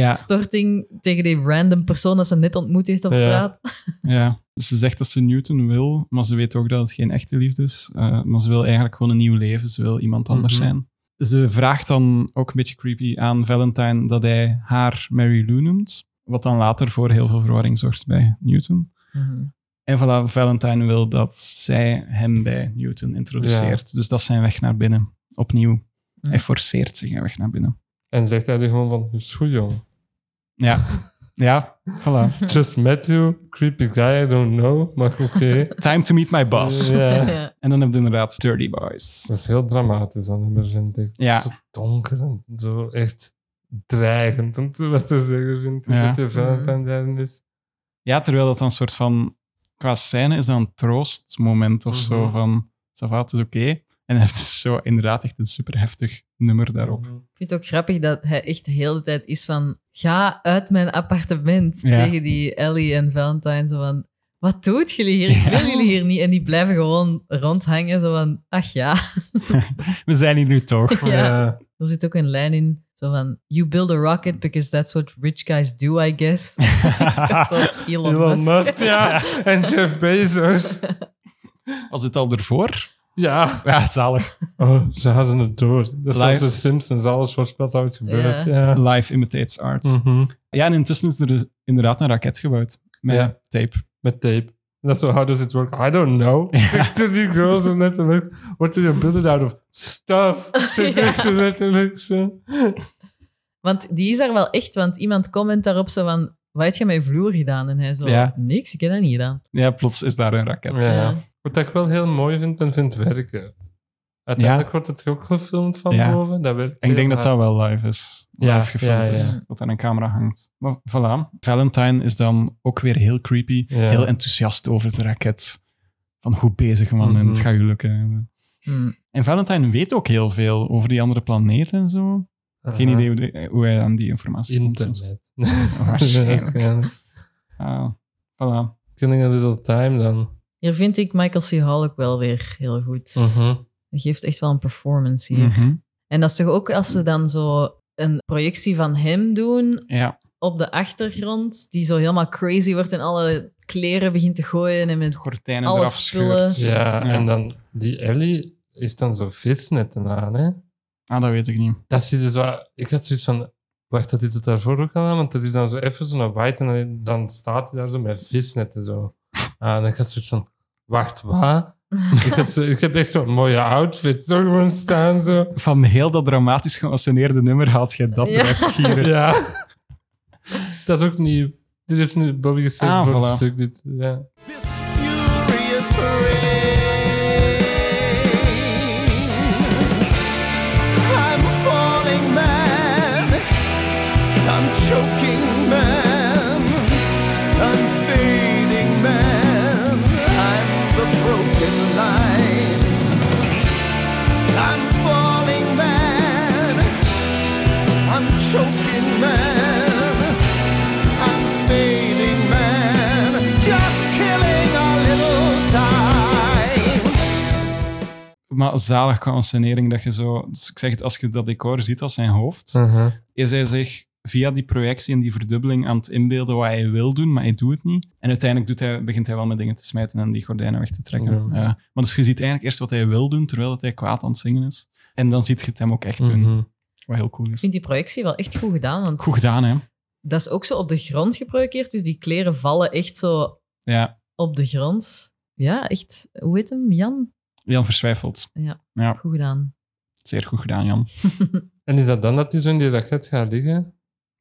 uitstorting tegen die random persoon dat ze net ontmoet heeft op
Ja.
straat.
Ja. Dus ze zegt dat ze Newton wil, maar ze weet ook dat het geen echte liefde is. Eh, maar ze wil eigenlijk gewoon een nieuw leven. Ze wil iemand anders
Mhm.
zijn. Ze vraagt dan ook een beetje creepy aan Valentine dat hij haar Mary Lou noemt. Wat dan later voor heel veel verwarring zorgt bij Newton.
Mhm.
En voilà, Valentine wil dat zij hem bij Newton introduceert. Dus dat is zijn weg naar binnen. Opnieuw. Hij forceert zich weg naar binnen.
En zegt hij er gewoon van, "Je is goed jong.
Ja. Ja, voilà.
Just met you, creepy guy, I don't know, maar oké.
Time to meet my boss.
Ja.
Ja.
En dan heb je inderdaad Dirty Boys.
Dat is heel dramatisch, dat nummer, vind ik.
Ja.
Zo donker en zo echt dreigend, om zo wat te zeggen, vind ik.
Ja.
Dat je Valentine daarin is.
Ja, terwijl dat dan een soort van... Qua scène is dat een troostmoment of zo.
Mhm.
Van, ça va, het is oké. En dan heb je zo inderdaad echt een super heftig nummer daarop.
Ik vind het ook grappig dat hij echt de hele tijd is van... Ga uit mijn appartement
Ja.
tegen die Ellie en Valentine. Zo van, wat doet jullie hier? Ik wil
Ja.
jullie hier niet. En die blijven gewoon rondhangen. Zo van, ach ja.
We zijn hier nu toch.
Ja. Er zit ook een lijn in. Zo van, you build a rocket because that's what rich guys do, I guess. zo Elon,
Elon
Musk.
Musk, ja. En Jeff Bezos.
Was het al ervoor?
Ja.
Ja, zalig.
Oh, ze hadden het door. Dat is
Live.
als de Simpsons, alles voorspeld houdt gebeurd. Ja.
Life imitates art.
Mhm.
Ja, en intussen is er dus inderdaad een raket gebouwd. Met
Ja.
tape.
Met tape. En dat is zo, how does it work? I don't know. Zegt ze die girls om net te merken, what do you build it out of? Stuff. Zegt
Ja.
ze letterlijk zo.
Want die is daar wel echt, want iemand comment daarop zo van... Wat heb je met je vloer gedaan? En hij zo,
Ja.
niks, ik heb dat niet gedaan.
Ja, plots is daar een raket.
Ja. Wat ik wel heel mooi vind en vind werken. Uiteindelijk wordt het ook gefilmd van
Ja.
boven. Dat werkt
En ik denk
heel
dat dat
hard.
wel live is. Live
Ja,
gefilmd
ja,
is.
ja.
Dat aan een camera hangt. Maar voilà. Valentine is dan ook weer heel creepy.
Ja.
Heel enthousiast over de raket. Van goed bezig, man. En het
Mhm.
gaat je lukken.
Hm.
En Valentine weet ook heel veel over die andere planeten en zo. Geen
Aha.
idee hoe, de- hoe hij aan die informatie komt.
Internet.
Waarschijnlijk.
Waarschijnlijk.
Ah, voilà.
Killing a little time dan.
Hier vind ik Michael C. Halleck wel weer heel goed.
Mhm.
Hij geeft echt wel een performance hier.
Mhm.
En dat is toch ook als ze dan zo een projectie van hem doen
Ja,
op de achtergrond, die zo helemaal crazy wordt en alle kleren begint te gooien en met...
gordijnen
Alle
eraf
spullen.
scheurt.
Ja,
Ja.
en dan die Ellie heeft dan zo visnetten aan, hè?
Ah, dat weet ik niet.
Dat zie je zo. Ik had zoiets van. Wacht, dat dit het daarvoor ook al aan? Want er is dan zo even zo'n white en dan- dan staat hij daar zo met visnetten zo aan. Ik had zoiets van. Wacht, wat? ik, had zo- ik heb echt zo'n mooie outfit zo gewoon staan. Zo.
Van heel dat dramatisch geanceneerde nummer haalt jij dat
Ja.
eruit gieren.
Ja. dat is ook nieuw. Dit is nu Bobby geschreven
Ah,
voor
voilà.
het stuk. Dit, ja.
This furious rain. I'm a falling man. I'm choking man. I'm fading man. I'm the broken line. I'm falling man. I'm choking man. I'm fading man, just killing a little time.
Maar zalig qua ancenering dat je zo... Dus ik zeg het, als je dat decor ziet als zijn hoofd,
Mhm.
is hij zich via die projectie en die verdubbeling aan het inbeelden wat hij wil doen, maar hij doet het niet. En uiteindelijk doet hij, begint hij wel met dingen te smijten en die gordijnen weg te trekken.
Ja.
Ja. maar dus je ziet eigenlijk eerst wat hij wil doen, terwijl dat hij kwaad aan het zingen is. En dan ziet je het hem ook echt doen,
Mhm.
wat heel cool
Ik
is.
vind die projectie wel echt goed gedaan, want
Goed gedaan, hè?
dat is ook zo op de grond geprojecteerd, dus die kleren vallen echt zo
Ja,
op de grond. Ja, echt, hoe heet hem? Jan?
Jan Verswijfeld.
Goed gedaan.
Zeer goed gedaan, Jan.
En is dat dan dat hij zo in die raket gaat liggen?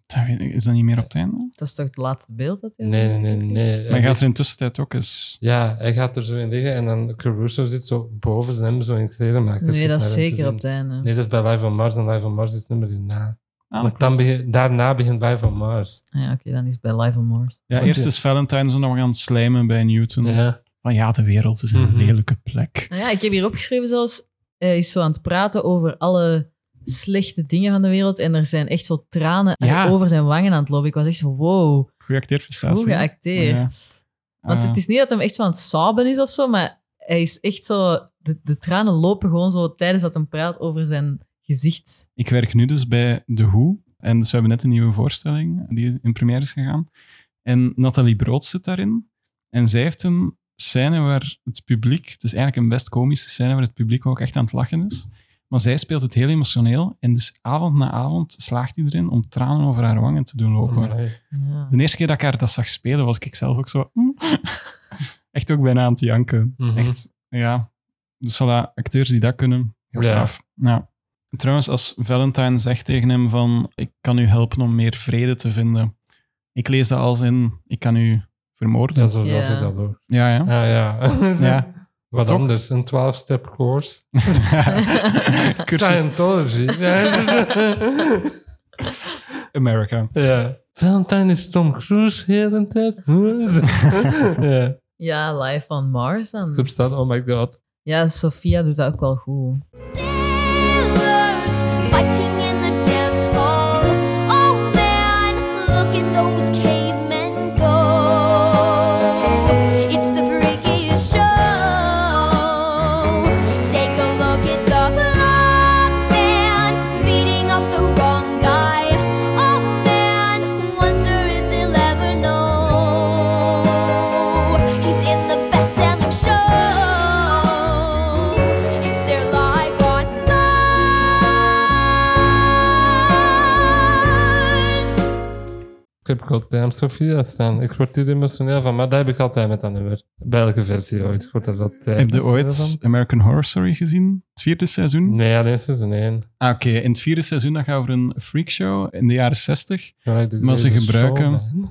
Dat weet ik- Is dat niet meer op het einde?
Dat is toch het laatste beeld dat hij-
Nee, nee, nee. nee.
Maar
Hij
gaat er in tussentijd ook eens...
Ja, hij gaat er zo in liggen en dan Caruso zit zo boven zijn hem zo in kleren maken.
Nee, dat is zeker op het einde.
Nee, dat is bij Live on Mars en Live on Mars is nummer hierna.
Ah,
Want dan begin- daarna begint Live on Mars.
Ah Ja, oké, dan is het bij Live on Mars.
Ja, eerst is Valentine zo nog aan het slijmen bij Newton.
Ja.
Van ja, de wereld is een
Mhm.
lelijke plek.
Nou ja, ik heb hier opgeschreven zelfs, eh, hij is zo aan het praten over alle slechte dingen van de wereld en er zijn echt zo tranen eh,
Ja.
over zijn wangen aan het lopen. Ik was echt zo, wow,
Goeie
hoe
acteerprestatie.
geacteerd.
Ah.
Want
Eh,
het is niet dat hem echt zo aan het saben is of zo, maar hij is echt zo, de, de tranen lopen gewoon zo tijdens dat hij praat over zijn gezicht.
Ik werk nu dus bij The Who. En dus we hebben net een nieuwe voorstelling die in première is gegaan. En Nathalie Brood zit daarin. En zij heeft een scène waar het publiek... Het is eigenlijk een best komische scène waar het publiek ook echt aan het lachen is. Maar zij speelt het heel emotioneel. En dus avond na avond slaagt hij erin om tranen over haar wangen te doen lopen.
Amai.
Oh, Ja.
De eerste keer dat ik haar dat zag spelen, was ik zelf ook zo... "Mm." echt ook bijna aan het janken.
Mhm.
Echt, ja. Dus voilà, acteurs die dat kunnen, heel
Ja.
straf. Ja. Trouwens, als Valentine zegt tegen hem van... Ik kan u helpen om meer vrede te vinden. Ik lees dat als in... Ik kan u vermoorden.
Ja, zo was
Ja.
ik dat ook.
Ja, ja.
Ah, ja.
Ja.
Wat
Toch?
anders, een 12-step course.
Cursus
Scientology.
America.
ja. Valentine is Tom Cruise heel de tijd. ja.
ja, Live on Mars
Op
dan.
staat, oh my god.
Ja, Sophia doet dat ook wel goed.
Sailors fighting in the dance hall. Oh man, look at those cavemen go. It's the freakiest show. Take a look at the black man beating up the wrong guy. Oh man, wonder if he'll ever know. He's in the best selling show. Is there life on Mars?
Ik heb God Damn Sophia staan. Ik word hier emotioneel van, maar dat heb ik altijd met dat nummer. Bij elke versie ooit. Ik word er altijd
Heb je
emotioneel
ooit
van.
American Horror Story gezien? Het vierde seizoen?
Nee, alleen seizoen 1.
Ah, Oké, in het vierde seizoen dat gaat over een freakshow in de jaren zestig. Maar ze gebruiken-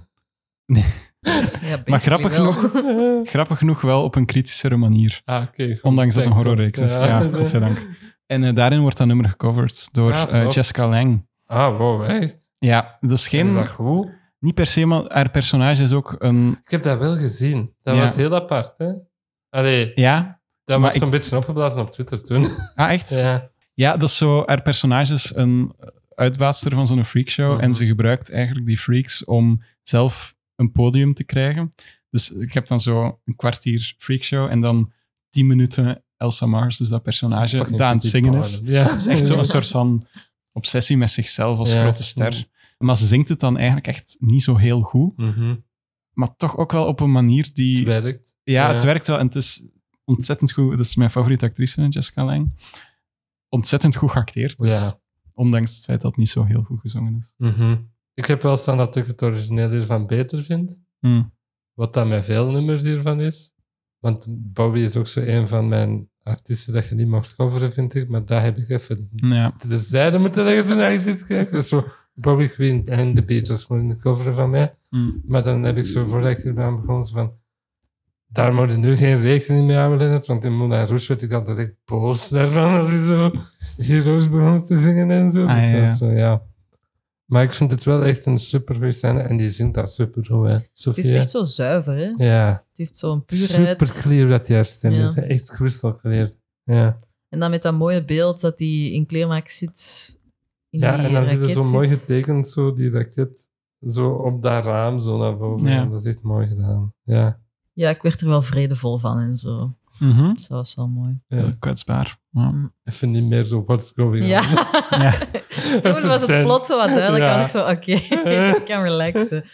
Ja, basically
Maar grappig
wel.
genoeg, grappig genoeg wel op een kritischere manier.
Ah, oké. goed.
Ondanks dat het een
Dank
horrorreeks
God.
is. Ja, godzijdank. En eh, daarin wordt dat nummer gecoverd door
Ja,
eh,
tof.
Jessica Lange.
Ah, wow, echt?
Ja, dat is geen...
Is dat goed?
Niet per se, maar haar personage is ook een...
Ik heb dat wel gezien. Dat
Ja.
was heel apart, hè? Allee,
Ja?
dat
Maar
was zo'n beetje opgeblazen op Twitter toen.
Ah, echt? Ja,
ja.
dat is zo... Haar personage is een, uitbaatster van zo'n freakshow.
Mhm.
En ze gebruikt eigenlijk die freaks om zelf een podium te krijgen. Dus je hebt dan zo een kwartier freakshow en dan tien minuten Elsa Mars, dus dat personage, dat aan het zingen is.
Ja,
Het is echt zo'n soort van obsessie met zichzelf als
Ja.
grote ster. Maar ze zingt het dan eigenlijk echt niet zo heel goed.
Mhm.
Maar toch ook wel op een manier
Het
die...
werkt.
Ja,
Ja.
het werkt wel en het is ontzettend goed. Dat is mijn favoriete actrice, Jessica Lange. Ontzettend goed geacteerd. dus
Ja.
Ondanks het feit dat het niet zo heel goed gezongen is.
Mhm. Ik heb wel staan dat ik het origineel hiervan beter vind.
Hmm.
Wat dat met veel nummers hiervan is. Want Bobby is ook zo een van mijn artiesten dat je niet mocht coveren, vind ik. Maar daar heb ik even
Ja.
terzijde moeten leggen toen ik dit kreeg. Dat is zo Bobby Queen en de Beatles moeten het coveren van mij.
Hmm.
Maar dan heb ik zo voordat ik hiermee begon, zo van... Daar moet je nu geen rekening mee houden, Lennart, want in Moulin Rouge werd ik al direct boos daarvan als hij zo Heroes begon te zingen en zo.
Ah,
Dus
ja,
dat is
ja.
zo, ja. Maar ik vind het wel echt een supergoeie scène en die zingt daar supergoed, hè.
Het is
Sophia.
echt zo zuiver, hè?
Ja,
Het heeft zo'n
super
puurheid.
clear dat die haar stem
Ja.
is. hè. Echt crystal clear. Ja,
En dan met dat mooie beeld dat hij in kleermaak zit. In
ja
die eh,
en dan zit
raket
er zo
zit.
mooi getekend, zo die raket, zo op dat raam, zo naar boven.
Ja.
Dat is echt mooi gedaan. Ja.
Ja, ik werd er wel vredevol van en zo.
Mhm.
Dus dat was wel mooi.
Heel kwetsbaar. Ja.
Even niet meer zo what's going on.
Ja,
Ja.
toen was het plots zo wat duidelijk.
Ja.
had ik zo, oké, ik kan relaxen.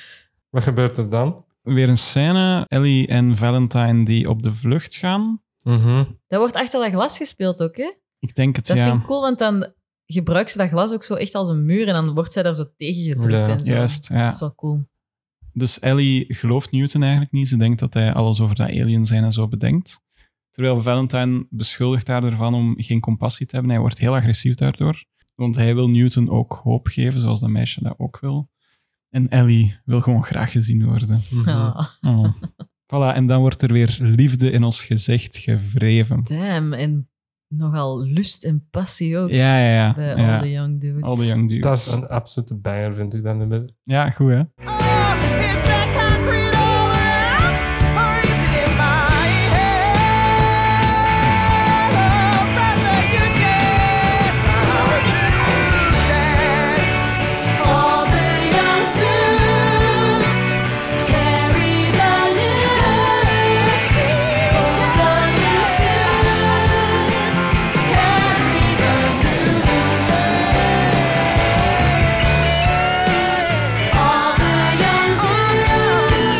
Wat gebeurt er dan?
Weer een scène. Ellie en Valentine die op de vlucht gaan.
Mhm,
Dat wordt achter dat glas gespeeld ook, hè?
Ik denk het,
Dat
ja.
vind ik cool, want dan gebruikt ze dat glas ook zo echt als een muur en dan wordt zij daar zo tegen gedrukt
Ja,
en zo.
Juist, ja.
Dat is wel cool.
Dus Ellie gelooft Newton eigenlijk niet. Ze denkt dat hij alles over dat alien zijn en zo bedenkt. Terwijl Valentine beschuldigt haar ervan om geen compassie te hebben. Hij wordt heel agressief daardoor. Want hij wil Newton ook hoop geven, zoals dat meisje dat ook wil. En Ellie wil gewoon graag gezien worden.
mhm.
Ah,
Oh. voilà, en dan wordt er weer liefde in ons gezicht gevreven.
damn, en nogal lust en passie ook
Ja, ja, ja.
bij
ja.
eh, al de young dudes.
All the young dudes.
Dat is een absolute banger, vind ik dan nummer.
Ja, goed hè?
Oh, Is that concrete all around, or is it in my head? Oh, brother, you guessed I would do that.
All the young dudes carry the news. All the young dudes carry the news. All the young dudes carry the news. All the young dudes carry the news.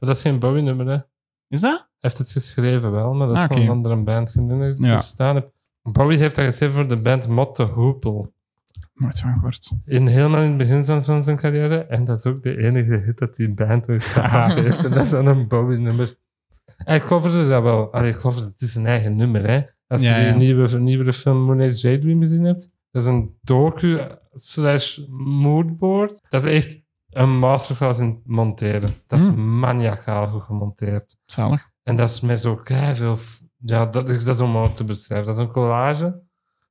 Maar dat is geen Bowie-nummer, hè? Hij
Is dat?
heeft het geschreven wel, maar dat is
Ah,
van
oké.
een andere band. Ik weet niet of ik het
Ja.
verstaan heb. Bowie heeft dat geschreven voor de band Motte Hoepel.
Nooit van gehoord.
In helemaal in het begin van- van zijn carrière. En dat is ook de enige hit dat die band ooit gehad heeft. En dat is dan een Bowie-nummer. Hij coverde dat wel. Allee, coverde, het is een eigen nummer, hè? Als je
Ja,
die
ja.
nieuwe, nieuwe film Moon Age Daydream gezien hebt, dat is een docu slash moodboard. Dat is echt een masterclass in monteren. Dat is
Hm.
maniacaal goed gemonteerd.
Zalig.
En dat is met zo veel. Ja, dat, is- dat is onmogelijk te beschrijven. Dat is een collage.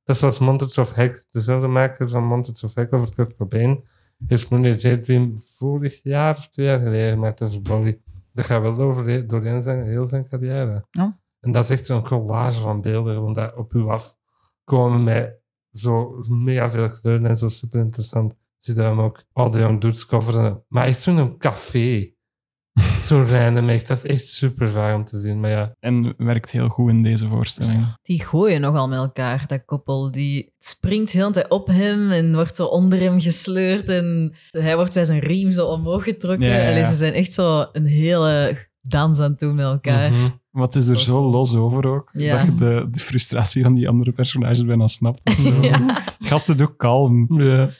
Dat is zoals Montage of Heck. Dezelfde maker van Montage of Heck over Kurt Cobain. Heeft Mooney Dream vorig jaar of twee jaar geleden gemaakt. Dat is Bowie. Dat gaat wel door, doorheen zijn, heel zijn carrière.
Ja.
En dat is echt zo'n collage van beelden. Gewoon dat op u afkomen met zo mega veel kleuren en zo super interessant. Zie je hem ook al die Young Dudes coveren. Maar echt zo'n café. Zo'n random echt. Dat is echt super vaag om te zien. Maar ja,
En werkt heel goed in deze voorstelling.
Die gooien nogal met elkaar, dat koppel. Die springt heel de tijd op hem en wordt zo onder hem gesleurd. En hij wordt bij zijn riem zo omhoog getrokken.
Ja, ja, ja.
Allee, ze zijn echt zo een hele dans aan het doen met elkaar.
mhm.
Wat is er zo los over ook?
Ja.
Dat je de, de frustratie van die andere personages bijna snapt. of zo.
Ja.
Gasten doen kalm.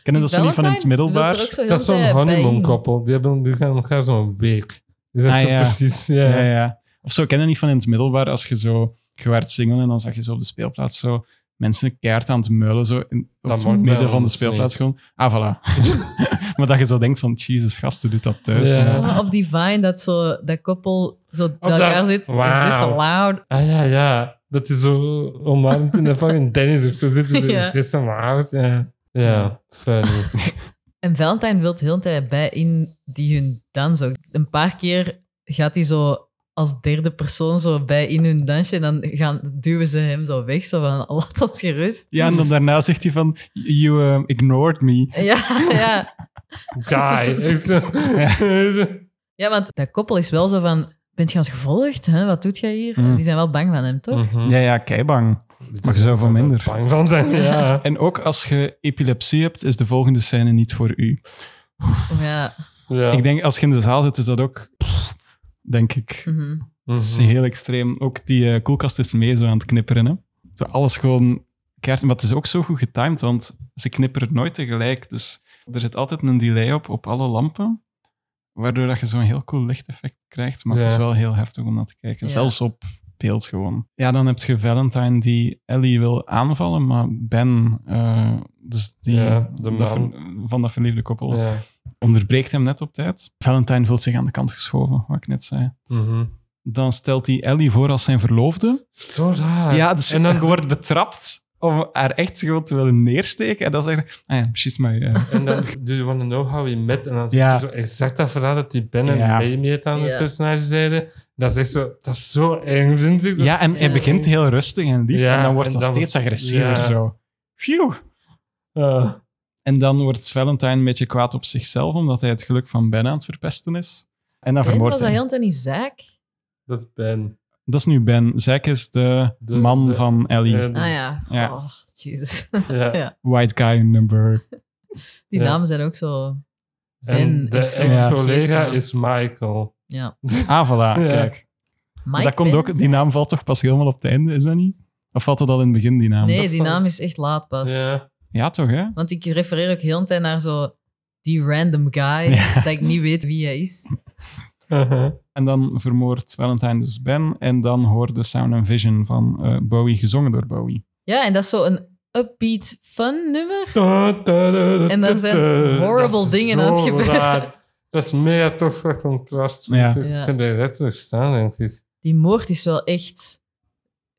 Kennen dat zo niet van in het
Valentine wil
middelbaar?
er ook zo heel
dat is
de
zo'n
tijd bij
honeymoon
in.
koppel. Die, hebben, die gaan elkaar zo'n week. Die zijn
Ah,
zo
ja.
precies. Ja.
Ja, ja. Of zo, kennen niet van in het middelbaar als je zo... Je werd single en dan zag je zo op de speelplaats zo mensen keihard aan het muilen. Zo in, op
Dat
het
wordt bij
midden van de
ons
speelplaats
niet.
gewoon. Ah, voilà. maar dat je zo denkt van, jezus, gasten, doet dat thuis.
Ja.
Ja.
Maar Ah, op die Vine dat zo dat koppel zo bij elkaar
dat-
zit. Dus
Wauw.
Is this allowed?
Ah ja, ja. Dat is zo omarmd in de fucking Dennis of zo zitten.
Ja.
Ja. Is dit zo oud? Ja. Ja, funny.
En Valentine wilt heel de tijd bij in die hun dans ook. Een paar keer gaat hij zo als derde persoon zo bij in hun dansje en dan gaan, duwen ze hem zo weg, zo van, laat ons gerust.
Ja, en dan daarna zegt hij van, you um, ignored me.
Ja, ja.
Die. Echt zo.
ja, want dat koppel is wel zo van, bent je ons gevolgd? Hè? Wat doet jij hier?
Mm.
Die zijn wel bang van hem, toch?
Mhm.
Ja, ja, keibang.
Dit
Maar
is
zoveel
wel
minder.
Bang van zijn, ja.
En ook als je epilepsie hebt, is de volgende scène niet voor u.
Ja.
ja.
Ik denk, als je in de zaal zit, is dat ook... pff, denk ik.
mhm.
Mhm.
Dat is heel extreem. Ook die eh, koelkast is mee zo aan het knipperen. Hè? Zo alles gewoon keert. Maar het is ook zo goed getimed, want ze knipperen nooit tegelijk. Dus er zit altijd een delay op, op alle lampen. Waardoor dat je zo'n heel cool lichteffect krijgt. Maar het
Ja.
is wel heel heftig om naar te kijken.
Ja.
Zelfs op beeld gewoon. Ja, dan heb je Valentine die Ellie wil aanvallen, maar Ben, eh, dus die
Ja, de
dat
man.
ver- van dat verliefde koppel,
Ja.
onderbreekt hem net op tijd. Valentine voelt zich aan de kant geschoven, wat ik net zei
Mhm.
dan stelt hij Ellie voor als zijn verloofde.
Zo raar.
Ja, dus
Ah, en dan-
je wordt betrapt om haar echt gewoon te willen neersteken. En dan zegt hij, ah ja, she's my... eh."
En dan do you want to know how we met? En dan zegt
Ja.
hij zo exact dat verhaal dat die Ben en
Ja.
Amy het aan het
Ja.
personage zeiden. Dat is echt zo, dat is zo eng, vind ik. Dat
ja, en hij
Ja.
begint heel rustig en lief.
Ja,
en dan wordt
en
dat
dan-
steeds agressiever
Ja.
zo. Phew.
Ah.
En dan wordt Valentine een beetje kwaad op zichzelf, omdat hij het geluk van Ben aan het verpesten is. En dan
Ben, was
vermoordt
dat
hij.
Jant en Isaac?
Dat is Ben.
Dat is nu Ben. Zack is de,
De-
man
de-
van Ellie.
Eh,
Ah ja.
Mm. Ja.
Oh, jezus.
ja.
Ja.
White guy number.
Die
Ja.
namen zijn ook zo...
En
Ben
de
is zo
ex-collega
vergeetzaam.
is Michael.
Ja.
Ah, voilà.
Ja.
Kijk.
Mike
dat komt
Ben
ook,
is-
die naam valt toch pas helemaal op het einde, is dat niet? Of valt dat al in het begin, die naam?
Nee, die
valt-
naam is echt laat pas.
Ja.
Ja, toch, hè?
Want ik refereer ook heel de tijd naar zo die random guy,
Ja.
dat ik niet weet wie hij is.
Uh-huh.
En dan vermoordt Valentine dus Ben. En dan hoort de Sound and Vision van eh, Bowie, gezongen door Bowie.
Ja, en dat is zo een upbeat fun nummer. En daar zijn horrible
Dat is
dingen
zo
aan het gebeuren.
raar. Dat is mega tof voor contrast.
Ja.
Ja. Ik
Ja.
heb er letterlijk staan, denk ik.
Die moord is wel echt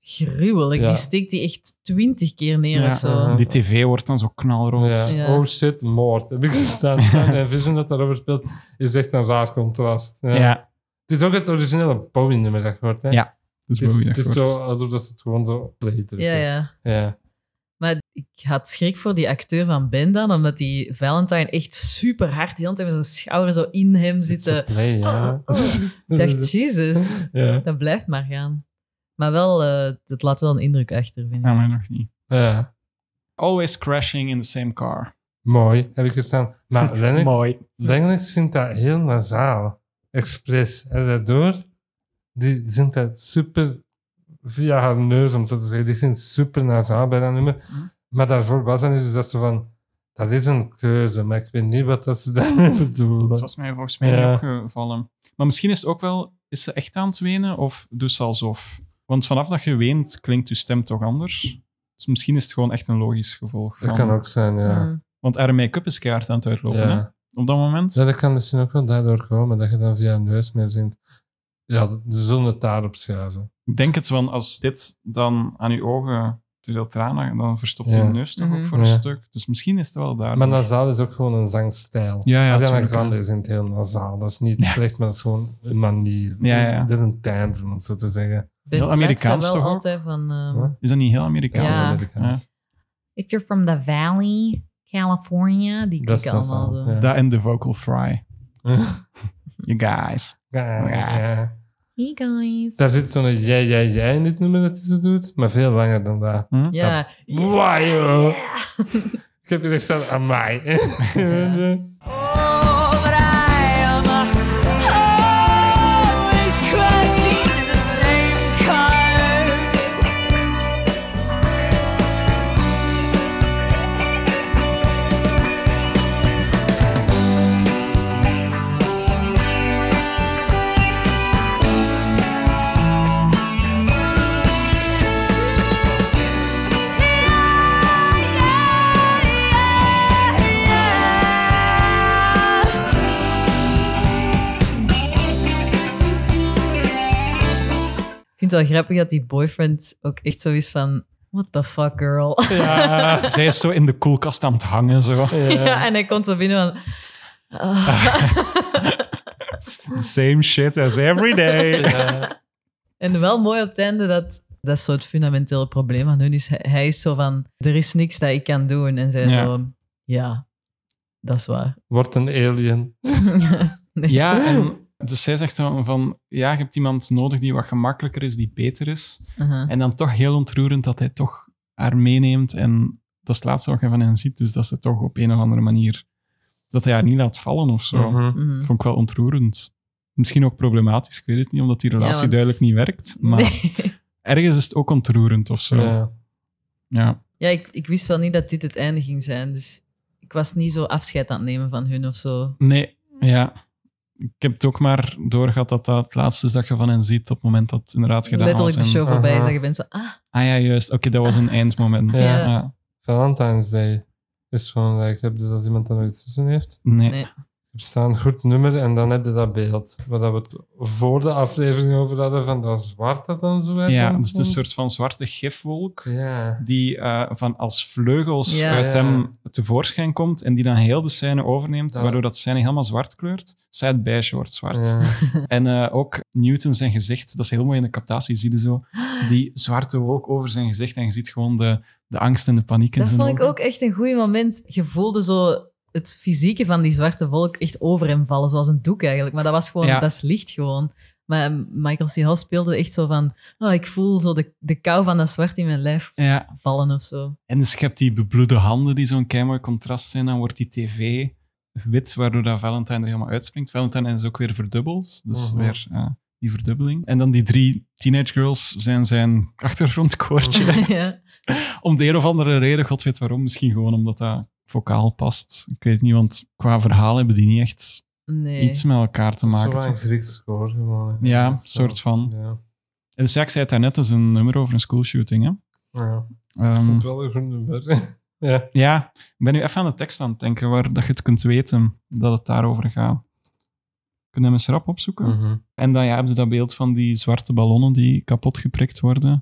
gruwelijk.
Ja.
Die steekt die echt twintig keer neer
Ja.
of zo.
Uh-huh.
Die tv wordt dan zo knalrood.
Ja.
Ja.
Oh shit, moord. Heb ik gestaan. Sound en Vision dat daarover speelt, is echt een raar contrast. Ja.
Ja,
Het is ook het originele Bowie-nummer dat je hoort, hè?
Ja, dus
Het is,
Bowie
het
dat
is
wordt.
zo alsof dat ze het gewoon zo opleiden.
Ja, ja.
ja.
Maar ik had schrik voor die acteur van Ben dan, omdat die Valentine echt super hard heel de tijd met zijn schouder zo in hem zit. te-
Play, ja.
Oh. Ik dacht, Jesus.
ja.
Dat blijft maar gaan. Maar wel, eh dat laat wel een indruk achter, vind ik.
Ja, maar nog niet.
ja.
Always crashing in the same car.
Mooi, heb ik er staan. Maar Lennox,
Mooi.
Lennox zingt dat heel nasaal. Expres. En daardoor, die zingt dat super via haar neus, om zo te zeggen. Die zingt super nasaal bij dat nummer.
Mhm.
Hm.
Maar daarvoor was dan dus dat ze van, dat is een keuze, maar ik weet niet wat dat ze daarmee
Dat
bedoelen.
was mij volgens mij
Ja.
niet opgevallen. Maar misschien is het ook wel, is ze echt aan het wenen of doet ze alsof? Want vanaf dat je weent, klinkt je stem toch anders? Dus misschien is het gewoon echt een logisch gevolg.
Dat
van-
kan ook zijn, ja.
Mm.
Want haar make-up is keihard aan het uitlopen, hè?
ja.
Op dat moment.
Ja, dat kan misschien ook wel daardoor komen, dat je dan via een neus meer zingt. Ja, dat- ze zullen het daarop schuiven.
Ik denk het, want als dit dan aan je ogen te veel tranen, dan verstopt je
Ja.
neus toch ook
Mhm.
voor een
Ja.
stuk. Dus misschien is het wel daar.
Maar nasaal is ook gewoon een zangstijl.
Ja, ja,
Ariana
tuurlijk,
Grande
ja.
zingt heel nasaal. Dat is niet
Ja.
slecht, maar dat is gewoon een manier.
Ja, ja, ja.
Dat is een timbre, om het zo te zeggen.
Ben
Heel
Platt zei
Amerikaans
wel
toch ook?
altijd van... ehm,
Huh?
Is dat niet heel Amerikaans?
Dat is
Ja.
Amerikaans.
If you're from the valley, California, die
Dat is
klikken allemaal
nasaal,
zo.
ja.
Dat en de vocal fry. You guys.
Ja, ja, ja.
Hey guys.
Daar zit zo'n jij, jij, jij in dit nummer dat hij zo doet, maar veel langer dan dat.
ja.
Wauw, joh. Ik heb hier echt staan aan mij.
Ja.
Oh, but I am always crashing in the same car.
Ik vind het wel grappig dat die boyfriend ook echt zo is van... What the fuck, girl?
Ja.
Zij is zo in de koelkast aan het hangen. Zo.
ja, en hij komt zo binnen van... ah.
Same shit as every day.
Ja.
En wel mooi op het einde dat dat is zo het fundamentele probleem van hun is. Hij, hij is zo van, er is niks dat ik kan doen. En zij
Ja.
zo, ja, dat is waar.
Wordt een alien.
Nee.
Ja, en dus zij zegt dan van, ja, je hebt iemand nodig die wat gemakkelijker is, die beter is.
Uh-huh.
En dan toch heel ontroerend dat hij toch haar meeneemt. En dat is het laatste wat je van hen ziet. Dus dat ze toch op een of andere manier... Dat hij haar niet laat vallen of zo.
Mhm.
Mhm.
Vond ik wel ontroerend. Misschien ook problematisch, ik weet het niet, omdat die relatie
want-
duidelijk niet werkt. Maar
Nee.
ergens is het ook ontroerend of zo. Ja.
Ja.
Ja, ik, ik wist wel niet dat dit het einde ging zijn. Dus ik was niet zo afscheid aan het nemen van hun of zo.
Nee, ja. Ik heb het ook maar doorgehad dat dat het laatste is dat je van hen ziet op het moment dat het inderdaad gedaan
Letterlijk de
was. en-
show
en-
voorbij is
Aha.
dat je bent zo, ah,
Ah ja, juist. Oké, dat was een eindmoment.
Ja.
Ja.
Valentine's Day is gewoon, like, heb dus als iemand er nog iets tussen heeft,
Nee.
Nee.
heb je daar een goed nummer en dan heb je dat beeld. Waar dat we het voor de aflevering over hadden, van dat zwart dat dan zo uit
Ja,
ons
dus het is een
komt.
soort van zwarte gifwolk
Ja.
die eh, van als vleugels
Ja.
uit
Ja.
hem tevoorschijn komt en die dan heel de scène overneemt,
Ja.
waardoor dat scène helemaal zwart kleurt. Zij het beige wordt zwart.
Ja.
En eh, ook Newton zijn gezicht, dat is heel mooi in de captatie, zie je zo die zwarte wolk over zijn gezicht en je ziet gewoon de, de angst en de paniek in
Dat
zijn
vond ik
ogen.
ook echt een goed moment. Je voelde zo het fysieke van die zwarte wolk echt over hem vallen, zoals een doek eigenlijk. Maar dat was gewoon,
Ja.
dat is licht gewoon. Maar Michael C. Hall speelde echt zo van, oh, ik voel zo de, de kou van dat zwart in mijn lijf
Ja,
vallen of zo.
en dus je hebt die bebloede handen die zo'n keimooi contrast zijn, dan wordt die tv wit, waardoor dat Valentine er helemaal uitspringt. Valentine is ook weer verdubbeld, dus
Mhm.
weer eh, die verdubbeling. En dan die drie teenage girls zijn zijn achtergrondkoortje.
Mhm.
ja.
Om de een of andere reden, god weet waarom, misschien gewoon omdat dat vocaal past. Ik weet het niet, want qua verhaal hebben die niet echt
Nee.
iets met elkaar te
Zo
maken.
wel
toch?
een Grieks score gewoon.
Ja,
Zo.
soort van.
Ja.
En dus ja, ik zei het daarnet, dat is een nummer over een schoolshooting. Hè?
Ja. Ik
Ehm,
vind het wel een goed nummer. ja.
ja, ik ben nu even aan de tekst aan het denken, waar dat je het kunt weten dat het daarover gaat. Kunnen we eens rap opzoeken?
Mhm.
En dan ja, heb je dat beeld van die zwarte ballonnen die kapot geprikt worden.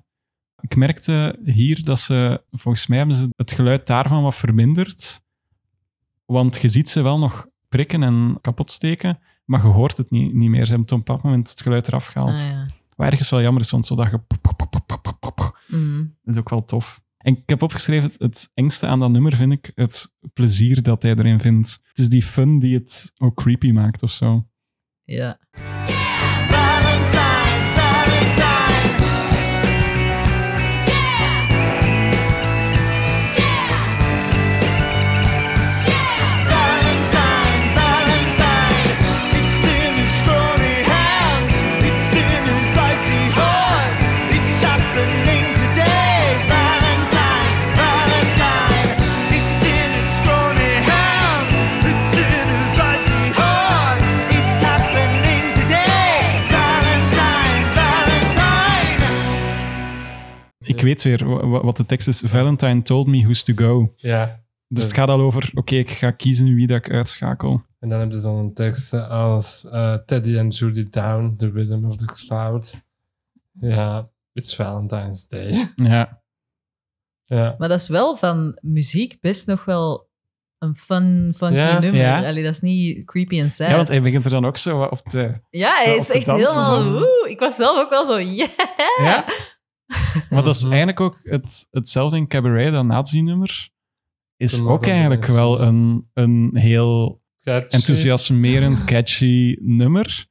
Ik merkte hier dat ze, volgens mij hebben ze het geluid daarvan wat verminderd. Want je ziet ze wel nog prikken en kapot steken, maar je hoort het niet, niet meer. Ze hebben op een bepaald moment het geluid eraf gehaald.
Ah, ja.
Wat ergens wel jammer is, want zodat je... pop, pop, pop, pop, pop, pop, pop,
Mhm.
dat is ook wel tof. En ik heb opgeschreven, het, het engste aan dat nummer vind ik het plezier dat hij erin vindt. Het is die fun die het ook creepy maakt of zo.
ja.
Valentine, Valentine. Valentine, Valentine.
It's in his scrawny hands. It's in his icy heart. It's happening today. Valentine, Valentine. It's in his scrawny hands. It's in his icy heart. It's happening today. Valentine, Valentine.
Ik weet weer wa- wa- wat de tekst is. Valentine told me who's to go.
ja.
Dus
Ja.
het gaat al over, oké, ik ga kiezen wie dat ik uitschakel.
En dan heb je zo'n teksten als eh, Teddy and Judy Down, The Rhythm of the Cloud. Ja, It's Valentine's Day.
Ja,
ja.
Maar dat is wel van muziek best nog wel een fun, funky
Ja,
nummer.
ja.
Allee, dat is niet creepy en sad.
ja want hij begint er dan ook zo wat op te...
Ja,
Zo
hij
op
is
te
echt
dansen,
helemaal...
zo.
Oeh, ik was zelf ook wel zo... Yeah!
Ja? Maar dat is
Mhm.
eigenlijk ook het, hetzelfde in Cabaret, dat nazi-nummer. Is
Toen nog
ook
een
eigenlijk
ding is.
wel een, een heel
Catchy.
enthousiasmerend, catchy nummer.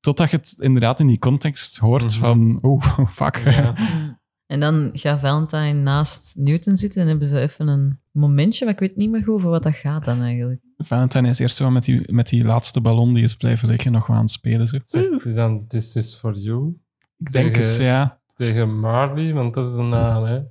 Totdat je het inderdaad in die context hoort
Mhm.
van, oh, fuck.
Ja.
Mm. En dan gaat Valentine naast Newton zitten en hebben ze even een momentje, maar ik weet niet meer goed over wat dat gaat dan eigenlijk.
Valentine is eerst zo met die, met die laatste ballon die is blijven liggen, nog wel aan het spelen. Zo.
Zegt hij dan This is for you?
Ik denk
Tegen-
het, ja.
Tegen Marley, want dat is de naam, hè.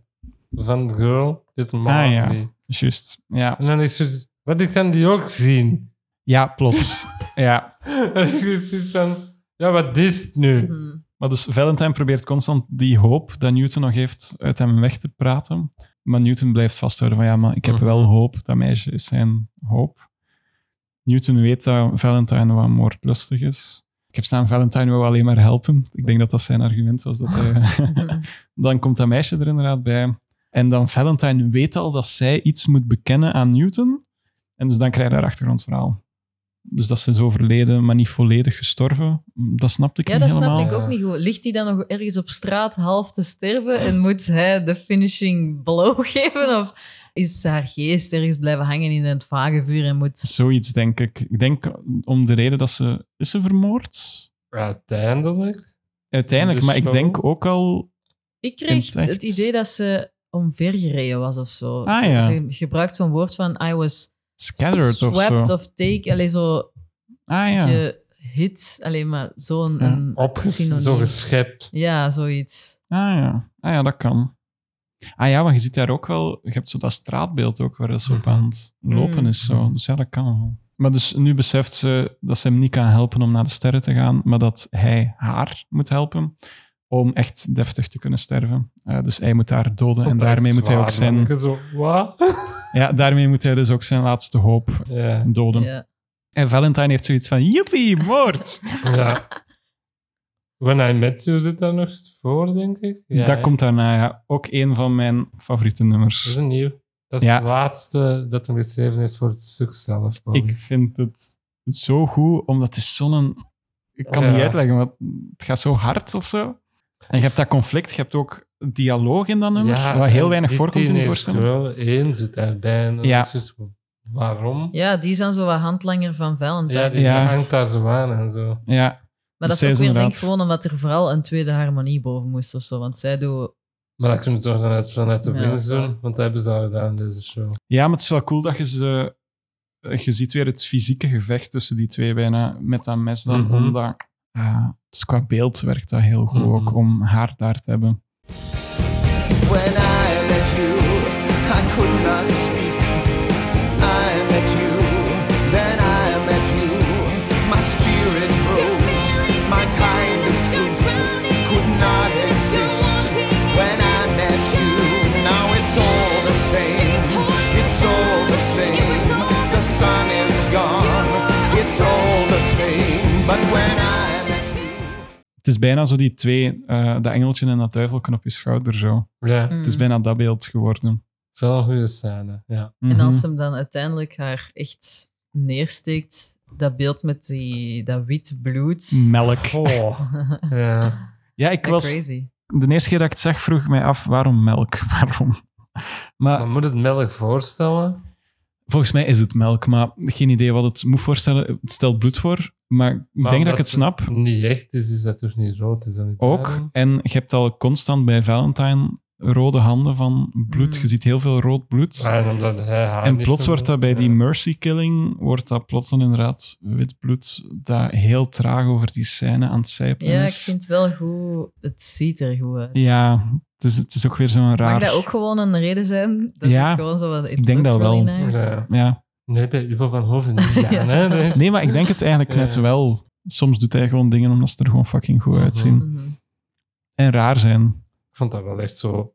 Van de girl, dit Marley.
Ah, ja. Juist, ja.
En dan is het, wat ik kan die ook zien.
Ja, plots. ja.
en ik is zoiets van, ja, wat is het nu?
Mhm. Hmm.
Maar dus Valentine probeert constant die hoop dat Newton nog heeft uit hem weg te praten. Maar Newton blijft vasthouden van ja, maar ik heb
Mhm.
wel hoop. Dat meisje is zijn hoop. Newton weet dat Valentine wat moordlustig is. Ik heb staan, Valentine wou alleen maar helpen. Ik denk dat dat zijn argument was. Dat hij- dan komt dat meisje er inderdaad bij. En dan Valentine weet al dat zij iets moet bekennen aan Newton. En dus dan krijg je haar achtergrondverhaal. Dus dat ze is overleden, maar niet volledig gestorven. Dat snapte ik
Ja,
niet
dat
helemaal.
snap ik
Eh.
ook niet goed. Ligt hij dan nog ergens op straat half te sterven en moet hij de finishing blow geven? Of is haar geest ergens blijven hangen in het vage vuur en moet...
Zoiets, denk ik. Ik denk om de reden dat ze... Is ze vermoord?
Uiteindelijk.
Uiteindelijk,
Dus
maar ik
zo.
denk ook al...
Ik
In
kreeg
het
het,
echt.
idee dat ze omvergereden was of zo.
Ah,
Ze-
ja.
Ze gebruikt zo'n woord van I was
Scattered of zo.
swept of take. Allee, zo
ah ja.
gehit. Alleen maar zo'n...
Ja.
een synoniem.
Opges- zo geschept.
Ja, zoiets.
Ah ja. ah ja, dat kan. Ah ja, want je ziet daar ook wel... Je hebt zo dat straatbeeld ook waar ze op aan het lopen
Mm.
is. Zo. Dus ja, dat kan wel. Maar dus nu beseft ze dat ze hem niet kan helpen om naar de sterren te gaan, maar dat hij haar moet helpen om echt deftig te kunnen sterven. Eh, dus hij moet haar doden en
Oprecht
daarmee moet hij ook
zwaar,
zijn...
manneke, Zo, wat?
Ja, daarmee moet hij dus ook zijn laatste hoop
Ja.
doden.
Ja.
En Valentine heeft zoiets van, joepie, moord!
ja. When I Met You zit daar nog voor, denk ik. Ja,
dat
hè?
komt daarna, ja. Ook een van mijn favoriete
Dat is
nummers.
een nieuw. Dat is
Ja.
het laatste dat hem geschreven heeft voor het stuk zelf. Bobby.
Ik vind het zo goed, omdat het is zo'n... Ik kan het
Ja.
niet uitleggen, want het gaat zo hard of zo. En je hebt dat conflict, je hebt ook dialoog in dat nummer, wat heel
en
weinig
die
voorkomt in de
Teenage
voorstelling.
Girl één zit daarbij. En
Ja.
ja. waarom?
ja, die is dan zo wat handlanger van Valentine.
Ja, die
Ja.
hangt daar zo aan en zo.
Ja,
Maar
Dus
dat
zij
is ook
is
weer denk ik
inderdaad-
gewoon omdat er vooral een tweede harmonie boven moest of zo. Want zij doet...
Maar dat kunnen we toch vanuit, vanuit de
Ja,
wings
dat is waar.
doen, want dat hebben ze al gedaan in deze show.
ja, maar het is wel cool dat je ze... Je ziet weer het fysieke gevecht tussen die twee bijna, met dat mes dan,
Mhm.
omdat... ja, dus qua beeld werkt dat heel goed ook,
Mhm.
om haar daar te hebben.
When I met you, I could not speak. I met you, then I met you. My spirit rose, my kind of truth could not exist. When I met you, now it's all the same. It's all the same. The sun is gone. It's all the same. But when I met you.
Het is bijna zo die twee, eh, dat engeltje en dat duivelken op je schouder zo.
Ja,
Mm.
Het is bijna dat beeld geworden.
wel een goede scène. Ja.
En als
Mhm.
ze hem dan uiteindelijk haar echt neersteekt, dat beeld met die, dat wit bloed.
Melk.
Oh, ja.
Ja, ik
Dat
was...
crazy.
De eerste keer dat ik het zag, vroeg ik mij af, waarom melk? Waarom? Maar
Maar moet het melk voorstellen?
volgens mij is het melk, maar geen idee wat het moet voorstellen. Het stelt bloed voor, maar ik
Maar
denk
omdat
dat ik het
ze
snap.
Niet echt is, is dat toch niet rood? Is dat niet
Ook.
daarom?
En je hebt al constant bij Valentine rode handen van bloed.
Mm.
Je ziet heel veel rood bloed.
Ja, en omdat hij haar
En
niet
plots wordt dat bij die
Ah, Ja.
mercy killing, wordt dat plots dan inderdaad wit bloed dat heel traag over die scène aan het zijpelen
Ja, ik
is.
vind het wel goed. Het ziet er goed uit.
Ja, het is, het is ook weer zo'n raar...
Mag dat ook gewoon een reden zijn? Dat
Ja,
het gewoon zo wat,
ik denk dat wel.
Ja.
Ja.
Nee, bij Ivo van Hoven niet aan, hè? Nee.
Nee, maar ik denk het eigenlijk
Ja.
net wel. Soms doet hij gewoon dingen omdat ze er gewoon fucking goed
Mhm.
uitzien. En raar zijn.
Ik vond dat wel echt zo een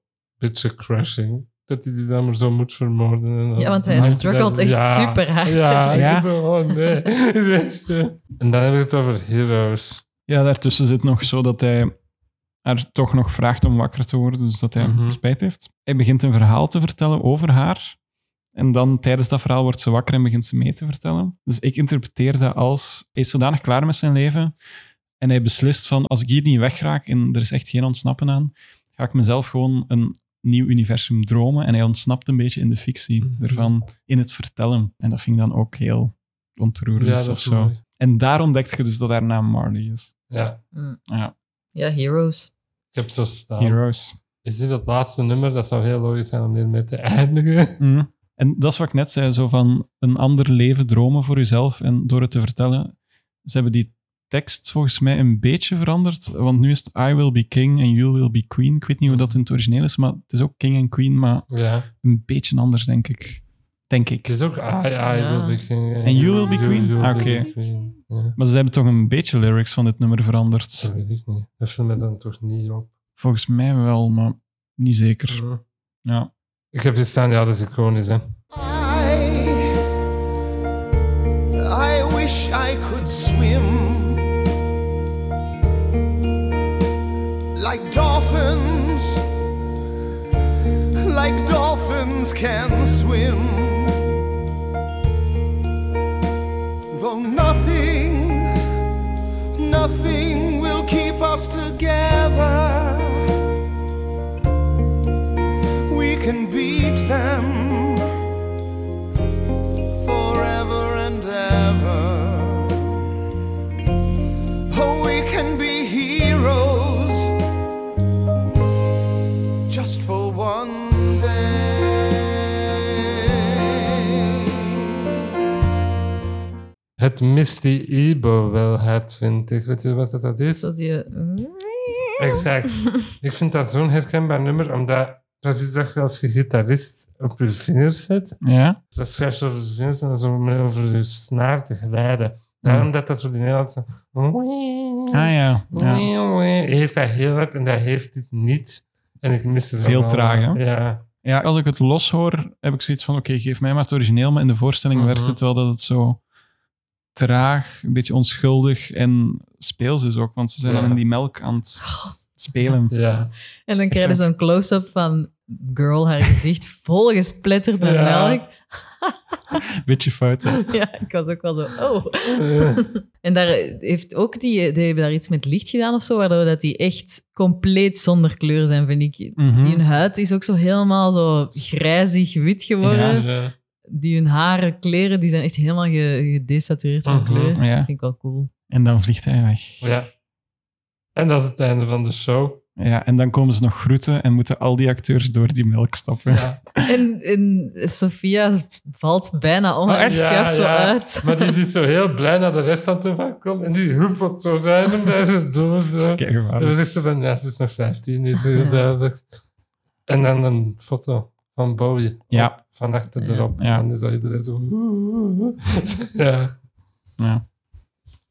beetje crushing. Dat hij die dan maar zo moet vermoorden. En dan
Ja, want hij
hangt
struggelt
daar
echt
zo- ja.
super hard.
Ja,
Ja.
ik Zo, oh nee. Is echt, eh. en dan heb ik het over heroes.
Ja, daartussen zit nog zo dat hij haar toch nog vraagt om wakker te worden, dus dat hij
Mhm.
spijt heeft. Hij begint een verhaal te vertellen over haar. En dan tijdens dat verhaal wordt ze wakker en begint ze mee te vertellen. Dus ik interpreteer dat als, hij is zodanig klaar met zijn leven en hij beslist van, als ik hier niet wegraak en er is echt geen ontsnappen aan, ga ik mezelf gewoon een nieuw universum dromen. En hij ontsnapt een beetje in de fictie
Mhm.
ervan, in het vertellen. En dat vind ik dan ook heel ontroerend
Ja, dat
of
is
zo.
mooi.
En daar ontdekt je dus dat haar naam Marley is.
Ja,
Ja, Heroes.
ik heb zo staan.
Heroes.
Is dit het laatste nummer? Dat zou heel logisch zijn om hiermee te eindigen.
Mm. En dat is wat ik net zei, zo van een ander leven dromen voor jezelf en door het te vertellen. Ze hebben die tekst volgens mij een beetje veranderd, want nu is het I will be king en you will be queen. Ik weet niet hoe dat in het origineel is, maar het is ook king en queen, maar
Ja.
een beetje anders, denk ik. Dus- Denk ik.
Het is ook ah, I, I
Ja.
will be king.
En you will be queen?
will
Ah,
be
oké.
queen. Ja.
Maar ze hebben toch een beetje lyrics van dit nummer veranderd.
Dat weet ik niet. Dat viel me dan toch niet op.
Volgens mij wel, maar niet zeker. Ja.
Ik heb hier staan, ja, dat is iconisch, hè.
I I wish I could swim like dolphins, like dolphins can swim. Though nothing, nothing will keep us together, we can beat them forever and ever. Oh, we can be heroes just for one day.
Het Misty Ebo wel hard vind ik. Weet je wat dat- dat is?
Dat je...
Exact. ik vind dat zo'n herkenbaar nummer, omdat dat is iets dat je als je gitarist op je vingers zet.
Ja?
Dat schuift over je vingers en dat is om over je snaar te glijden. Daarom dat dat zo die Nederlandse...
Hmm. Ah ja. ja.
Heeft dat heel hard en dat heeft dit niet. En ik mis het
Het is heel
allemaal.
traag, hè?
Ja.
Ja, als ik het los hoor, heb ik zoiets van, oké, geef mij maar het origineel. Maar in de voorstelling
Mhm.
werkt het wel dat het zo traag, een beetje onschuldig en speels is ook. Want ze zijn
Ja.
dan in die melk aan het spelen.
Ja.
En dan krijg je zo'n close-up van girl, haar gezicht volgesplitterd met
Ja.
melk.
Beetje fout, hè?
Ja, ik was ook wel zo... Oh.
Eh,
En daar heeft ook die, die hebben daar iets met licht gedaan of zo, waardoor dat die echt compleet zonder kleur zijn, vind ik.
Mhm.
Die hun huid is ook zo helemaal zo grijzig wit geworden.
Ja.
ja.
Die hun haren, kleren, die zijn echt helemaal ge- gedesatureerd van
Mhm.
kleur.
Ja.
Vind ik wel cool.
En dan vliegt hij weg.
ja. En dat is het einde van de show.
Ja, en dan komen ze nog groeten en moeten al die acteurs door die melk stappen.
Ja.
En, en Sophia valt bijna om,
Oh,
en
echt?
schuift zo uit.
Maar die is zo heel blij dat de rest aan toe van komt. En die huppelt zo random daar zo door. Zo.
Kijk,
En
gevaarlijk.
dan zegt ze van, ja, ze is nog 15, niet heel duidelijk. En dan een foto van Bowie.
Ja.
Van achter erop.
Ja.
En dan is dat iedereen zo... ja.
Ja.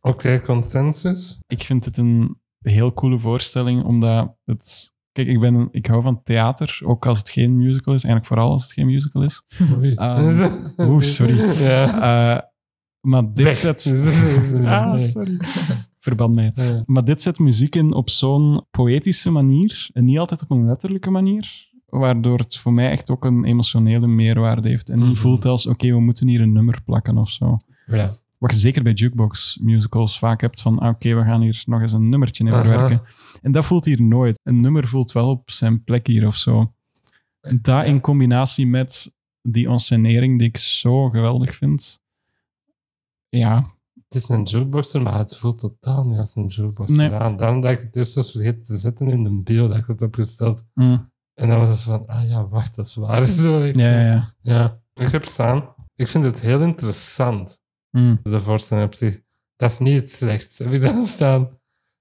Oké, consensus.
Ik vind het een heel coole voorstelling, omdat het... Kijk, ik, ben een- ik hou van theater, ook als het geen musical is. Eigenlijk vooral als het geen musical is.
Oei.
Ehm, oeh, sorry.
Ja.
Eh, maar dit
Weg.
zet... Ah, sorry. Verband mij.
Ja.
Maar dit zet muziek in op zo'n poëtische manier. En niet altijd op een letterlijke manier. Waardoor het voor mij echt ook een emotionele meerwaarde heeft. En
Mhm.
niet voelt als, oké, we moeten hier een nummer plakken of zo.
Ja.
Wat je zeker bij jukebox musicals vaak hebt van, ah, oké, we gaan hier nog eens een nummertje in
Aha.
verwerken. En dat voelt hier nooit. Een nummer voelt wel op zijn plek hier of zo. En dat in combinatie met die onscenering die ik zo geweldig vind. Ja,
Het is een jukeboxer, maar het voelt totaal niet als een jukeboxer
Nee.
aan. Daarom dat ik het eerst was vergeten te zetten in de bio dat ik het heb gesteld.
Mm.
En dan was het zo van, ah ja, wacht, dat is waar. Zo, ik,
ja, ja. ja.
Ja, ik heb staan. Ik vind het heel interessant,
Mm.
de voorstelling op zich. Dat is niet iets slechts. Heb ik dan staan?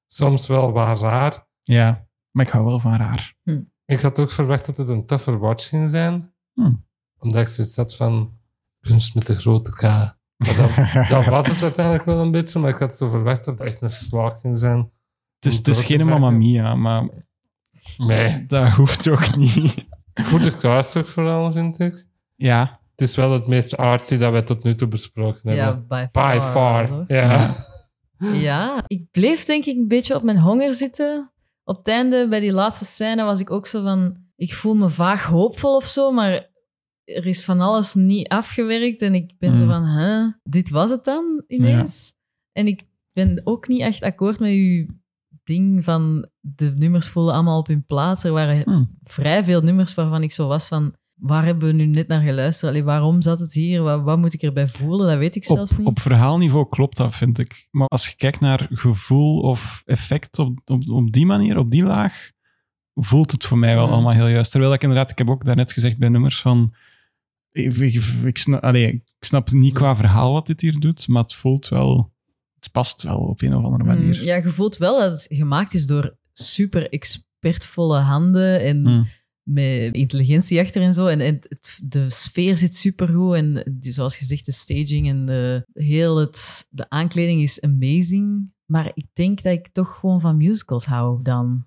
Soms wel wat raar.
Ja, maar ik hou wel van raar.
Ik had ook verwacht dat het een tougher watch ging zijn.
Hmm.
Omdat ik zoiets had van, kunst met de grote K. Maar dat, dat was het uiteindelijk wel een beetje, maar ik had zo verwacht dat het echt een slag ging zijn.
Het is, het is geen Mamma Mia, maar
Nee.
dat hoeft ook niet.
Goede cast ook vooral, vind ik.
Ja,
Het is wel het meest artsy dat wij tot nu toe besproken
Ja,
hebben.
by
By far.
hoor.
Ja.
Ja, ik bleef denk ik een beetje op mijn honger zitten. Op het einde, bij die laatste scène, was ik ook zo van... Ik voel me vaag hoopvol of zo, maar er is van alles niet afgewerkt. En ik ben zo
Mm.
van, huh, dit was het dan ineens? En ik ben ook niet echt akkoord met uw ding van... De nummers voelen allemaal op hun plaats. Er waren
Mm.
vrij veel nummers waarvan ik zo was van... Waar hebben we nu net naar geluisterd? Allee, waarom zat het hier? Wat, wat moet ik erbij voelen? Dat weet ik zelfs
op,
niet.
op verhaalniveau klopt dat, vind ik. Maar als je kijkt naar gevoel of effect op, op, op die manier, op die laag, voelt het voor mij wel
Ja.
allemaal heel juist. Terwijl ik inderdaad, ik heb ook daarnet gezegd bij nummers van... Ik, ik, ik snap, allee, ik snap niet qua verhaal wat dit hier doet, maar het voelt wel... Het past wel op een of andere manier.
Mm, ja, je voelt wel dat het gemaakt is door super expertvolle handen en
Mm.
met intelligentie achter en zo. En, en het- de sfeer zit supergoed en die- zoals gezegd, de staging en de, heel het, de aankleding is amazing. Maar ik denk dat ik toch gewoon van musicals hou dan.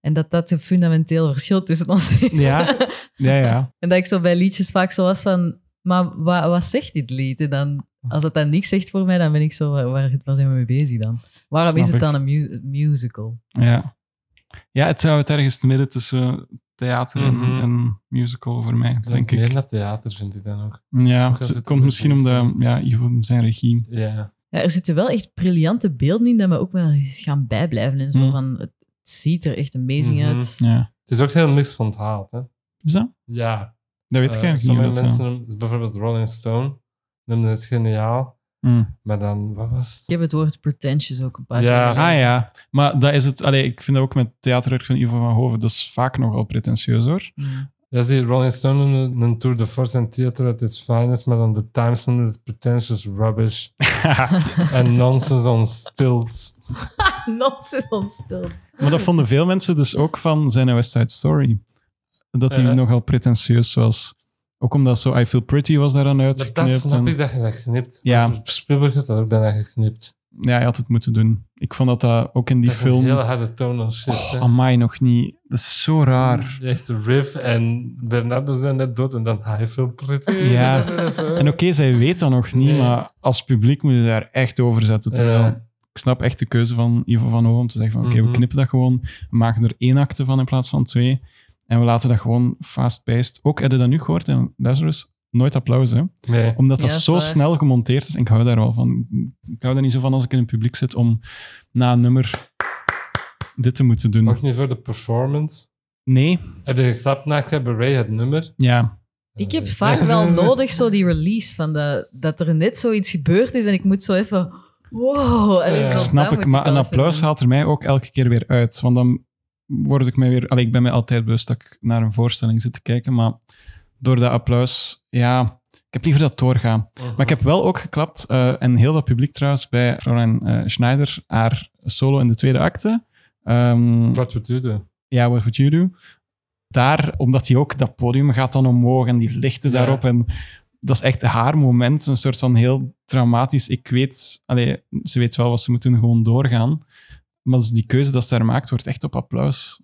En dat dat een fundamenteel verschil tussen ons is.
Ja. Ja, ja.
en dat ik zo bij liedjes vaak zo was van... Maar wa- wat zegt dit lied? En dan, als het dan niks zegt voor mij, dan ben ik zo... Waar, waar, waar zijn we mee bezig dan? Waarom
Snap
is het
ik.
dan een mu- musical?
ja. Ja, het zou het ergens te midden tussen theater en-
Mhm.
en musical voor mij, denk
Meer
ik.
naar theater vind ik dan ook.
Ja,
dat
het,
het
het komt misschien omdat ja, Ivo zijn regie.
Ja.
Ja, er zitten wel echt briljante beelden in dat me ook wel gaan bijblijven en zo.
Mm.
Van, het ziet er echt amazing
Mhm.
uit.
Ja.
Het is ook heel niks onthaald, hè?
Is dat?
Ja.
Dat weet ik
Eh,
eigenlijk niet.
sommige
hoe Dat,
mensen, noemen- bijvoorbeeld Rolling Stone, noemden het geniaal.
Mm.
Maar dan, wat was het?
Ik heb het woord pretentious ook een paar
Ja.
keer.
Ah ja, maar dat is het. Allee, ik vind dat ook met theaterwerk van Ivo van Hoven, dat is vaak nogal pretentieus hoor.
Mm.
Ja, zie, Rolling Stone noemde een Tour de Force en Theater at its finest, maar dan de Times noemde het pretentious rubbish en nonsense on stilts.
Nonsense ontsteld.
maar dat vonden veel mensen dus ook van zijn West Side Story. Dat die
Ja.
nogal pretentieus was. Ook omdat zo I Feel Pretty was daaraan
Dat, dat
uitgeknipt.
snap
en-
ik dat je dat knipt.
Ja.
Want Spielberg had dat ook bijna geknipt.
Ja, hij had het moeten doen. Ik vond dat dat ook in die
dat is
film...
Een hele harde tonal shit.
Oh,
hè. Eh.
amai, nog niet. Dat is zo raar.
Echt Riff en Bernardo zijn net dood en dan hij veel pretty.
Ja. En oké, zij weet dat nog niet,
Nee.
maar als publiek moet je daar echt over zetten. Terwijl
Ja.
ik snap echt de keuze van Ivo van Hoven om te zeggen van oké,
Mhm.
we knippen dat gewoon, we maken er één acte van in plaats van twee en we laten dat gewoon fast-paced. Ook, heb je dat nu gehoord in Lazarus? Nooit applaus, hè?
Nee.
Omdat dat
Ja, dat is
zo
waar.
snel gemonteerd is. En ik hou daar wel van. Ik hou er niet zo van als ik in het publiek zit om na een nummer dit te moeten doen.
Ook niet voor de performance.
Nee,
Heb je geklapt na Cabaret het nummer?
ja.
Ik heb vaak wel nodig zo die release van de, dat er net zoiets gebeurd is en ik moet zo even... Wow. en
Ja.
zo, dat
Snap
moet
ik, maar
wel
een
even
applaus
doen.
haalt er mij ook elke keer weer uit. Want dan word ik mij weer... Allee, ik ben mij altijd bewust dat ik naar een voorstelling zit te kijken, maar door dat applaus, ja... Ik heb liever dat het doorgaat. Maar ik heb wel ook geklapt, eh, en heel dat publiek trouwens, bij Fräulein eh, Schneider, haar solo in de tweede acte. Ehm,
Wat we u doen.
ja, What Would You Do? Daar, omdat hij ook dat podium gaat dan omhoog en die lichten
Ja.
daarop. En dat is echt haar moment. Een soort van heel dramatisch. Ik weet, allee, ze weet wel wat ze moet doen, gewoon doorgaan. Maar dus die keuze dat ze daar maakt, wordt echt op applaus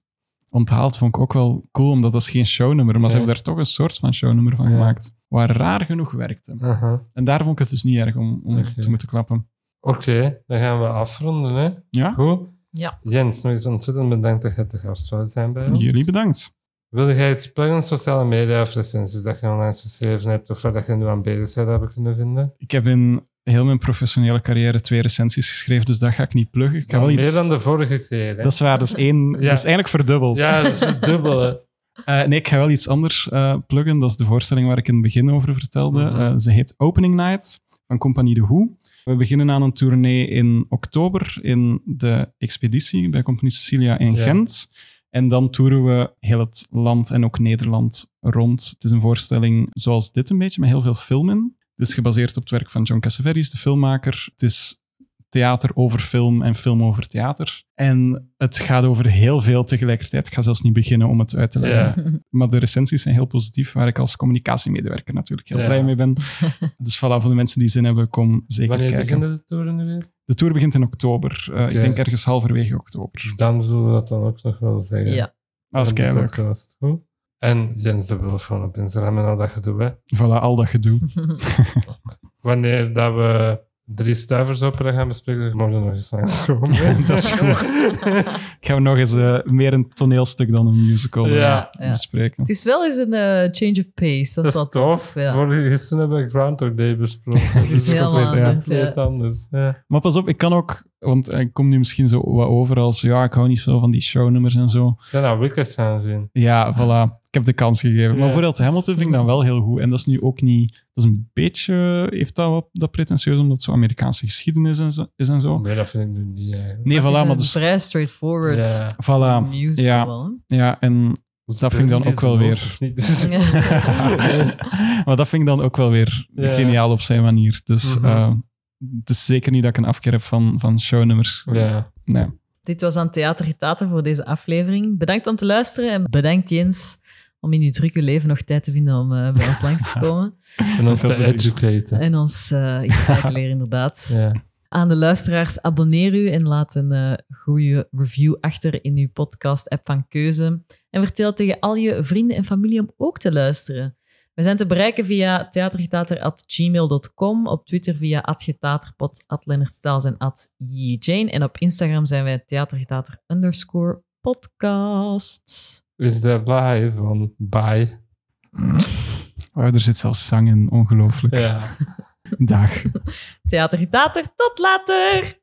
onthaald. Vond ik ook wel cool, omdat dat is geen shownummer. Maar ze
Ja.
hebben daar toch een soort van shownummer van
Ja.
gemaakt. Waar raar genoeg werkte.
Aha.
En daar vond ik het dus niet erg om, om
Oké.
te moeten klappen.
Oké, dan gaan we afronden. Hè.
Ja,
Goed?
Ja.
Jens, nog eens ontzettend bedankt dat je te gast zou zijn bij ons.
jullie bedankt.
Wil jij iets pluggen, sociale media of recensies dat je online geschreven hebt of waar dat je nu aan bezig bent hebben kunnen vinden?
Ik heb in heel mijn professionele carrière twee recensies geschreven, dus dat ga ik niet pluggen. Ik ga wel
Meer
iets...
dan de vorige keer. hè?
Dat is waar, dat is één. Dat is eigenlijk verdubbeld.
Ja, dat is het dubbele.
Eh, nee, ik ga wel iets anders eh, pluggen. Dat is de voorstelling waar ik in het begin over vertelde.
Mhm.
Eh, ze heet Opening Night van Compagnie De Hoe. We beginnen aan een tournee in oktober in de expeditie bij Compagnie Cecilia in
Ja.
Gent. En dan toeren we heel het land en ook Nederland rond. Het is een voorstelling zoals dit een beetje, met heel veel film in. Het is gebaseerd op het werk van John Cassavetes, de filmmaker. Het is theater over film en film over theater. En het gaat over heel veel tegelijkertijd. Ik ga zelfs niet beginnen om het uit te leggen.
Ja.
Maar de recensies zijn heel positief, waar ik als communicatiemedewerker natuurlijk heel
Ja.
blij mee ben. Dus voilà, voor de mensen die zin hebben, kom zeker
Wanneer
kijken.
beginnen de toeren nu weer?
De tour begint in oktober. Eh,
Oké.
Ik denk ergens halverwege oktober.
Dan zullen we dat dan ook nog wel zeggen.
Ja.
Maar Dat is
In de
keileuk.
podcast. Goed. En Jens de Wolf gewoon op Instagram en al dat gedoe. Hè.
Voilà, al dat gedoe.
Wanneer dat we drie stuivers opera gaan bespreken, mogen we nog eens langskomen.
Dat is goed. Ik ga nog eens eh, meer een toneelstuk dan een musical eh,
Ja.
Ja.
bespreken.
Het is wel eens een eh, change of pace. Dat,
Dat
is
is
wel
tof.
tof.
Vorige
ja.
Gisteren hebben we Groundhog Day besproken. Dus Dat
is
ook
heel
weer
anders,
compleet anders. Ja.
Maar pas op, ik kan ook, want eh, ik kom nu misschien zo wat over als ja, ik hou niet zo van die shownummers en zo.
Ik ga naar Wicked gaan zien.
Ja, voilà. Ik heb de kans gegeven.
Ja.
Maar bijvoorbeeld Hamilton vind ik dan wel heel goed. En dat is nu ook niet... Dat is een beetje... Heeft dat wat dat pretentieus, omdat het zo Amerikaanse geschiedenis en zo, is en zo.
Nee, dat vind ik nu niet eigenlijk.
Nee,
Het is
voilà, maar
een
dus...
vrij straightforward
Ja.
Voilà.
musical.
Ja,
wel, hè?
ja, en... Dat vind ik dan ook wel weer.
Of niet?
maar dat vind ik dan ook wel weer
Ja.
geniaal op zijn manier. Dus
Mhm.
eh, het is zeker niet dat ik een afkeer heb van, van shownummers.
ja.
Nee.
Dit was aan Theater Getater voor deze aflevering. Bedankt om te luisteren en bedankt Jens om in uw drukke leven nog tijd te vinden om eh, bij ons langs te komen.
En ons
Veel
te
plezier.
educaten.
En ons eh iets bij te leren, inderdaad.
Ja.
Aan de luisteraars, abonneer u en laat een eh, goede review achter in uw podcast-app van keuze. En vertel tegen al je vrienden en familie om ook te luisteren. We zijn te bereiken via theatergetater.gmail.com, op Twitter via atgetaterpot, atlennertstaals en atjjane. En op Instagram zijn wij theatergetater underscore podcasts.
Is de blaai van bye.
Oh, er zit zelfs zang in, ongelooflijk.
Ja.
Dag.
Theatergetater, tot later!